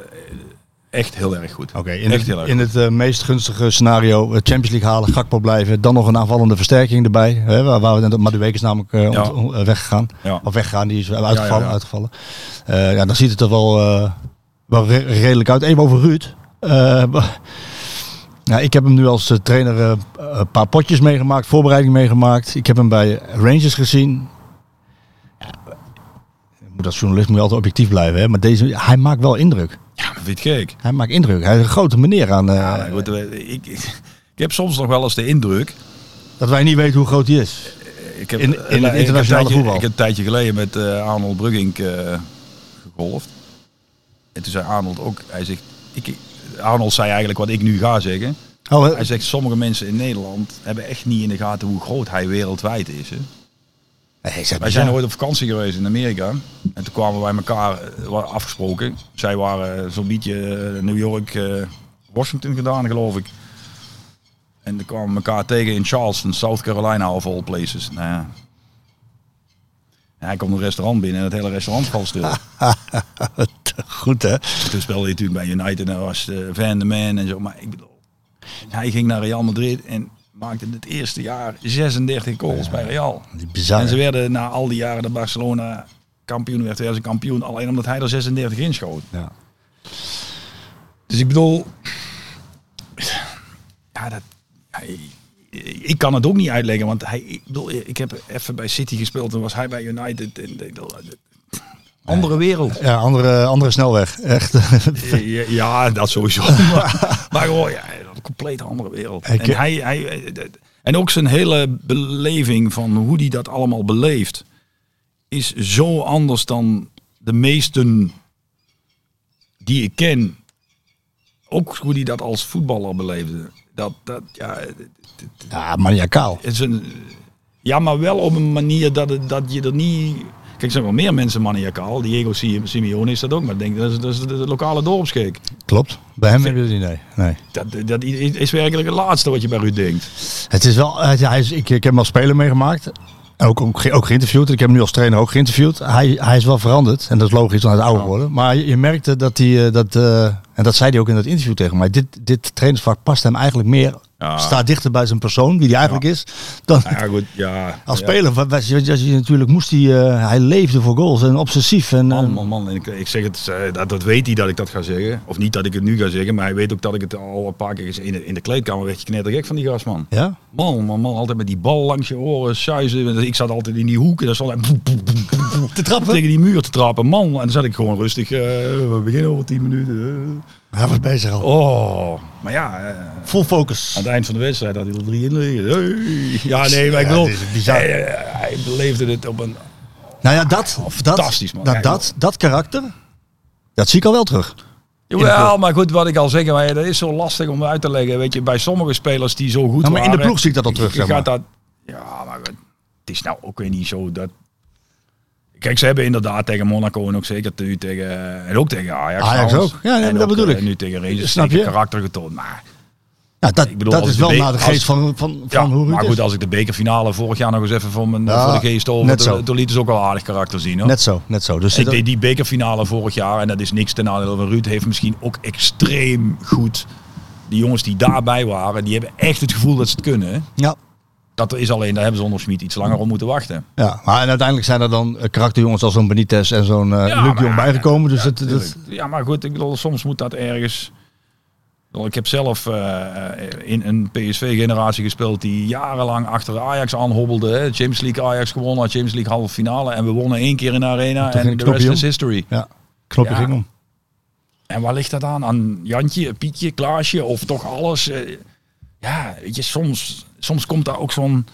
Speaker 8: echt heel erg goed.
Speaker 7: Oké, in
Speaker 8: echt
Speaker 7: het,
Speaker 8: heel erg
Speaker 7: in
Speaker 8: goed.
Speaker 7: het eh, meest gunstige scenario eh, Champions League halen, Gakpo blijven, dan nog een aanvallende versterking erbij. Hè, waar, waar we net op Madueke is namelijk eh,
Speaker 8: Ja.
Speaker 7: ont- on- eh, weggegaan.
Speaker 8: Ja.
Speaker 7: Of weggegaan, die is uitgevallen.
Speaker 8: ja.
Speaker 7: uitgevallen. Eh, ja, dan ziet het er wel, eh, wel re- redelijk uit. Even over Ruud. Eh, b- nou, ik heb hem nu als eh, trainer eh, een paar potjes meegemaakt, voorbereiding meegemaakt. Ik heb hem bij Rangers gezien. Ja, moet als journalist moet je altijd objectief blijven, hè? maar deze, hij maakt wel indruk.
Speaker 8: Ja, maar vind je het gek?
Speaker 7: Hij maakt indruk. Hij is een grote meneer aan. eh,
Speaker 8: Ja, goed, eh, ik, ik, ik heb soms nog wel eens de indruk
Speaker 7: dat wij niet weten hoe groot hij is.
Speaker 8: Ik heb,
Speaker 7: In- in
Speaker 8: eh,
Speaker 7: het
Speaker 8: ik heb een
Speaker 7: internationale
Speaker 8: tijdje-
Speaker 7: voetbal.
Speaker 8: Ik heb een tijdje geleden met eh, Arnold Brugging eh, gegolfd. En toen zei Arnold ook, hij zegt, ik, Arnold zei eigenlijk wat ik nu ga zeggen.
Speaker 7: Oh, eh,
Speaker 8: Hij zegt, sommige mensen in Nederland hebben echt niet in de gaten hoe groot hij wereldwijd is. Hè.
Speaker 7: hij is echt
Speaker 8: Wij zijn
Speaker 7: bizar.
Speaker 8: ooit op vakantie geweest in Amerika. En toen kwamen wij elkaar eh, wa- afgesproken. Zij waren eh, zo'n beetje eh, New York, eh, Washington gedaan, geloof ik. En toen kwamen we elkaar tegen in Charleston, South Carolina, of all places. Nou ja, Hij komt een restaurant binnen en het hele restaurant valt stil.
Speaker 7: Goed hè?
Speaker 8: Toen speelde hij natuurlijk bij United en was eh, Van de Man en zo. Maar ik bedoel, hij ging naar Real Madrid en maakte het eerste jaar 36 goals bij Real.
Speaker 7: Die bizarre.
Speaker 8: En ze werden na al die jaren dat Barcelona kampioen werd, werden ze kampioen alleen omdat hij er 36 in schoot.
Speaker 7: Ja.
Speaker 8: Dus ik bedoel, ja, dat, hij- ik kan het ook niet uitleggen, want hij, ik, bedoel, ik heb even bij City gespeeld en was hij bij United. En, ik bedoel, andere wereld.
Speaker 7: Ja, andere, andere snelweg. Echt.
Speaker 8: Eh, Ja, ja, dat sowieso. maar, maar gewoon, ja, een compleet andere wereld.
Speaker 7: Ik-
Speaker 8: en, hij, hij, eh, dat- en ook zijn hele beleving van hoe hij dat allemaal beleeft, is zo anders dan de meesten die ik ken. Ook hoe hij dat als voetballer beleefde. Dat, dat, ja,
Speaker 7: ja, maniakaal.
Speaker 8: het is een, ja, maar wel op een manier dat, het, dat je er niet... Kijk, er zijn wel meer mensen maniacaal. Diego Sim- Simeone is dat ook. Maar ik denk, dat is, dat is de lokale dorpskeek.
Speaker 7: Klopt. Bij hem hebben jullie nee. nee.
Speaker 8: Dat, dat is werkelijk het laatste wat je bij Ruud denkt.
Speaker 7: Het is wel, hij- hij is, ik, ik heb hem als speler meegemaakt. Ook, ook, ge- ook geïnterviewd. Ik heb hem nu als trainer ook geïnterviewd. Hij, hij is wel veranderd. En dat is logisch, want hij is
Speaker 8: Oh.
Speaker 7: ouder geworden. Maar je je merkte dat hij, eh, dat, eh, en dat zei hij ook in dat interview tegen mij, dit, dit trainersvak past hem eigenlijk meer,
Speaker 8: Ja.
Speaker 7: staat dichter bij zijn persoon, wie hij eigenlijk is, dan
Speaker 8: Nou ja, goed, ja.
Speaker 7: als
Speaker 8: ja.
Speaker 7: speler. Wa- wa- je- je- je- natuurlijk moest hij, eh, hij leefde voor goals en obsessief. En, eh,
Speaker 8: Man, man, man. En Ik, ik zeg het, eh, dat, dat weet hij dat ik dat ga zeggen. Of niet dat ik het nu ga zeggen, maar hij weet ook dat ik het al een paar keer gezegd- in de, in de kleedkamer werd je knettergek van die gast, man.
Speaker 7: ja?
Speaker 8: Man, man, man, altijd met die bal langs je oren, suizen. Ik zat altijd in die hoek en dan stond hij boem, boem, boem, boem, boem,
Speaker 7: Te trappen.
Speaker 8: tegen die muur te trappen. Man, en dan zat ik gewoon rustig, eh, we beginnen over 10 minuten.
Speaker 7: Hij was bezig al.
Speaker 8: eh. Oh, maar ja, eh,
Speaker 7: Full focus.
Speaker 8: Aan het eind van de wedstrijd had hij er drie in liggen. Hey. Ja, nee, maar ik
Speaker 7: Ja,
Speaker 8: bedoel,
Speaker 7: dit is bizar.
Speaker 8: Hij, eh, hij beleefde dit op een...
Speaker 7: Nou ja, dat, dat,
Speaker 8: Oh, Fantastisch, man. Ja,
Speaker 7: dat, dat, dat karakter, dat zie ik al wel terug.
Speaker 8: Jawel, maar goed, wat ik al zeg, maar dat is zo lastig om uit te leggen. Weet je, bij sommige spelers die zo goed
Speaker 7: Nou, maar in de
Speaker 8: waren,
Speaker 7: ploeg zie ik dat al terug,
Speaker 8: je
Speaker 7: zeg maar.
Speaker 8: gaat dat, ja, maar goed, het is nou ook weer niet zo dat... Kijk, ze hebben inderdaad tegen Monaco en ook zeker nu tegen... En ook tegen Ajax.
Speaker 7: Ajax
Speaker 8: trouwens.
Speaker 7: ook. Ja, nee,
Speaker 8: En
Speaker 7: dat bedoel
Speaker 8: eh,
Speaker 7: ik.
Speaker 8: nu tegen Rangers
Speaker 7: Snap
Speaker 8: zeker
Speaker 7: je?
Speaker 8: karakter getoond. Maar
Speaker 7: Ja, dat,
Speaker 8: Ik bedoel,
Speaker 7: dat
Speaker 8: als
Speaker 7: is
Speaker 8: ik de
Speaker 7: wel
Speaker 8: be-
Speaker 7: naar de
Speaker 8: als-
Speaker 7: geest van, van, van hoe
Speaker 8: maar
Speaker 7: Ruud
Speaker 8: goed,
Speaker 7: is.
Speaker 8: als ik de bekerfinale vorig jaar nog eens even voor, mijn,
Speaker 7: Ja,
Speaker 8: voor de geest over,
Speaker 7: net zo.
Speaker 8: toen, toen lieten ze ook wel aardig karakter zien. Hoor.
Speaker 7: Net zo, net zo. Dus
Speaker 8: Ik
Speaker 7: dat-
Speaker 8: deed die bekerfinale vorig jaar en dat is niks ten nadele van Ruud. Heeft misschien ook extreem goed. Die jongens die daarbij waren, die hebben echt het gevoel dat ze het kunnen.
Speaker 7: ja,
Speaker 8: Dat is alleen, daar hebben ze onder Smit iets langer op moeten wachten.
Speaker 7: ja, maar en uiteindelijk zijn er dan eh, karakterjongens als zo'n Benitez en zo'n eh
Speaker 8: Ja,
Speaker 7: Luc
Speaker 8: maar-
Speaker 7: Jong bijgekomen. Dus dat, dat,
Speaker 8: Ja, maar goed, ik bedoel, soms moet dat ergens. Ik bedoel, Ik heb zelf eh, in een PSV-generatie gespeeld die jarenlang achter Ajax aanhobbelde. Hè. Champions League Ajax gewonnen, Champions League halve finale. En we wonnen één keer in de arena
Speaker 7: ging
Speaker 8: en
Speaker 7: het
Speaker 8: de rest
Speaker 7: knopje
Speaker 8: is
Speaker 7: om.
Speaker 8: history.
Speaker 7: ja, knopje
Speaker 8: Ja.
Speaker 7: ging om.
Speaker 8: En waar ligt dat aan? Aan Jantje, Pietje, Klaasje of toch alles? Eh, Ja, weet je, soms, soms komt daar ook zo'n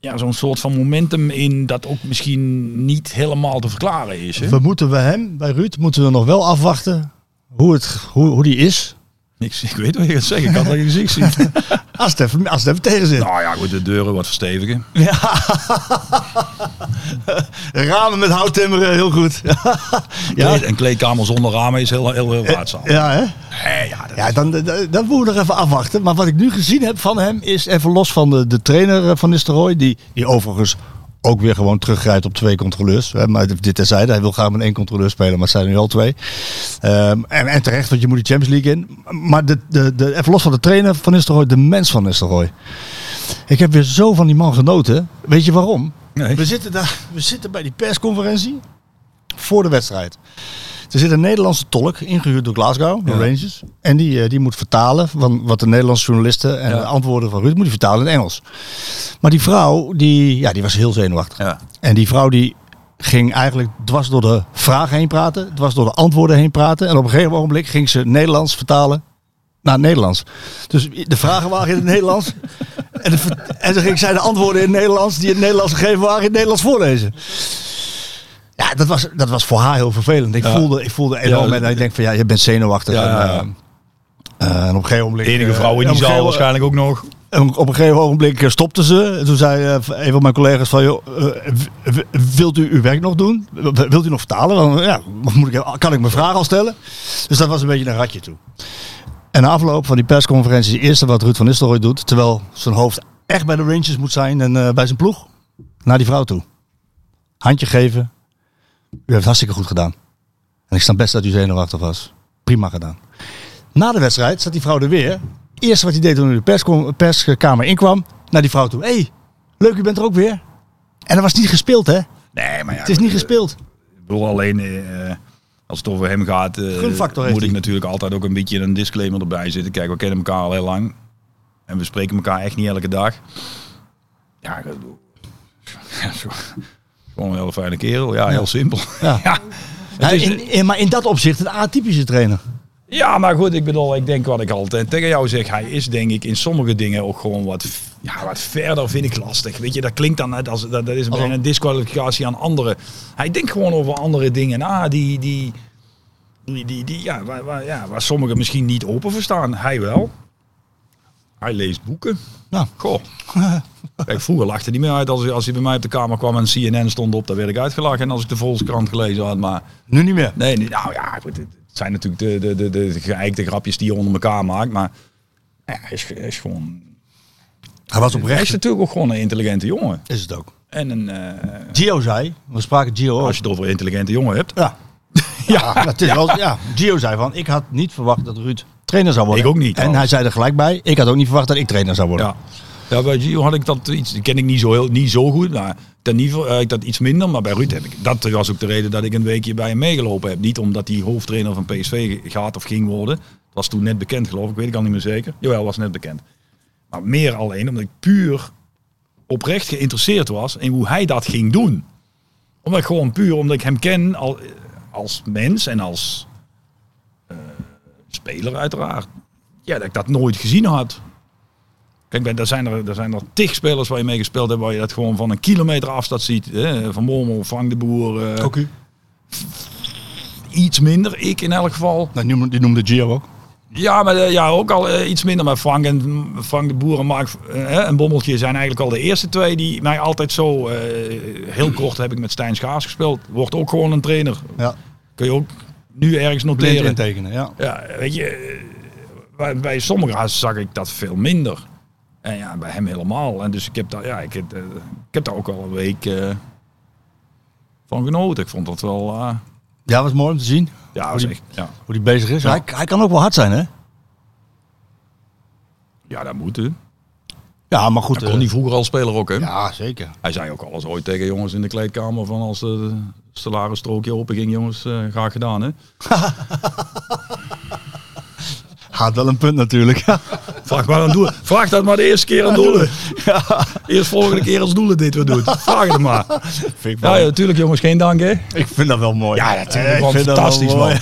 Speaker 8: ja, zo'n soort van momentum in dat ook misschien niet helemaal te verklaren is. Hè?
Speaker 7: We moeten we hem, bij Ruud, moeten we nog wel afwachten hoe, het, hoe, hoe die is.
Speaker 8: Niks, ik weet wat je gaat zeggen, ik kan dat in je gezicht zien.
Speaker 7: Als het even, als het even tegen zit.
Speaker 8: nou ja, goed, de deuren wat verstevigen.
Speaker 7: Ramen met hout timmeren, heel goed. ja,
Speaker 8: Kleed- Een kleedkamer zonder ramen is heel, heel, heel raadzaam.
Speaker 7: ja, hè?
Speaker 8: Nee, ja, dat-
Speaker 7: Ja, dan, dan, dan moeten we nog even afwachten. Maar wat ik nu gezien heb van hem is even los van de, de trainer eh, van Nistelrooy. Die, die overigens ook weer gewoon teruggrijpt op twee controleurs. Hè, maar dit terzijde. Hij wil graag met één controleur spelen, maar het zijn er nu al twee. Ehm, en, en terecht, want je moet die Champions League in. Maar de, de, de, even los van de trainer van Nistelrooy, de mens van Nistelrooy. Ik heb weer zo van die man genoten. Weet je waarom?
Speaker 8: Nee.
Speaker 7: We, zitten daar, we zitten bij die persconferentie voor de wedstrijd. Er zit een Nederlandse tolk, ingehuurd door Glasgow, de Rangers. En die, eh, die moet vertalen van wat de Nederlandse journalisten en de antwoorden van Ruud moet die vertalen in Engels. Maar die vrouw, die, ja, die was heel zenuwachtig.
Speaker 8: Ja.
Speaker 7: En die vrouw die ging eigenlijk dwars door de vragen heen praten, dwars door de antwoorden heen praten. En op een gegeven ogenblik ging ze Nederlands vertalen naar het Nederlands. Dus de vragen waren in het Nederlands. En, de, ver- en dan ging zij de antwoorden in het Nederlands, die in het Nederlands gegeven waren, in het Nederlands voorlezen. Ja, dat was, dat was voor haar heel vervelend. Ik, voelde, ik voelde enorm.
Speaker 8: Ja,
Speaker 7: en ik denk van, ja, je bent zenuwachtig.
Speaker 8: Ja,
Speaker 7: en,
Speaker 8: ja, ja.
Speaker 7: eh, eh, en op een gegeven ogenblik...
Speaker 8: Enige
Speaker 7: eh,
Speaker 8: vrouw in
Speaker 7: op
Speaker 8: die
Speaker 7: een
Speaker 8: zaal
Speaker 7: gegeven-
Speaker 8: waarschijnlijk ook nog.
Speaker 7: en op een gegeven ogenblik eh, stopte ze. En toen zei eh, een van mijn collega's van, joh, eh, w- w- wilt u uw werk nog doen? W- w- Wilt u nog vertalen? Want, ja, wat moet ik, kan ik mijn vraag al stellen? Dus dat was een beetje een ratje toe. En na afloop van die persconferentie, het eerste wat Ruud van Nistelrooy doet, terwijl zijn hoofd echt bij de Rangers moet zijn en eh, bij zijn ploeg, naar die vrouw toe. handje geven. U heeft het hartstikke goed gedaan. En ik snap best dat u zenuwachtig was. Prima gedaan. Na de wedstrijd zat die vrouw er weer. Eerst wat hij deed toen hij de perskom- perskamer inkwam, naar die vrouw toe. Hé, hey, leuk, u bent er ook weer. En dat was niet gespeeld, hè?
Speaker 8: Nee, maar ja, eh,
Speaker 7: Het is niet gespeeld.
Speaker 8: Ik bedoel alleen, eh, als het over hem gaat, eh,
Speaker 7: Gunfactor heeft
Speaker 8: moet ik
Speaker 7: hij.
Speaker 8: natuurlijk altijd ook een beetje een disclaimer erbij zitten. Kijk, we kennen elkaar al heel lang. En we spreken elkaar echt niet elke dag. Ja, ik bedoel, ja, zo- gewoon een hele fijne kerel. Ja, heel simpel.
Speaker 7: Ja.
Speaker 8: Ja.
Speaker 7: Ja,
Speaker 8: is-
Speaker 7: Nou, in- in- maar in dat opzicht een atypische trainer.
Speaker 8: Ja, maar goed, ik bedoel, ik denk wat ik altijd tegen jou zeg. Hij is denk ik in sommige dingen ook gewoon wat, ja, wat verder vind ik lastig. Weet je, dat klinkt dan net als, dat, dat is bijna een disqualificatie aan anderen. Hij denkt gewoon over andere dingen na die, die, die, die, die- ja, waar, waar- ja, waar sommigen misschien niet open voor staan. Hij wel. Hij leest boeken.
Speaker 7: Nou.
Speaker 8: Goh. Kijk, vroeger lachte hij me uit als, als hij bij mij op de kamer kwam en CNN stond op. Dan werd ik uitgelachen en als ik de Volkskrant gelezen had. Maar
Speaker 7: Nu niet meer.
Speaker 8: Nee, nee, nou ja, goed, het het zijn natuurlijk de, de, de, de geëikte grapjes die je onder elkaar maakt. Maar ja, hij, is, hij is gewoon,
Speaker 7: Hij was
Speaker 8: hij is
Speaker 7: oprecht.
Speaker 8: natuurlijk ook gewoon een intelligente jongen.
Speaker 7: Is het ook.
Speaker 8: En een, eh,
Speaker 7: Gio zei, we spraken Gio
Speaker 8: als
Speaker 7: ook.
Speaker 8: je het over een intelligente jongen hebt.
Speaker 7: Ja. ja, dat is wel, ja, Gio zei van, ik had niet verwacht dat Ruud trainer zou worden.
Speaker 8: Ik ook niet,
Speaker 7: En hij
Speaker 8: trouwens.
Speaker 7: zei er gelijk bij, ik had ook niet verwacht dat ik trainer zou worden.
Speaker 8: Ja. ja, bij Gio had ik dat iets, die ken ik niet zo, heel, niet zo goed. Maar ten niveau eh, ik dat iets minder, maar bij Ruud heb ik, dat was ook de reden dat ik een weekje bij hem meegelopen heb. Niet omdat hij hoofdtrainer van PSV gaat of ging worden. Het was toen net bekend geloof ik, weet ik al niet meer zeker. Jawel, was net bekend. Maar meer alleen omdat ik puur oprecht geïnteresseerd was in hoe hij dat ging doen. Omdat ik gewoon puur, omdat ik hem ken al, als mens en als eh, speler uiteraard. Ja, dat ik dat nooit gezien had. Kijk, bij- daar zijn er, daar zijn er tig spelers waar je mee gespeeld hebt, waar je dat gewoon van een kilometer afstand ziet. Hè? Van Mormel, Frank de Boer, eh,
Speaker 7: Ook u?
Speaker 8: iets minder. Ik in elk geval.
Speaker 7: Nou, die noemde- die noemde Gio ook.
Speaker 8: Ja, maar eh, ja, ook al eh, iets minder. Maar Frank, en, Frank de Boer en Mark eh, en Bommeltje zijn eigenlijk al de eerste twee die mij altijd zo... eh, heel kort heb ik met Stijn Schaars gespeeld. Wordt ook gewoon een trainer.
Speaker 7: Ja,
Speaker 8: Kun je ook nu ergens
Speaker 7: blind
Speaker 8: noteren.
Speaker 7: intekenen, ja.
Speaker 8: Ja, weet je, eh, bij, bij sommigen zag ik dat veel minder. En ja, bij hem helemaal. En dus ik heb daar, ja, ik, heb, eh, ik heb daar ook al een week eh, van genoten. Ik vond dat wel... eh,
Speaker 7: Ja, was mooi om te zien
Speaker 8: ja, was echt- ja.
Speaker 7: hoe die bezig is. Hij, hij kan ook wel hard zijn, hè?
Speaker 8: ja, dat moet hè.
Speaker 7: Ja, maar goed.
Speaker 8: Dat kon
Speaker 7: eh,
Speaker 8: hij vroeger al speler ook, hè?
Speaker 7: Ja, zeker.
Speaker 8: Hij zei ook alles ooit tegen jongens in de kleedkamer van als eh, de salarisstrookje open ging, jongens, eh, graag gedaan hè.
Speaker 7: Had wel een punt natuurlijk.
Speaker 8: Vraag, maar aan Doelen. Vraag dat maar de eerste keer aan Doelen. Eerst volgende keer als Doelen dit weer doet. Vraag het maar.
Speaker 7: vind ik,
Speaker 8: Ja, ja, natuurlijk jongens, geen dank hè.
Speaker 7: ik vind dat wel mooi.
Speaker 8: Ja, natuurlijk.
Speaker 7: Ik
Speaker 8: Gewoon
Speaker 7: vind dat wel
Speaker 8: fantastisch, man.
Speaker 7: mooi.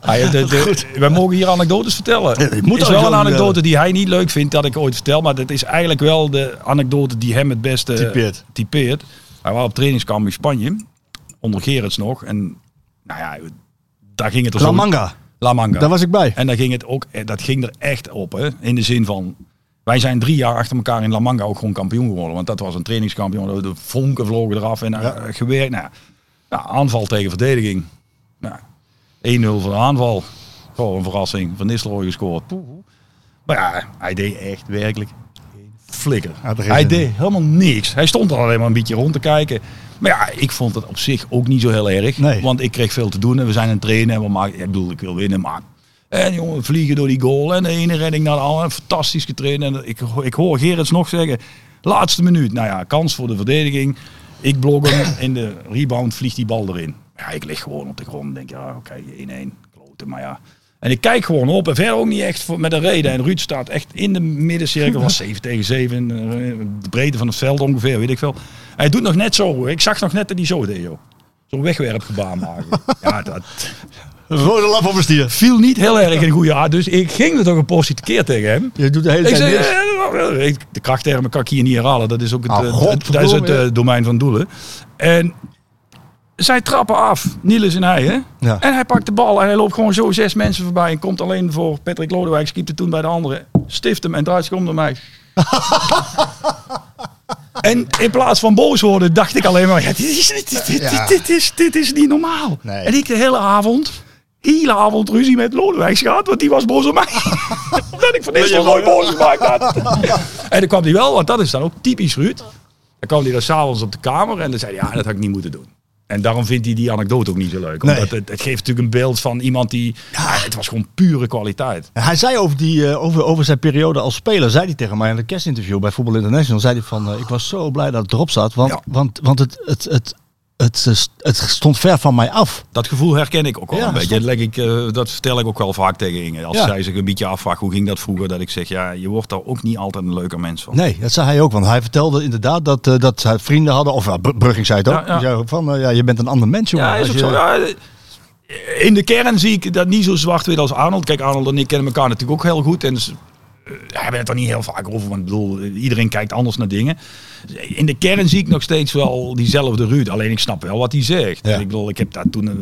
Speaker 8: Hij heeft het, eh, wij mogen hier anekdotes vertellen.
Speaker 7: Ja, je moet eh,
Speaker 8: is
Speaker 7: ook
Speaker 8: wel
Speaker 7: zo
Speaker 8: een anekdote
Speaker 7: vertellen.
Speaker 8: die hij niet leuk vindt dat ik ooit vertel. Maar dat is eigenlijk wel de anekdote die hem het beste eh,
Speaker 7: Typeert.
Speaker 8: typeert. Hij was op trainingskamp in Spanje. Onder Gerrits nog. En nou ja, daar ging het er
Speaker 7: La
Speaker 8: zo-
Speaker 7: Manga,
Speaker 8: La Manga.
Speaker 7: daar was ik bij.
Speaker 8: En daar ging het ook, eh, dat ging er echt op. Hè? In de zin van, wij zijn drie jaar achter elkaar in La Manga ook gewoon kampioen geworden. Want dat was een trainingskampioen. De vonken vlogen eraf en eh, gewerkt. Nou, ja, aanval tegen verdediging. Nou, 1-0 voor de aanval. Gewoon een verrassing. Van Nistelrooy gescoord. Poeh. Maar ja, hij deed echt werkelijk geen flikker.
Speaker 7: Had er geen
Speaker 8: Hij
Speaker 7: zin in.
Speaker 8: deed helemaal niks. Hij stond er alleen maar een beetje rond te kijken. Maar ja, ik vond het op zich ook niet zo heel erg.
Speaker 7: Nee.
Speaker 8: Want ik kreeg veel te doen en we zijn aan het trainen. En we maken, ik bedoel, ik wil winnen, maar... En jongen, we vliegen door die goal. En de ene redding naar de andere. Fantastisch getraind. En ik, ho- ik hoor Gerrits nog zeggen, laatste minuut. Nou ja, kans voor de verdediging. Ik blok hem. In de rebound vliegt die bal erin. Ja, ik lig gewoon op de grond. en Denk, ja, oké, 1-1. Kloten, maar ja. En ik kijk gewoon op en verder ook niet echt voor- met een reden. En Ruud staat echt in de middencirkel. was 7 tegen 7. eh, De breedte van het veld ongeveer, weet ik veel. Hij doet nog net zo. Ik zag nog net dat hij zo deed, joh. Zo'n wegwerpgebaar maken. Ja, dat
Speaker 7: Rode lap op een stier.
Speaker 8: viel niet heel erg in goede aard. Dus ik ging er toch een portie tekeer tegen hem.
Speaker 7: Je doet de hele
Speaker 8: Ik
Speaker 7: tijd
Speaker 8: zei,
Speaker 7: niks.
Speaker 8: eh, eh, eh, de krachttermen kan ik hier niet herhalen. Dat is ook het,
Speaker 7: Ah,
Speaker 8: eh,
Speaker 7: godverdomme,
Speaker 8: dat is het eh,
Speaker 7: ja.
Speaker 8: domein van doelen. En zij trappen af, Niels en hij. Hè?
Speaker 7: Ja.
Speaker 8: En hij pakt de bal en hij loopt gewoon zo zes mensen voorbij. En komt alleen voor Patrick Lodewijk, schiepte toen bij de andere. Stift hem en draait zich om naar mij. En in plaats van boos worden, dacht ik alleen maar: ja, dit, is, dit, dit, dit,
Speaker 7: Ja.
Speaker 8: dit is, dit is niet normaal.
Speaker 7: Nee.
Speaker 8: En ik de hele avond, hele avond ruzie met Lodewijk gehad, want die was boos op mij. Omdat ik van deze nooit boos gemaakt had. en dan kwam hij wel, want dat is dan ook typisch Ruud. Dan kwam hij daar s'avonds op de kamer en dan zei hij, ja, dat had ik niet moeten doen. En daarom vindt hij die anekdote ook niet zo leuk. Omdat
Speaker 7: Nee.
Speaker 8: het, het geeft natuurlijk een beeld van iemand die... Ja, het was gewoon pure kwaliteit.
Speaker 7: Hij zei over, die, eh, over, over zijn periode als speler, zei hij tegen mij in een kerstinterview bij Voetbal International, zei hij van, eh, ik was zo blij dat het erop zat, want,
Speaker 8: Ja.
Speaker 7: want, want het, het, het, het, eh, st- het stond ver van mij af.
Speaker 8: Dat gevoel herken ik ook wel
Speaker 7: Ja,
Speaker 8: een beetje.
Speaker 7: stop.
Speaker 8: Dat, leg ik, eh, dat vertel ik ook wel vaak tegen Inge. Als
Speaker 7: Ja.
Speaker 8: zij zich een beetje afvraagt, hoe ging dat vroeger? Dat ik zeg, ja, je wordt daar ook niet altijd een leuker mens van.
Speaker 7: Nee, dat zei hij ook, want hij vertelde inderdaad dat, eh, dat zijn vrienden hadden, of ja, Br- Brugging zei het ook,
Speaker 8: Ja, ja.
Speaker 7: Die zei ook van, eh, ja, je bent een ander mens, jongen.
Speaker 8: Ja, is
Speaker 7: Als
Speaker 8: ook
Speaker 7: je-
Speaker 8: zo. Ja, eh, in de kern zie ik dat niet zo zwart-wit als Arnold. Kijk, Arnold en ik kennen elkaar natuurlijk ook heel goed. En ze eh, hebben het er niet heel vaak over. Want ik bedoel, eh, iedereen kijkt anders naar dingen. Dus In de kern zie ik nog steeds wel diezelfde Ruud. Alleen ik snap wel wat hij zegt.
Speaker 7: Ja.
Speaker 8: Ik bedoel, ik heb daar toen... eh,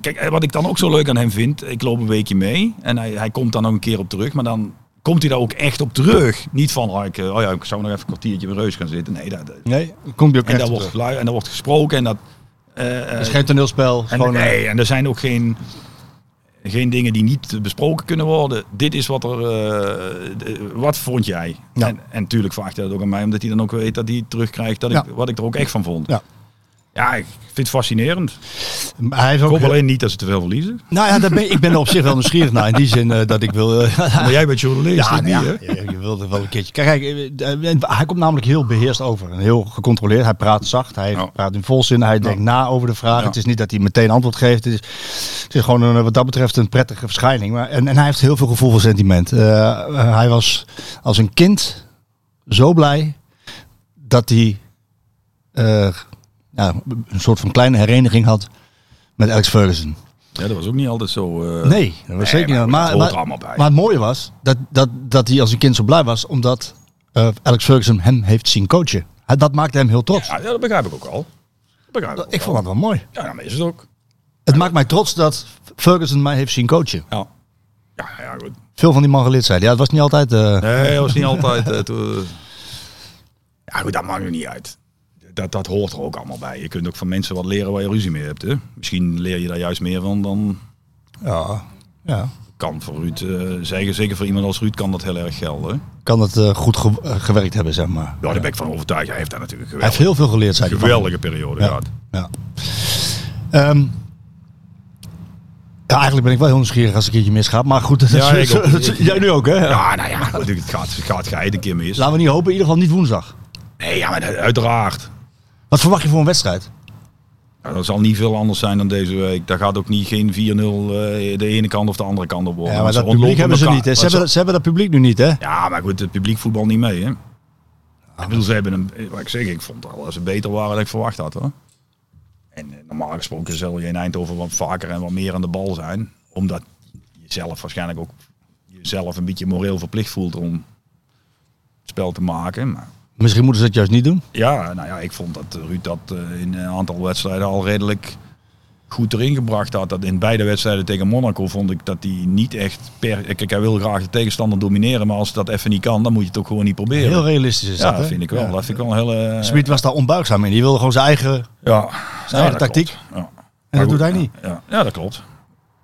Speaker 8: Kijk, eh, wat ik dan ook zo leuk aan hem vind, ik loop een weekje mee en hij, hij komt dan nog een keer op terug, maar dan komt hij daar ook echt op terug. Niet van, oh, ik, eh, oh ja, ik zou nog even een kwartiertje bij Reus gaan zitten. Nee, dat, dat-
Speaker 7: Nee, komt hij ook
Speaker 8: en,
Speaker 7: echt
Speaker 8: daar
Speaker 7: op terug.
Speaker 8: wordt gelui- en daar wordt gesproken en dat... eh, eh,
Speaker 7: Het is geen toneelspel,
Speaker 8: en,
Speaker 7: gewoon... eh,
Speaker 8: nee, en er zijn ook geen, geen dingen die niet besproken kunnen worden. Dit is wat er. eh, de- wat vond jij?
Speaker 7: Ja.
Speaker 8: En, en natuurlijk vraagt hij dat ook aan mij, omdat hij dan ook weet dat hij terugkrijgt dat
Speaker 7: Ja.
Speaker 8: ik, wat ik er ook echt van vond.
Speaker 7: Ja.
Speaker 8: Ja, ik vind het fascinerend.
Speaker 7: eh, hij heeft
Speaker 8: Ik hoop
Speaker 7: ook,
Speaker 8: alleen niet dat ze te veel verliezen.
Speaker 7: nou ja, daar ben, ik ben er op zich wel nieuwsgierig naar, in die zin eh, dat ik wil... eh,
Speaker 8: Maar jij bent journalist.
Speaker 7: Ja,
Speaker 8: niet,
Speaker 7: nou
Speaker 8: hè?
Speaker 7: ja, je- je wilde wel een keertje. Kijk, eh, eh, hij komt namelijk heel beheerst over. En heel gecontroleerd. Hij praat zacht. Hij
Speaker 8: Ja.
Speaker 7: praat in volzin. Hij denkt na over de vraag.
Speaker 8: Ja.
Speaker 7: Het is niet dat hij meteen antwoord geeft. Het is, het is gewoon een, eh, wat dat betreft een prettige verschijning. Maar, en, en hij heeft heel veel gevoel voor sentiment. Eh, eh, hij was als een kind zo blij dat hij eh, ja, een soort van kleine hereniging had met Alex Ferguson.
Speaker 8: Ja, dat was ook niet altijd zo. eh,
Speaker 7: Nee, dat was zeker niet.
Speaker 8: maar
Speaker 7: Maar,
Speaker 8: dat hoort
Speaker 7: maar,
Speaker 8: er allemaal bij.
Speaker 7: maar het mooie was dat, dat, dat hij als een kind zo blij was, omdat eh, Alex Ferguson hem heeft zien coachen. Hij- Dat maakte hem heel trots.
Speaker 8: Ja, dat begrijp ik ook al. Dat begrijp ik, ook
Speaker 7: ik
Speaker 8: al.
Speaker 7: vond dat wel mooi.
Speaker 8: Ja, dan is het ook.
Speaker 7: Het maakt mij trots dat Ferguson mij heeft zien coachen.
Speaker 8: Ja. Ja, ja, goed.
Speaker 7: Veel van die man geleerd zijn. Ja, het was niet altijd. eh,
Speaker 8: Nee, dat was niet altijd. eh, toen- ja, goed, dat maakt nu niet uit. Dat, dat hoort er ook allemaal bij. Je kunt ook van mensen wat leren waar je ruzie mee hebt. Hè? Misschien leer je daar juist meer van dan
Speaker 7: ja, ja.
Speaker 8: kan voor Ruud eh, zeggen. Zeker voor iemand als Ruud kan dat heel erg gelden.
Speaker 7: Kan het eh, goed ge- eh, gewerkt hebben, zeg maar.
Speaker 8: Ja, daar ben ik van overtuigd. Hij heeft daar natuurlijk
Speaker 7: Hij heeft
Speaker 8: geweldig,
Speaker 7: heel veel geleerd, zei hij.
Speaker 8: geweldige periode gehad.
Speaker 7: Ja. Ehm, ja, eigenlijk ben ik wel heel nieuwsgierig als ik een keertje misgaat. Maar goed, dat
Speaker 8: Ja,
Speaker 7: is-
Speaker 8: ik ook.
Speaker 7: dat is- jij nu ook, hè?
Speaker 8: Ja, nou ja, goed, het gaat, het gaat geheid een keer mis.
Speaker 7: Laten we niet hopen, in ieder geval niet woensdag.
Speaker 8: Nee, ja, maar dat- uiteraard.
Speaker 7: Wat verwacht je voor een wedstrijd?
Speaker 8: Ja, dat zal niet veel anders zijn dan deze week. Daar gaat ook niet geen 4-0 eh, de ene kant of de andere kant op worden.
Speaker 7: Ja, maar
Speaker 8: Want
Speaker 7: dat
Speaker 8: ze
Speaker 7: publiek
Speaker 8: ontlopen
Speaker 7: hebben ze
Speaker 8: elkaar.
Speaker 7: niet. Hè? Ze,
Speaker 8: Want
Speaker 7: hebben, ze hebben dat publiek nu niet, hè?
Speaker 8: Ja, maar goed, het publiek voetbal niet mee, hè? Ik bedoel, ze hebben een, eh, wat ik zeg, ik vond al dat ze beter waren dan ik verwacht had, hoor. En eh, normaal gesproken zal je in Eindhoven wat vaker en wat meer aan de bal zijn, omdat je zelf waarschijnlijk ook jezelf een beetje moreel verplicht voelt om het spel te maken. Maar
Speaker 7: Misschien moeten ze dat juist niet doen.
Speaker 8: ja, nou ja, ik vond dat eh, Ruud dat eh, in een aantal wedstrijden al redelijk goed erin gebracht had. Dat in beide wedstrijden tegen Monaco vond ik dat hij niet echt per. Kijk, hij wil graag de tegenstander domineren, maar als dat even niet kan, dan moet je het ook gewoon niet proberen.
Speaker 7: Heel realistisch is
Speaker 8: ja,
Speaker 7: dat, hè?
Speaker 8: dat vind ik wel.
Speaker 7: Ja.
Speaker 8: Dat vind ik wel een hele.
Speaker 7: Smit was daar onbuigzaam in. Die wilde gewoon zijn eigen...
Speaker 8: Ja, ja,
Speaker 7: eigen
Speaker 8: dat
Speaker 7: tactiek.
Speaker 8: klopt. Ja. En
Speaker 7: dat doet hij niet.
Speaker 8: Ja, ja, dat klopt.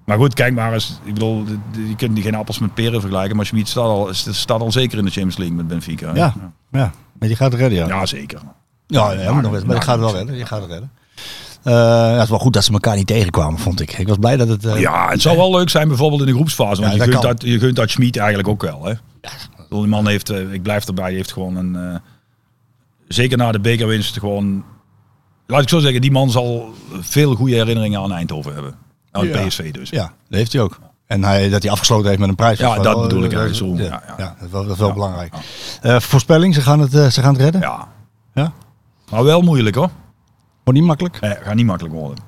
Speaker 8: Maar goed, kijk maar eens. Ik bedoel, de- de- je kunt die geen appels met peren vergelijken, maar Schmid staat al, staat al zeker in de Champions League met Benfica. hè?
Speaker 7: Ja, ja. Maar die gaat het redden, ja. Ja,
Speaker 8: ja zeker.
Speaker 7: ja, ja, maar, nog wel- maar die gaat het wel redden. Die gaat het redden. Eh, ja, het is wel goed dat ze elkaar niet tegenkwamen, vond ik. Ik was blij dat het... eh,
Speaker 8: Ja, het zou wel leuk zijn bijvoorbeeld in de groepsfase.
Speaker 7: Ja,
Speaker 8: Want je,
Speaker 7: dat
Speaker 8: gunt
Speaker 7: kan.
Speaker 8: dat, je gunt dat Schmid eigenlijk ook wel. Hè? Ik bedoel, Die man heeft, eh, ik blijf erbij, die heeft gewoon een... eh, zeker na de bekerwinst gewoon... Laat ik zo zeggen, die man zal veel goede herinneringen aan Eindhoven hebben. Aan
Speaker 7: Ja.
Speaker 8: PSV dus.
Speaker 7: Ja, dat heeft hij ook. En hij, dat hij afgesloten heeft met een prijs.
Speaker 8: Ja,
Speaker 7: Of,
Speaker 8: dat
Speaker 7: eh,
Speaker 8: bedoel ik
Speaker 7: dat-
Speaker 8: eigenlijk, zo'n-
Speaker 7: Ja,
Speaker 8: ja, ja.
Speaker 7: ja, dat is wel, dat is wel
Speaker 8: Ja.
Speaker 7: belangrijk. Eh, voorspelling, ze gaan, het, eh, ze gaan het redden?
Speaker 8: Ja.
Speaker 7: Ja.
Speaker 8: Maar wel moeilijk hoor.
Speaker 7: Wordt niet makkelijk?
Speaker 8: Nee, gaat niet makkelijk worden.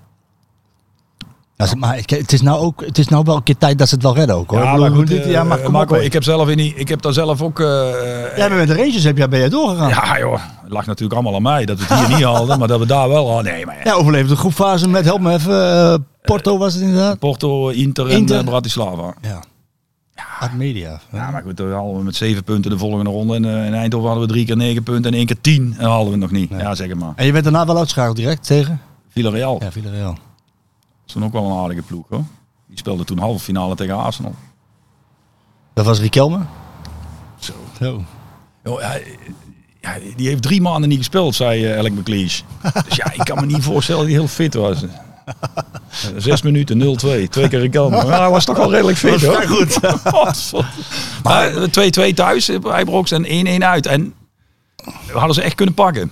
Speaker 7: Ja, ze- maar ik- het is, nou ook, het is nou wel een keer tijd dat ze het wel redden ook, hoor. Ik bedoel, dit-
Speaker 8: eh,
Speaker 7: ja, maar kom
Speaker 8: Marco,
Speaker 7: op,
Speaker 8: ik heb zelf in die, ik heb daar zelf ook. eh,
Speaker 7: Jij bent met de Rangers heb jij, ben jij doorgegaan. Ja.
Speaker 8: ja joh, het lag natuurlijk allemaal aan mij dat we het hier niet haalden, maar dat we daar wel haalden. Nee, maar ja.
Speaker 7: overleefde de groepfase met, help me even, eh, Porto was het inderdaad.
Speaker 8: Porto, Inter,
Speaker 7: Inter.
Speaker 8: en eh, Bratislava.
Speaker 7: Ja. Ad media.
Speaker 8: Ja, maar goed, dan halen we met zeven punten de volgende ronde. En eh, in Eindhoven hadden we drie keer negen punten en één keer tien. En haalden we het nog niet. Ja, zeg het maar.
Speaker 7: En je bent daarna wel uitschakeld direct tegen?
Speaker 8: Oh. Villarreal.
Speaker 7: Ja, Villarreal.
Speaker 8: is toen ook wel een aardige ploeg hoor. Die speelde toen halve finale tegen Arsenal.
Speaker 7: Dat was Riquelme?
Speaker 8: Zo.
Speaker 7: Zo.
Speaker 8: Joh, hij, Ja, die heeft drie maanden niet gespeeld, zei eh, Alec McLeish. Dus ja, ik kan me niet voorstellen dat hij heel fit was. Eh, Zes minuten 0-2, twee keer een kant. Maar hij was toch wel redelijk fit, hoor. goed. maar 2-2 thuis eh, bij Brox en 1-1 uit. En we hadden ze echt kunnen pakken.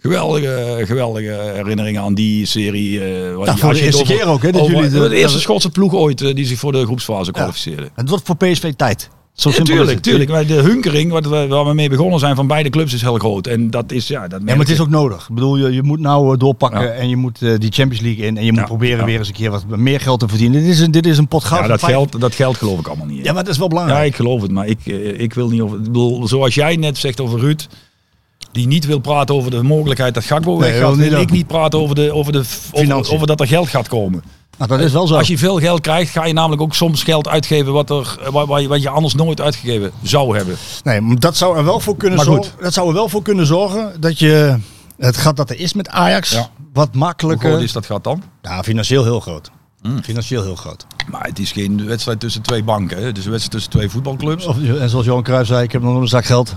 Speaker 8: Geweldige, geweldige herinneringen aan die serie. eh,
Speaker 7: voor
Speaker 8: wat- als
Speaker 7: de
Speaker 8: je het
Speaker 7: eerste
Speaker 8: over-
Speaker 7: keer ook, hè, dat
Speaker 8: over-
Speaker 7: jullie de-
Speaker 8: de, eerste Schotse ploeg ooit eh, die zich voor de groepsfase kwalificeerde.
Speaker 7: Het wordt voor PSV tijd. Zo
Speaker 8: Ja,
Speaker 7: simpel is
Speaker 8: tuurlijk,
Speaker 7: het.
Speaker 8: tuurlijk. Maar de hunkering wat we, waar we mee begonnen zijn van beide clubs is heel groot. En dat is, ja, dat
Speaker 7: Ja, maar het is ook nodig. Ik bedoel, je, je moet nou eh, doorpakken
Speaker 8: Ja.
Speaker 7: en je moet eh, die Champions League in en je moet
Speaker 8: Ja,
Speaker 7: proberen
Speaker 8: ja.
Speaker 7: weer eens een keer wat meer geld te verdienen. Dit is een, dit is een pot goud.
Speaker 8: ja,
Speaker 7: van
Speaker 8: dat,
Speaker 7: vijf-
Speaker 8: geld, dat geld geloof ik allemaal niet.
Speaker 7: Ja, maar dat is wel
Speaker 8: Ja,
Speaker 7: belangrijk.
Speaker 8: ik geloof het, maar ik, eh, ik wil niet over. Ik bedoel, zoals jij net zegt over Ruud, die niet wil praten over de mogelijkheid dat Gakbo
Speaker 7: Nee,
Speaker 8: weggaat,
Speaker 7: wil niet
Speaker 8: wil ik
Speaker 7: doen.
Speaker 8: niet praten over, de, over, de, f- over,
Speaker 7: Financiën.
Speaker 8: over dat er geld gaat komen.
Speaker 7: Nou, dat is wel zo.
Speaker 8: Als je veel geld krijgt, ga je namelijk ook soms geld uitgeven wat, er, eh, wa- wa- wat je anders nooit uitgegeven zou hebben.
Speaker 7: Nee, maar dat zou er wel voor kunnen
Speaker 8: Maar goed.
Speaker 7: zorgen. Dat zou er wel voor kunnen zorgen dat je het gat dat er is met Ajax
Speaker 8: Ja.
Speaker 7: wat
Speaker 8: Hoe
Speaker 7: makkelijker.
Speaker 8: groot is Mm. dat gat dan?
Speaker 7: Ja, financieel heel groot. Financieel heel groot.
Speaker 8: Maar het is geen wedstrijd tussen twee banken. Hè. Het is een wedstrijd tussen twee voetbalclubs.
Speaker 7: Of, en zoals Johan Cruijff zei, ik heb nog nooit een zak geld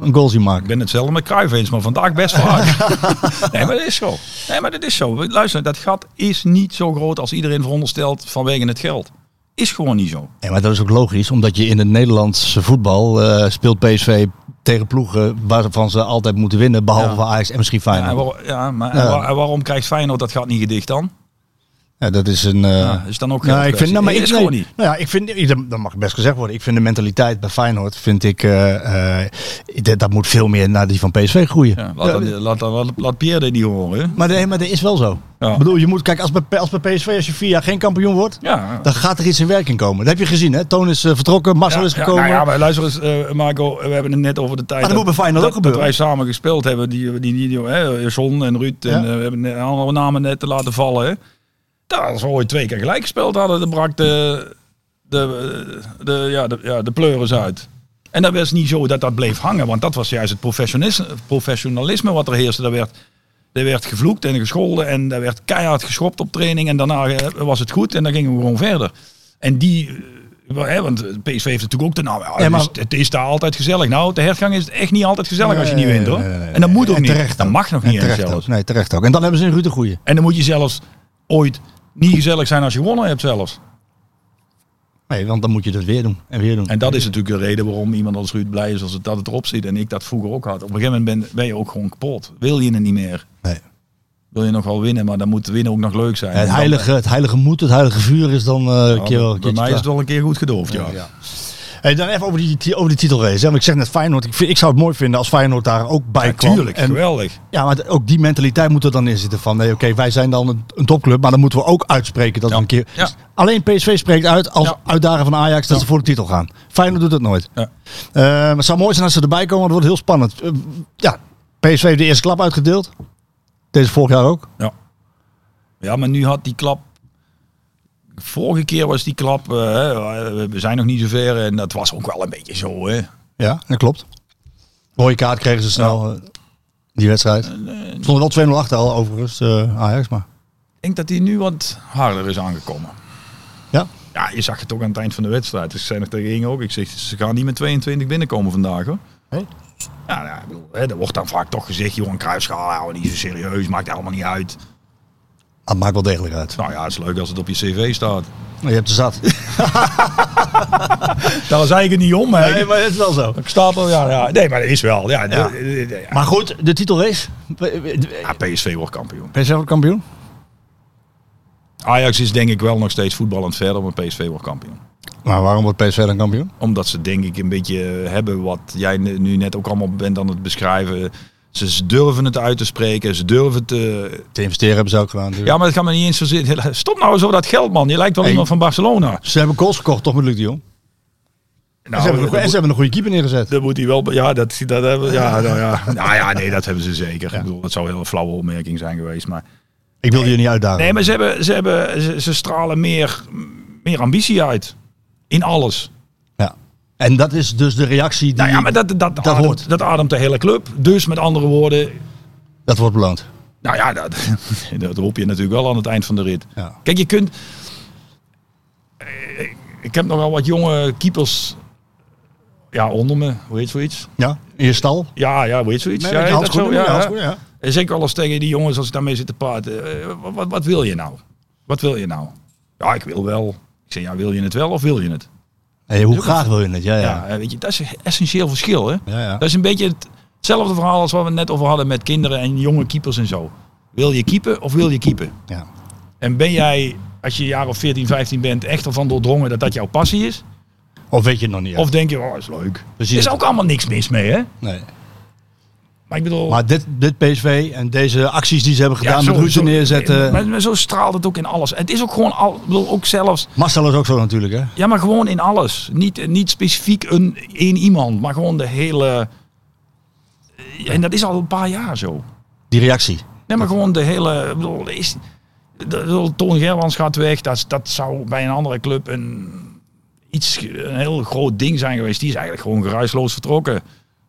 Speaker 7: een goal zien maken.
Speaker 8: Ik ben hetzelfde met Cruijff eens, maar vandaag best vaak. nee, maar dat is zo. Nee, maar dat is zo. Luister, dat gat is niet zo groot als iedereen veronderstelt vanwege het geld. Is gewoon niet zo.
Speaker 7: Ja, maar dat is ook logisch, omdat je in het Nederlandse voetbal eh, speelt PSV tegen ploegen waarvan ze altijd moeten winnen, behalve
Speaker 8: Ja.
Speaker 7: van Ajax en misschien
Speaker 8: Ja, en
Speaker 7: Feyenoord.
Speaker 8: waar- ja, maar en
Speaker 7: Ja.
Speaker 8: waar- en waarom krijgt Feyenoord dat gat niet gedicht dan?
Speaker 7: Ja, dat is een. eh,
Speaker 8: Ja, is dan ook
Speaker 7: nou, ik
Speaker 8: geldkwestie.
Speaker 7: vind, nou, maar
Speaker 8: Is
Speaker 7: ik,
Speaker 8: gewoon
Speaker 7: nee,
Speaker 8: niet.
Speaker 7: Nou ja, ik vind, dat- dat mag best gezegd worden. Ik vind de mentaliteit bij Feyenoord, vind ik, eh, eh, dat, dat moet veel meer naar die van PSV groeien.
Speaker 8: Ja, laat, dan, laat, dan- laat, laat Pierre dit niet horen. hè?
Speaker 7: Maar, nee, maar dat is wel zo.
Speaker 8: Ja.
Speaker 7: Ik bedoel, je moet, kijk, als bij, als bij PSV, als je vier jaar geen kampioen wordt,
Speaker 8: Ja.
Speaker 7: dan gaat er iets in werking komen. Dat heb je gezien, hè? Toon is eh, vertrokken, Marcel is
Speaker 8: Ja,
Speaker 7: gekomen.
Speaker 8: Ja, nou ja, maar luister eens, eh, Marco, we hebben het net over de tijd.
Speaker 7: Maar dat moet bij Feyenoord
Speaker 8: dat-
Speaker 7: ook gebeuren.
Speaker 8: Dat wij samen gespeeld hebben, die, die, die, die hè, John en Ruud, en,
Speaker 7: Ja.
Speaker 8: eh, we hebben een andere namen net te laten vallen. Hè. Nou, als we ooit twee keer gelijk gespeeld hadden, dan brak de, de, de, ja, de, ja, de pleuris uit. En dat was niet zo dat dat bleef hangen, want dat was juist het professionisme, professionalisme wat er heerste. Daar werd, daar werd gevloekt en gescholden en daar werd keihard geschopt op training en daarna eh, was het goed en dan gingen we gewoon verder. En die, eh, wel, hè, want PSV heeft natuurlijk ook de naam. ja,
Speaker 7: Ja, maar-
Speaker 8: het, is, het is daar altijd gezellig. Nou, de hergang is echt niet altijd gezellig als je
Speaker 7: Nee,
Speaker 8: niet wint hoor.
Speaker 7: nee, nee, nee.
Speaker 8: En dat moet ook
Speaker 7: En
Speaker 8: niet.
Speaker 7: terecht
Speaker 8: dat
Speaker 7: ook.
Speaker 8: mag nog
Speaker 7: En
Speaker 8: niet eens
Speaker 7: terecht
Speaker 8: zelfs.
Speaker 7: ook. Nee, terecht ook. En dan hebben ze een Ruud de Goeie.
Speaker 8: En dan moet je zelfs ooit niet gezellig zijn als je gewonnen hebt zelfs.
Speaker 7: Nee, want dan moet je dat weer doen. En weer doen.
Speaker 8: En dat is natuurlijk de reden waarom iemand als Ruud blij is als het, dat het erop zit. En ik dat vroeger ook had. Op een gegeven moment ben, ben je ook gewoon kapot. Wil je het niet meer.
Speaker 7: Nee.
Speaker 8: Wil je nog wel winnen, maar dan moet winnen ook nog leuk zijn. En
Speaker 7: het,
Speaker 8: dan-
Speaker 7: heilige, het heilige moed, het heilige vuur is dan eh, een keer wel een keertje
Speaker 8: bij mij is
Speaker 7: klaar.
Speaker 8: het wel een keer goed gedoofd, ja.
Speaker 7: Ja. Hey, dan even over die, ti- over die titelrace. Hè. Want ik zeg net Feyenoord. Ik, vind, ik zou het mooi vinden als Feyenoord daar ook bij kwam.
Speaker 8: Natuurlijk,
Speaker 7: En-
Speaker 8: geweldig.
Speaker 7: Ja, maar ook die mentaliteit moet er dan in zitten van, nee, oké, wij zijn dan een, een topclub, maar dan moeten we ook uitspreken dat
Speaker 8: Ja.
Speaker 7: we een keer...
Speaker 8: Ja.
Speaker 7: Alleen PSV spreekt uit als
Speaker 8: Ja.
Speaker 7: uitdager van Ajax dat ze voor de titel gaan. Feyenoord doet dat nooit.
Speaker 8: Ja.
Speaker 7: Eh, maar het zou mooi zijn als ze erbij komen, want het wordt heel spannend. Eh, ja, PSV heeft de eerste klap uitgedeeld. Deze vorig jaar ook.
Speaker 8: Ja. ja, maar nu had die klap... Vorige keer was die klap, eh, hè, we zijn nog niet zo ver en dat was ook wel een beetje zo. Hè.
Speaker 7: Ja, dat klopt. Mooie kaart kregen ze snel, eh, die
Speaker 8: Eh,
Speaker 7: wedstrijd. Stonden wel 2-0 achter al, overigens, eh, Ajax, maar...
Speaker 8: Ik denk dat hij nu wat harder is aangekomen.
Speaker 7: Ja.
Speaker 8: Ja, je zag het ook aan het eind van de wedstrijd. Dus ik zei nog tegen Inge ook, ik zeg, ze gaan niet met 22 binnenkomen vandaag hoor.
Speaker 7: Nee?
Speaker 8: Ja, nou, ik bedoel, hè, er wordt dan vaak toch gezegd, Johan Cruijff, schaal, niet zo serieus, maakt allemaal niet uit.
Speaker 7: Dat Ah, maakt wel degelijk uit.
Speaker 8: Nou ja, het is leuk als het op je cv staat.
Speaker 7: Maar je hebt er zat.
Speaker 8: Daar was eigenlijk niet om, hè.
Speaker 7: maar het is wel zo.
Speaker 8: Ik sta al, ja, ja. Nee, maar dat is wel. Ja,
Speaker 7: Ja. Ah,
Speaker 8: de- de- de- ja.
Speaker 7: Maar goed, de titelrace.
Speaker 8: Ja, PSV wordt kampioen.
Speaker 7: PSV wordt kampioen?
Speaker 8: Ajax is denk ik wel nog steeds voetballend verder, maar PSV wordt kampioen.
Speaker 7: Maar waarom wordt PSV dan kampioen?
Speaker 8: Omdat ze denk ik een beetje eh, hebben wat jij ne- nu net ook allemaal bent aan het beschrijven. Ze ze durven het uit te spreken, ze durven te...
Speaker 7: Te investeren hebben ze ook gedaan. natuurlijk.
Speaker 8: Ja, maar het gaat me niet eens zo zitten. Stop nou zo dat geld, man. Je lijkt wel
Speaker 7: Hey.
Speaker 8: iemand van Barcelona.
Speaker 7: Ze hebben goals gekocht, toch met Luc de Jong? en, ze hebben, een goe- en ze hebben een goede keeper neergezet.
Speaker 8: Dat Nou, moet hij wel. Ja, dat, dat hebben, ja, nou ja. Nou ja, nee, dat hebben ze zeker. Ik bedoel, dat zou een hele flauwe opmerking zijn geweest. Maar,
Speaker 7: Ik wilde je niet uitdagen.
Speaker 8: nee, maar ze, hebben, ze, hebben, ze, ze stralen meer, meer ambitie uit. In alles.
Speaker 7: ja. En dat is dus de reactie die...
Speaker 8: Nou ja, maar dat, dat, dat, ademt,
Speaker 7: hoort.
Speaker 8: dat ademt de hele club. Dus met andere woorden,
Speaker 7: Dat wordt beloond.
Speaker 8: nou ja, dat, dat hoop je natuurlijk wel aan het eind van de rit.
Speaker 7: Ja.
Speaker 8: Kijk, je kunt. Eh, Ik heb nogal wat jonge keepers ja, onder me, hoe heet zoiets?
Speaker 7: Ja, in je stal.
Speaker 8: Ja, ja, hoe heet zoiets?
Speaker 7: Met je
Speaker 8: ja, heet dat zo?
Speaker 7: handschoenen, met je
Speaker 8: Ja, ja.
Speaker 7: handschoenen, ja.
Speaker 8: En zeker alles tegen die jongens als ik daarmee zit te praten. eh, wat, wat, wat wil je nou? Wat wil je nou? Ja, ik wil wel. Ik zeg, ja, wil je het wel of wil je het?
Speaker 7: Hey, hoe graag wil je het? Ja,
Speaker 8: Ja,
Speaker 7: ja.
Speaker 8: eh, weet je, dat is een essentieel verschil, hè?
Speaker 7: ja, ja.
Speaker 8: Dat is een beetje het- hetzelfde verhaal als wat we net over hadden met kinderen en jonge keepers en zo. Wil je keepen of wil je keepen?
Speaker 7: Ja.
Speaker 8: En ben jij, als je een jaar of 14, 15 bent, echt ervan doordrongen dat dat jouw passie is?
Speaker 7: Of weet je het nog niet?
Speaker 8: Of denk je, oh, is leuk. Er
Speaker 7: Precies.
Speaker 8: is ook allemaal niks mis mee, hè?
Speaker 7: Nee.
Speaker 8: Maar ik bedoel...
Speaker 7: Maar dit, dit PSV en deze acties die ze hebben
Speaker 8: ja,
Speaker 7: gedaan
Speaker 8: zo-
Speaker 7: met route
Speaker 8: zo-
Speaker 7: neerzetten.
Speaker 8: Maar, maar zo straalt het ook in alles. Het is ook gewoon, al, ik bedoel, ook zelfs...
Speaker 7: Marcel is ook zo natuurlijk, hè?
Speaker 8: Ja, maar gewoon in alles. Niet, niet specifiek een, één iemand, maar gewoon de hele... eh, En dat is al een paar jaar zo.
Speaker 7: Die reactie.
Speaker 8: Nee, maar gewoon de hele. ik Bedoel, is, de, de- Toon Gerlands gaat weg. Dat, is- dat zou bij een andere club een, iets, een heel groot ding zijn geweest. Die is eigenlijk gewoon geruisloos vertrokken.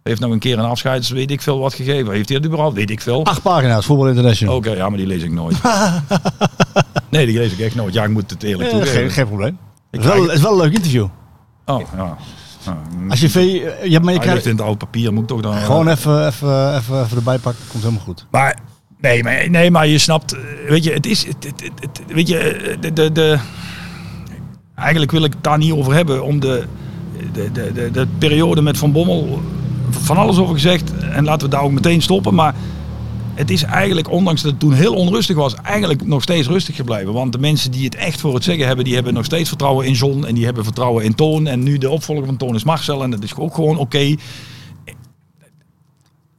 Speaker 8: Heeft nog een keer een afscheids, weet ik veel wat gegeven. Heeft hij het überhaupt? Weet ik veel.
Speaker 7: Acht pagina's, Voetbal International.
Speaker 8: Oké, ja, maar die lees ik nooit. nee, die lees ik echt nooit. Ja, ik moet het eerlijk
Speaker 7: Eh, geen,
Speaker 8: toegeven.
Speaker 7: geen probleem. Het is,
Speaker 8: krijg
Speaker 7: wel,
Speaker 8: het.
Speaker 7: het is wel een leuk interview.
Speaker 8: Oh, ja.
Speaker 7: Als je veel, eh, ja, maar je
Speaker 8: Hij ligt
Speaker 7: krijgt
Speaker 8: in het oude papier, moet ik toch dan...
Speaker 7: gewoon even, even, even, even erbij pakken, komt helemaal goed.
Speaker 8: Maar nee, maar, nee, maar je snapt. eh, Weet je, het is. Het, het- het- het- weet je, eh, de, de, de, eigenlijk wil ik het daar niet over hebben. Om de, de, de, de, de periode met Van Bommel van alles over gezegd. En laten we daar ook meteen stoppen. Maar het is eigenlijk, ondanks dat het toen heel onrustig was, eigenlijk nog steeds rustig gebleven. Want de mensen die het echt voor het zeggen hebben, die hebben nog steeds vertrouwen in John. En die hebben vertrouwen in Toon. En nu de opvolger van Toon is Marcel. En dat is ook gewoon oké.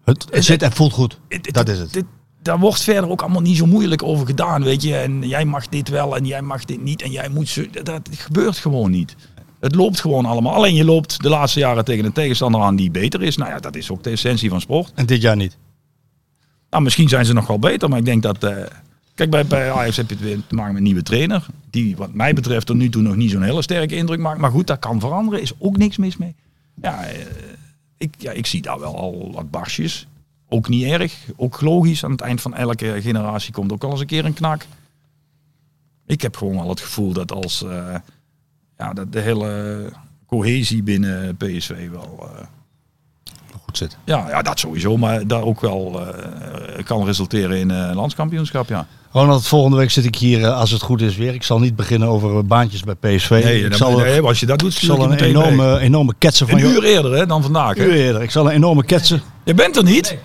Speaker 7: Het, het zit en voelt goed.
Speaker 8: Het-
Speaker 7: Dat is het.
Speaker 8: dit- daar wordt verder ook allemaal niet zo moeilijk over gedaan, weet je. En jij mag dit wel en jij mag dit niet en jij moet... zo- Dat, dat gebeurt gewoon niet. Het loopt gewoon allemaal. Alleen je loopt de laatste jaren tegen een tegenstander aan die beter is. Nou ja, dat is ook de essentie van sport.
Speaker 7: En dit jaar niet.
Speaker 8: Nou, misschien zijn ze nog wel beter, maar ik denk dat... eh, kijk, bij, bij Ajax heb je het weer te maken met een nieuwe trainer. Die wat mij betreft tot nu toe nog niet zo'n hele sterke indruk maakt. Maar goed, dat kan veranderen. Is ook niks mis mee. Ja, eh, ik, ja, ik zie daar wel al wat barsjes. Ook niet erg. Ook logisch. Aan het eind van elke generatie komt ook al eens een keer een knak. Ik heb gewoon al het gevoel dat als eh, ja, dat de hele cohesie binnen PSV wel... eh,
Speaker 7: Goed zit.
Speaker 8: ja, ja, dat sowieso, maar daar ook wel eh, kan resulteren in eh landskampioenschap, ja.
Speaker 7: Ronald, volgende week zit ik hier, eh, als het goed is, weer. Ik zal niet beginnen over eh, baantjes bij PSV. ik
Speaker 8: dan-
Speaker 7: zal,
Speaker 8: nee, als je dat doet,
Speaker 7: ik
Speaker 8: stuur ik
Speaker 7: zal
Speaker 8: je
Speaker 7: een
Speaker 8: meteen weg.
Speaker 7: enorme, enorme ketsen van
Speaker 8: Een uur
Speaker 7: jou.
Speaker 8: eerder hè, dan vandaag.
Speaker 7: Uur
Speaker 8: Hè?
Speaker 7: eerder. Ik zal een enorme ketsen.
Speaker 8: Je bent er niet.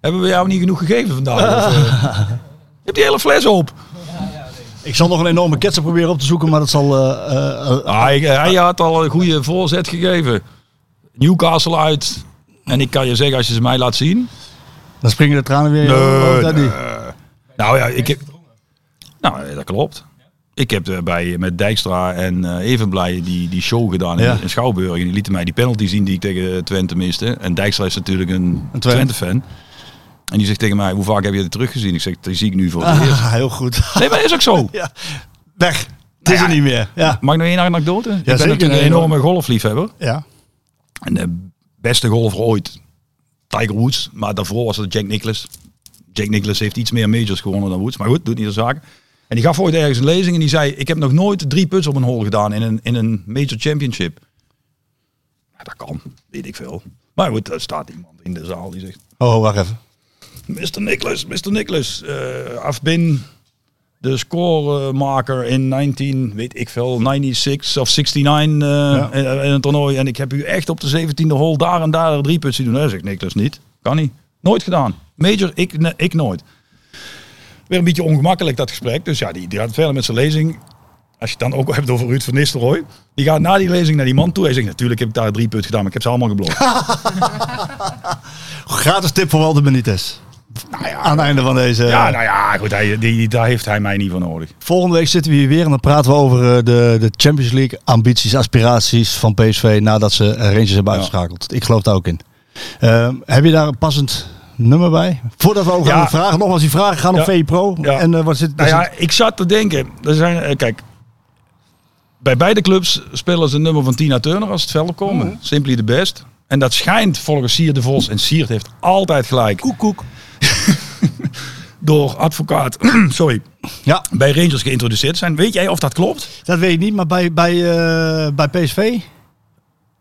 Speaker 8: Hebben we jou niet genoeg gegeven vandaag? Of, eh, je hebt die hele fles op.
Speaker 7: Ik zal nog een enorme ketsen proberen op te zoeken, maar dat zal... eh, eh, eh,
Speaker 8: Ah, hij, hij had al een goede voorzet gegeven. Newcastle uit. En ik kan je zeggen, als je ze mij laat zien.
Speaker 7: dan springen de tranen weer. Oh, dat niet.
Speaker 8: Nou ja, ik heb. Nou, eh, dat klopt. Ik heb eh, bij, met Dijkstra en eh Evenblij die, die show gedaan in,
Speaker 7: Ja.
Speaker 8: in Schouwburg. En die lieten mij die penalty zien die ik tegen Twente miste. En Dijkstra is natuurlijk een,
Speaker 7: Een Twente.
Speaker 8: Twente-fan. En die zegt tegen mij, hoe vaak heb je het teruggezien? Ik zeg, die zie ik nu voor het eerst.
Speaker 7: Ah, heel goed.
Speaker 8: Nee, maar dat is ook zo.
Speaker 7: Ja. Weg. Het is er niet meer. Ja.
Speaker 8: Mag ik nog één anekdote? ik ben
Speaker 7: zeker,
Speaker 8: natuurlijk een
Speaker 7: nee,
Speaker 8: enorme golfliefhebber.
Speaker 7: ja.
Speaker 8: En de beste golfer ooit, Tiger Woods. Maar daarvoor was het Jack Nicklaus. Jack Nicklaus heeft iets meer majors gewonnen dan Woods. Maar goed, doet niet de zaak. En die gaf ooit ergens een lezing en die zei... Ik heb nog nooit drie puts op een hole gedaan in een, in een major championship. Ja, dat kan, weet ik veel. Maar goed, er staat iemand in de zaal die zegt...
Speaker 7: Oh, wacht even.
Speaker 8: Mr. Nicholas, Mr. Nicholas, eh I've been the scoremaker in 19, weet ik veel, 96 of 69 eh, in, in een toernooi. En ik heb u echt op de 17e hole daar en daar drie puts zien doen. Nee, zegt Nicholas niet. Kan niet. Nooit gedaan. Major, ik, ne- ik nooit. Weer een beetje ongemakkelijk dat gesprek. Dus ja, die, die gaat verder met zijn lezing. Als je het dan ook hebt over Ruud van Nistelrooy. Die gaat na die lezing naar die man toe. Hij zegt, natuurlijk heb ik daar drie puts gedaan, maar ik heb ze allemaal geblokt. Eh,
Speaker 7: Gratis tip voor Walter Benitez. Aan het einde van deze.
Speaker 8: Nou ja, nou ja, goed. Hij, die, die- daar heeft hij mij niet voor nodig.
Speaker 7: Volgende week zitten we hier weer en dan praten we over eh, de, de Champions League ambities, aspiraties van PSV nadat ze eh, Rangers hebben uitgeschakeld. Ik geloof daar ook in. Ehm, heb je daar een passend nummer bij? Voordat we over
Speaker 8: Ja.
Speaker 7: gaan met vragen, nogmaals die vragen gaan op
Speaker 8: Ja.
Speaker 7: VE Pro.
Speaker 8: Ja.
Speaker 7: En eh, wat zit,
Speaker 8: Nou
Speaker 7: daar
Speaker 8: ja, ik zat te denken. Er zijn, eh, kijk, bij beide clubs spelen ze een nummer van Tina Turner als het veld opkomen. Simply the best. En dat schijnt volgens Sier de Vos, en Siert heeft altijd gelijk,
Speaker 7: koek, koek.
Speaker 8: door advocaat, sorry,
Speaker 7: Ja,
Speaker 8: bij Rangers geïntroduceerd zijn. Weet jij of dat klopt?
Speaker 7: dat weet ik niet, maar bij, bij, eh, bij PSV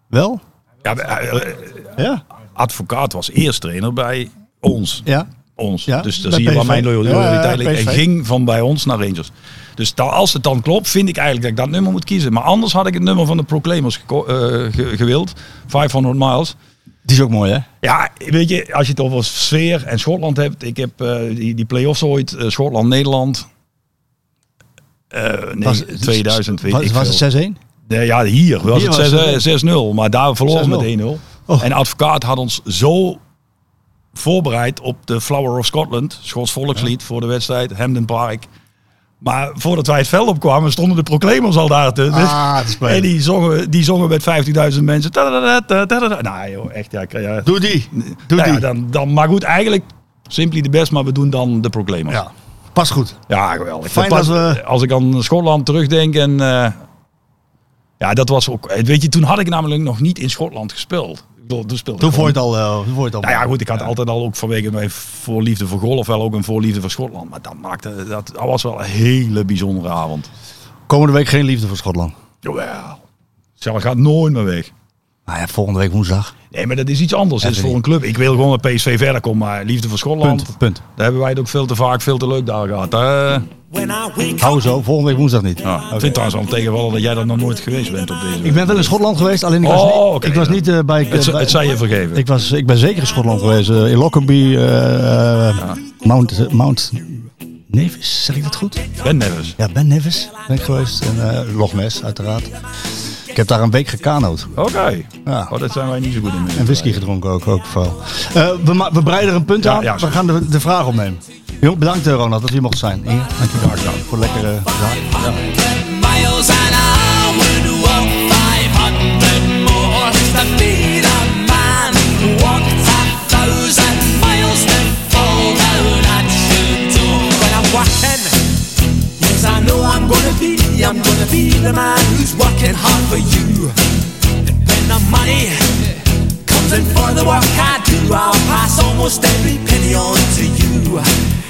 Speaker 7: wel?
Speaker 8: Ja, eh, eh,
Speaker 7: Ja,
Speaker 8: advocaat was eerst trainer bij ons.
Speaker 7: ja.
Speaker 8: ons.
Speaker 7: Ja,
Speaker 8: dus daar
Speaker 7: bij
Speaker 8: zie je waar
Speaker 7: PSV.
Speaker 8: mijn
Speaker 7: Ja, ja,
Speaker 8: loyaliteit ligt. En
Speaker 7: PSV.
Speaker 8: ging van bij ons naar Rangers. Dus da- als het dan klopt, vind ik eigenlijk dat ik dat nummer moet kiezen. Maar anders had ik het nummer van de Proclaimers geko- eh, ge- gewild. 500 miles.
Speaker 7: Die is ook mooi, hè?
Speaker 8: Ja, weet je, als je het over sfeer en Schotland hebt. Ik heb eh, die, die play-offs ooit, eh, Schotland-Nederland. Eh, nee, 2000, weet
Speaker 7: was,
Speaker 8: ik
Speaker 7: was
Speaker 8: veel.
Speaker 7: het 6-1?
Speaker 8: Nee, ja, hier was
Speaker 7: Hier was
Speaker 8: het
Speaker 7: het, hè?
Speaker 8: 6 eh, 6-0, maar daar verloren we
Speaker 7: 6-0.
Speaker 8: met 1-0.
Speaker 7: Oh.
Speaker 8: En advocaat had ons zo voorbereid op de Flower of Scotland, Schots volkslied voor de wedstrijd, Hampden Park. Maar voordat wij het veld opkwamen, stonden de proclaimers al daar. Te,
Speaker 7: Ah, het is
Speaker 8: en
Speaker 7: mooi.
Speaker 8: die zongen, die zongen met 50.000 mensen. Tadadada, tadadada. Nou joh, echt ja. ik- ja.
Speaker 7: Doe die. Doe
Speaker 8: Nou ja,
Speaker 7: die.
Speaker 8: dan, dan, maar goed, eigenlijk simply de best, maar we doen dan de proclaimers.
Speaker 7: Ja, pas goed.
Speaker 8: Ja, geweldig.
Speaker 7: Fijn
Speaker 8: Dat
Speaker 7: dat
Speaker 8: past-
Speaker 7: we-
Speaker 8: Als ik aan Schotland terugdenk en... eh, ja, dat was ook... eh, Weet je, toen had ik namelijk nog niet in Schotland gespeeld. Ik bedoel, toen speelde
Speaker 7: Toen
Speaker 8: ik
Speaker 7: vond je
Speaker 8: gewoon-
Speaker 7: het al. eh, toen vond je het al
Speaker 8: Nou ja, goed, ik had altijd al ook vanwege mijn voorliefde voor golf wel ook een voorliefde voor Schotland. Maar dat maakte... Dat, dat was wel een hele bijzondere avond.
Speaker 7: Komende week geen liefde voor Schotland.
Speaker 8: Jawel. Zelf gaat nooit meer weg.
Speaker 7: Nou ja, volgende week woensdag.
Speaker 8: Nee, maar dat is iets anders. Dat is voor een club. Ik wil gewoon dat PSV verder komt, maar liefde voor Schotland...
Speaker 7: Punt. Punt.
Speaker 8: Daar hebben wij het ook veel te vaak, veel te leuk daar gehad. Eh,
Speaker 7: Hou zo, volgende week woensdag niet.
Speaker 8: ja, Ik vind trouwens wel tegenvallen dat jij daar nog nooit geweest bent op deze
Speaker 7: Ik ben wel in Schotland geweest, alleen ik was
Speaker 8: Oh,
Speaker 7: niet,
Speaker 8: oké,
Speaker 7: ik was
Speaker 8: ja.
Speaker 7: niet eh, bij...
Speaker 8: Het,
Speaker 7: bij-
Speaker 8: het zei je vergeven.
Speaker 7: ik, was, ik ben zeker in Schotland geweest. eh, in Lockerbie, eh, eh, Mount, eh, Mount Nevis, zeg ik dat goed?
Speaker 8: ben nervous.
Speaker 7: Ja, Ben Nevis ben ik geweest. En eh, Loch Ness, uiteraard. Ik heb daar een week gekanoot.
Speaker 8: Oké.
Speaker 7: Ja.
Speaker 8: Oh, dat zijn wij niet zo goed in.
Speaker 7: En whisky gedronken ook, ook vooral. Eh, we, ma- we breiden er een punt
Speaker 8: Ja,
Speaker 7: aan.
Speaker 8: ja,
Speaker 7: we
Speaker 8: sorry.
Speaker 7: gaan de, de vraag opnemen. Jong, bedankt eh, Ronald dat we hier mocht zijn. Inge, dankjewel voor lekkere zaken.
Speaker 10: miles an hour to walk 500 more to be the man who walked a thousand miles to fall down at your door. When I'm walking, yes, I know I'm gonna be, I'm gonna be the man who's working hard for you. And when the money comes in for the work I do, I'll pass almost every penny on to you.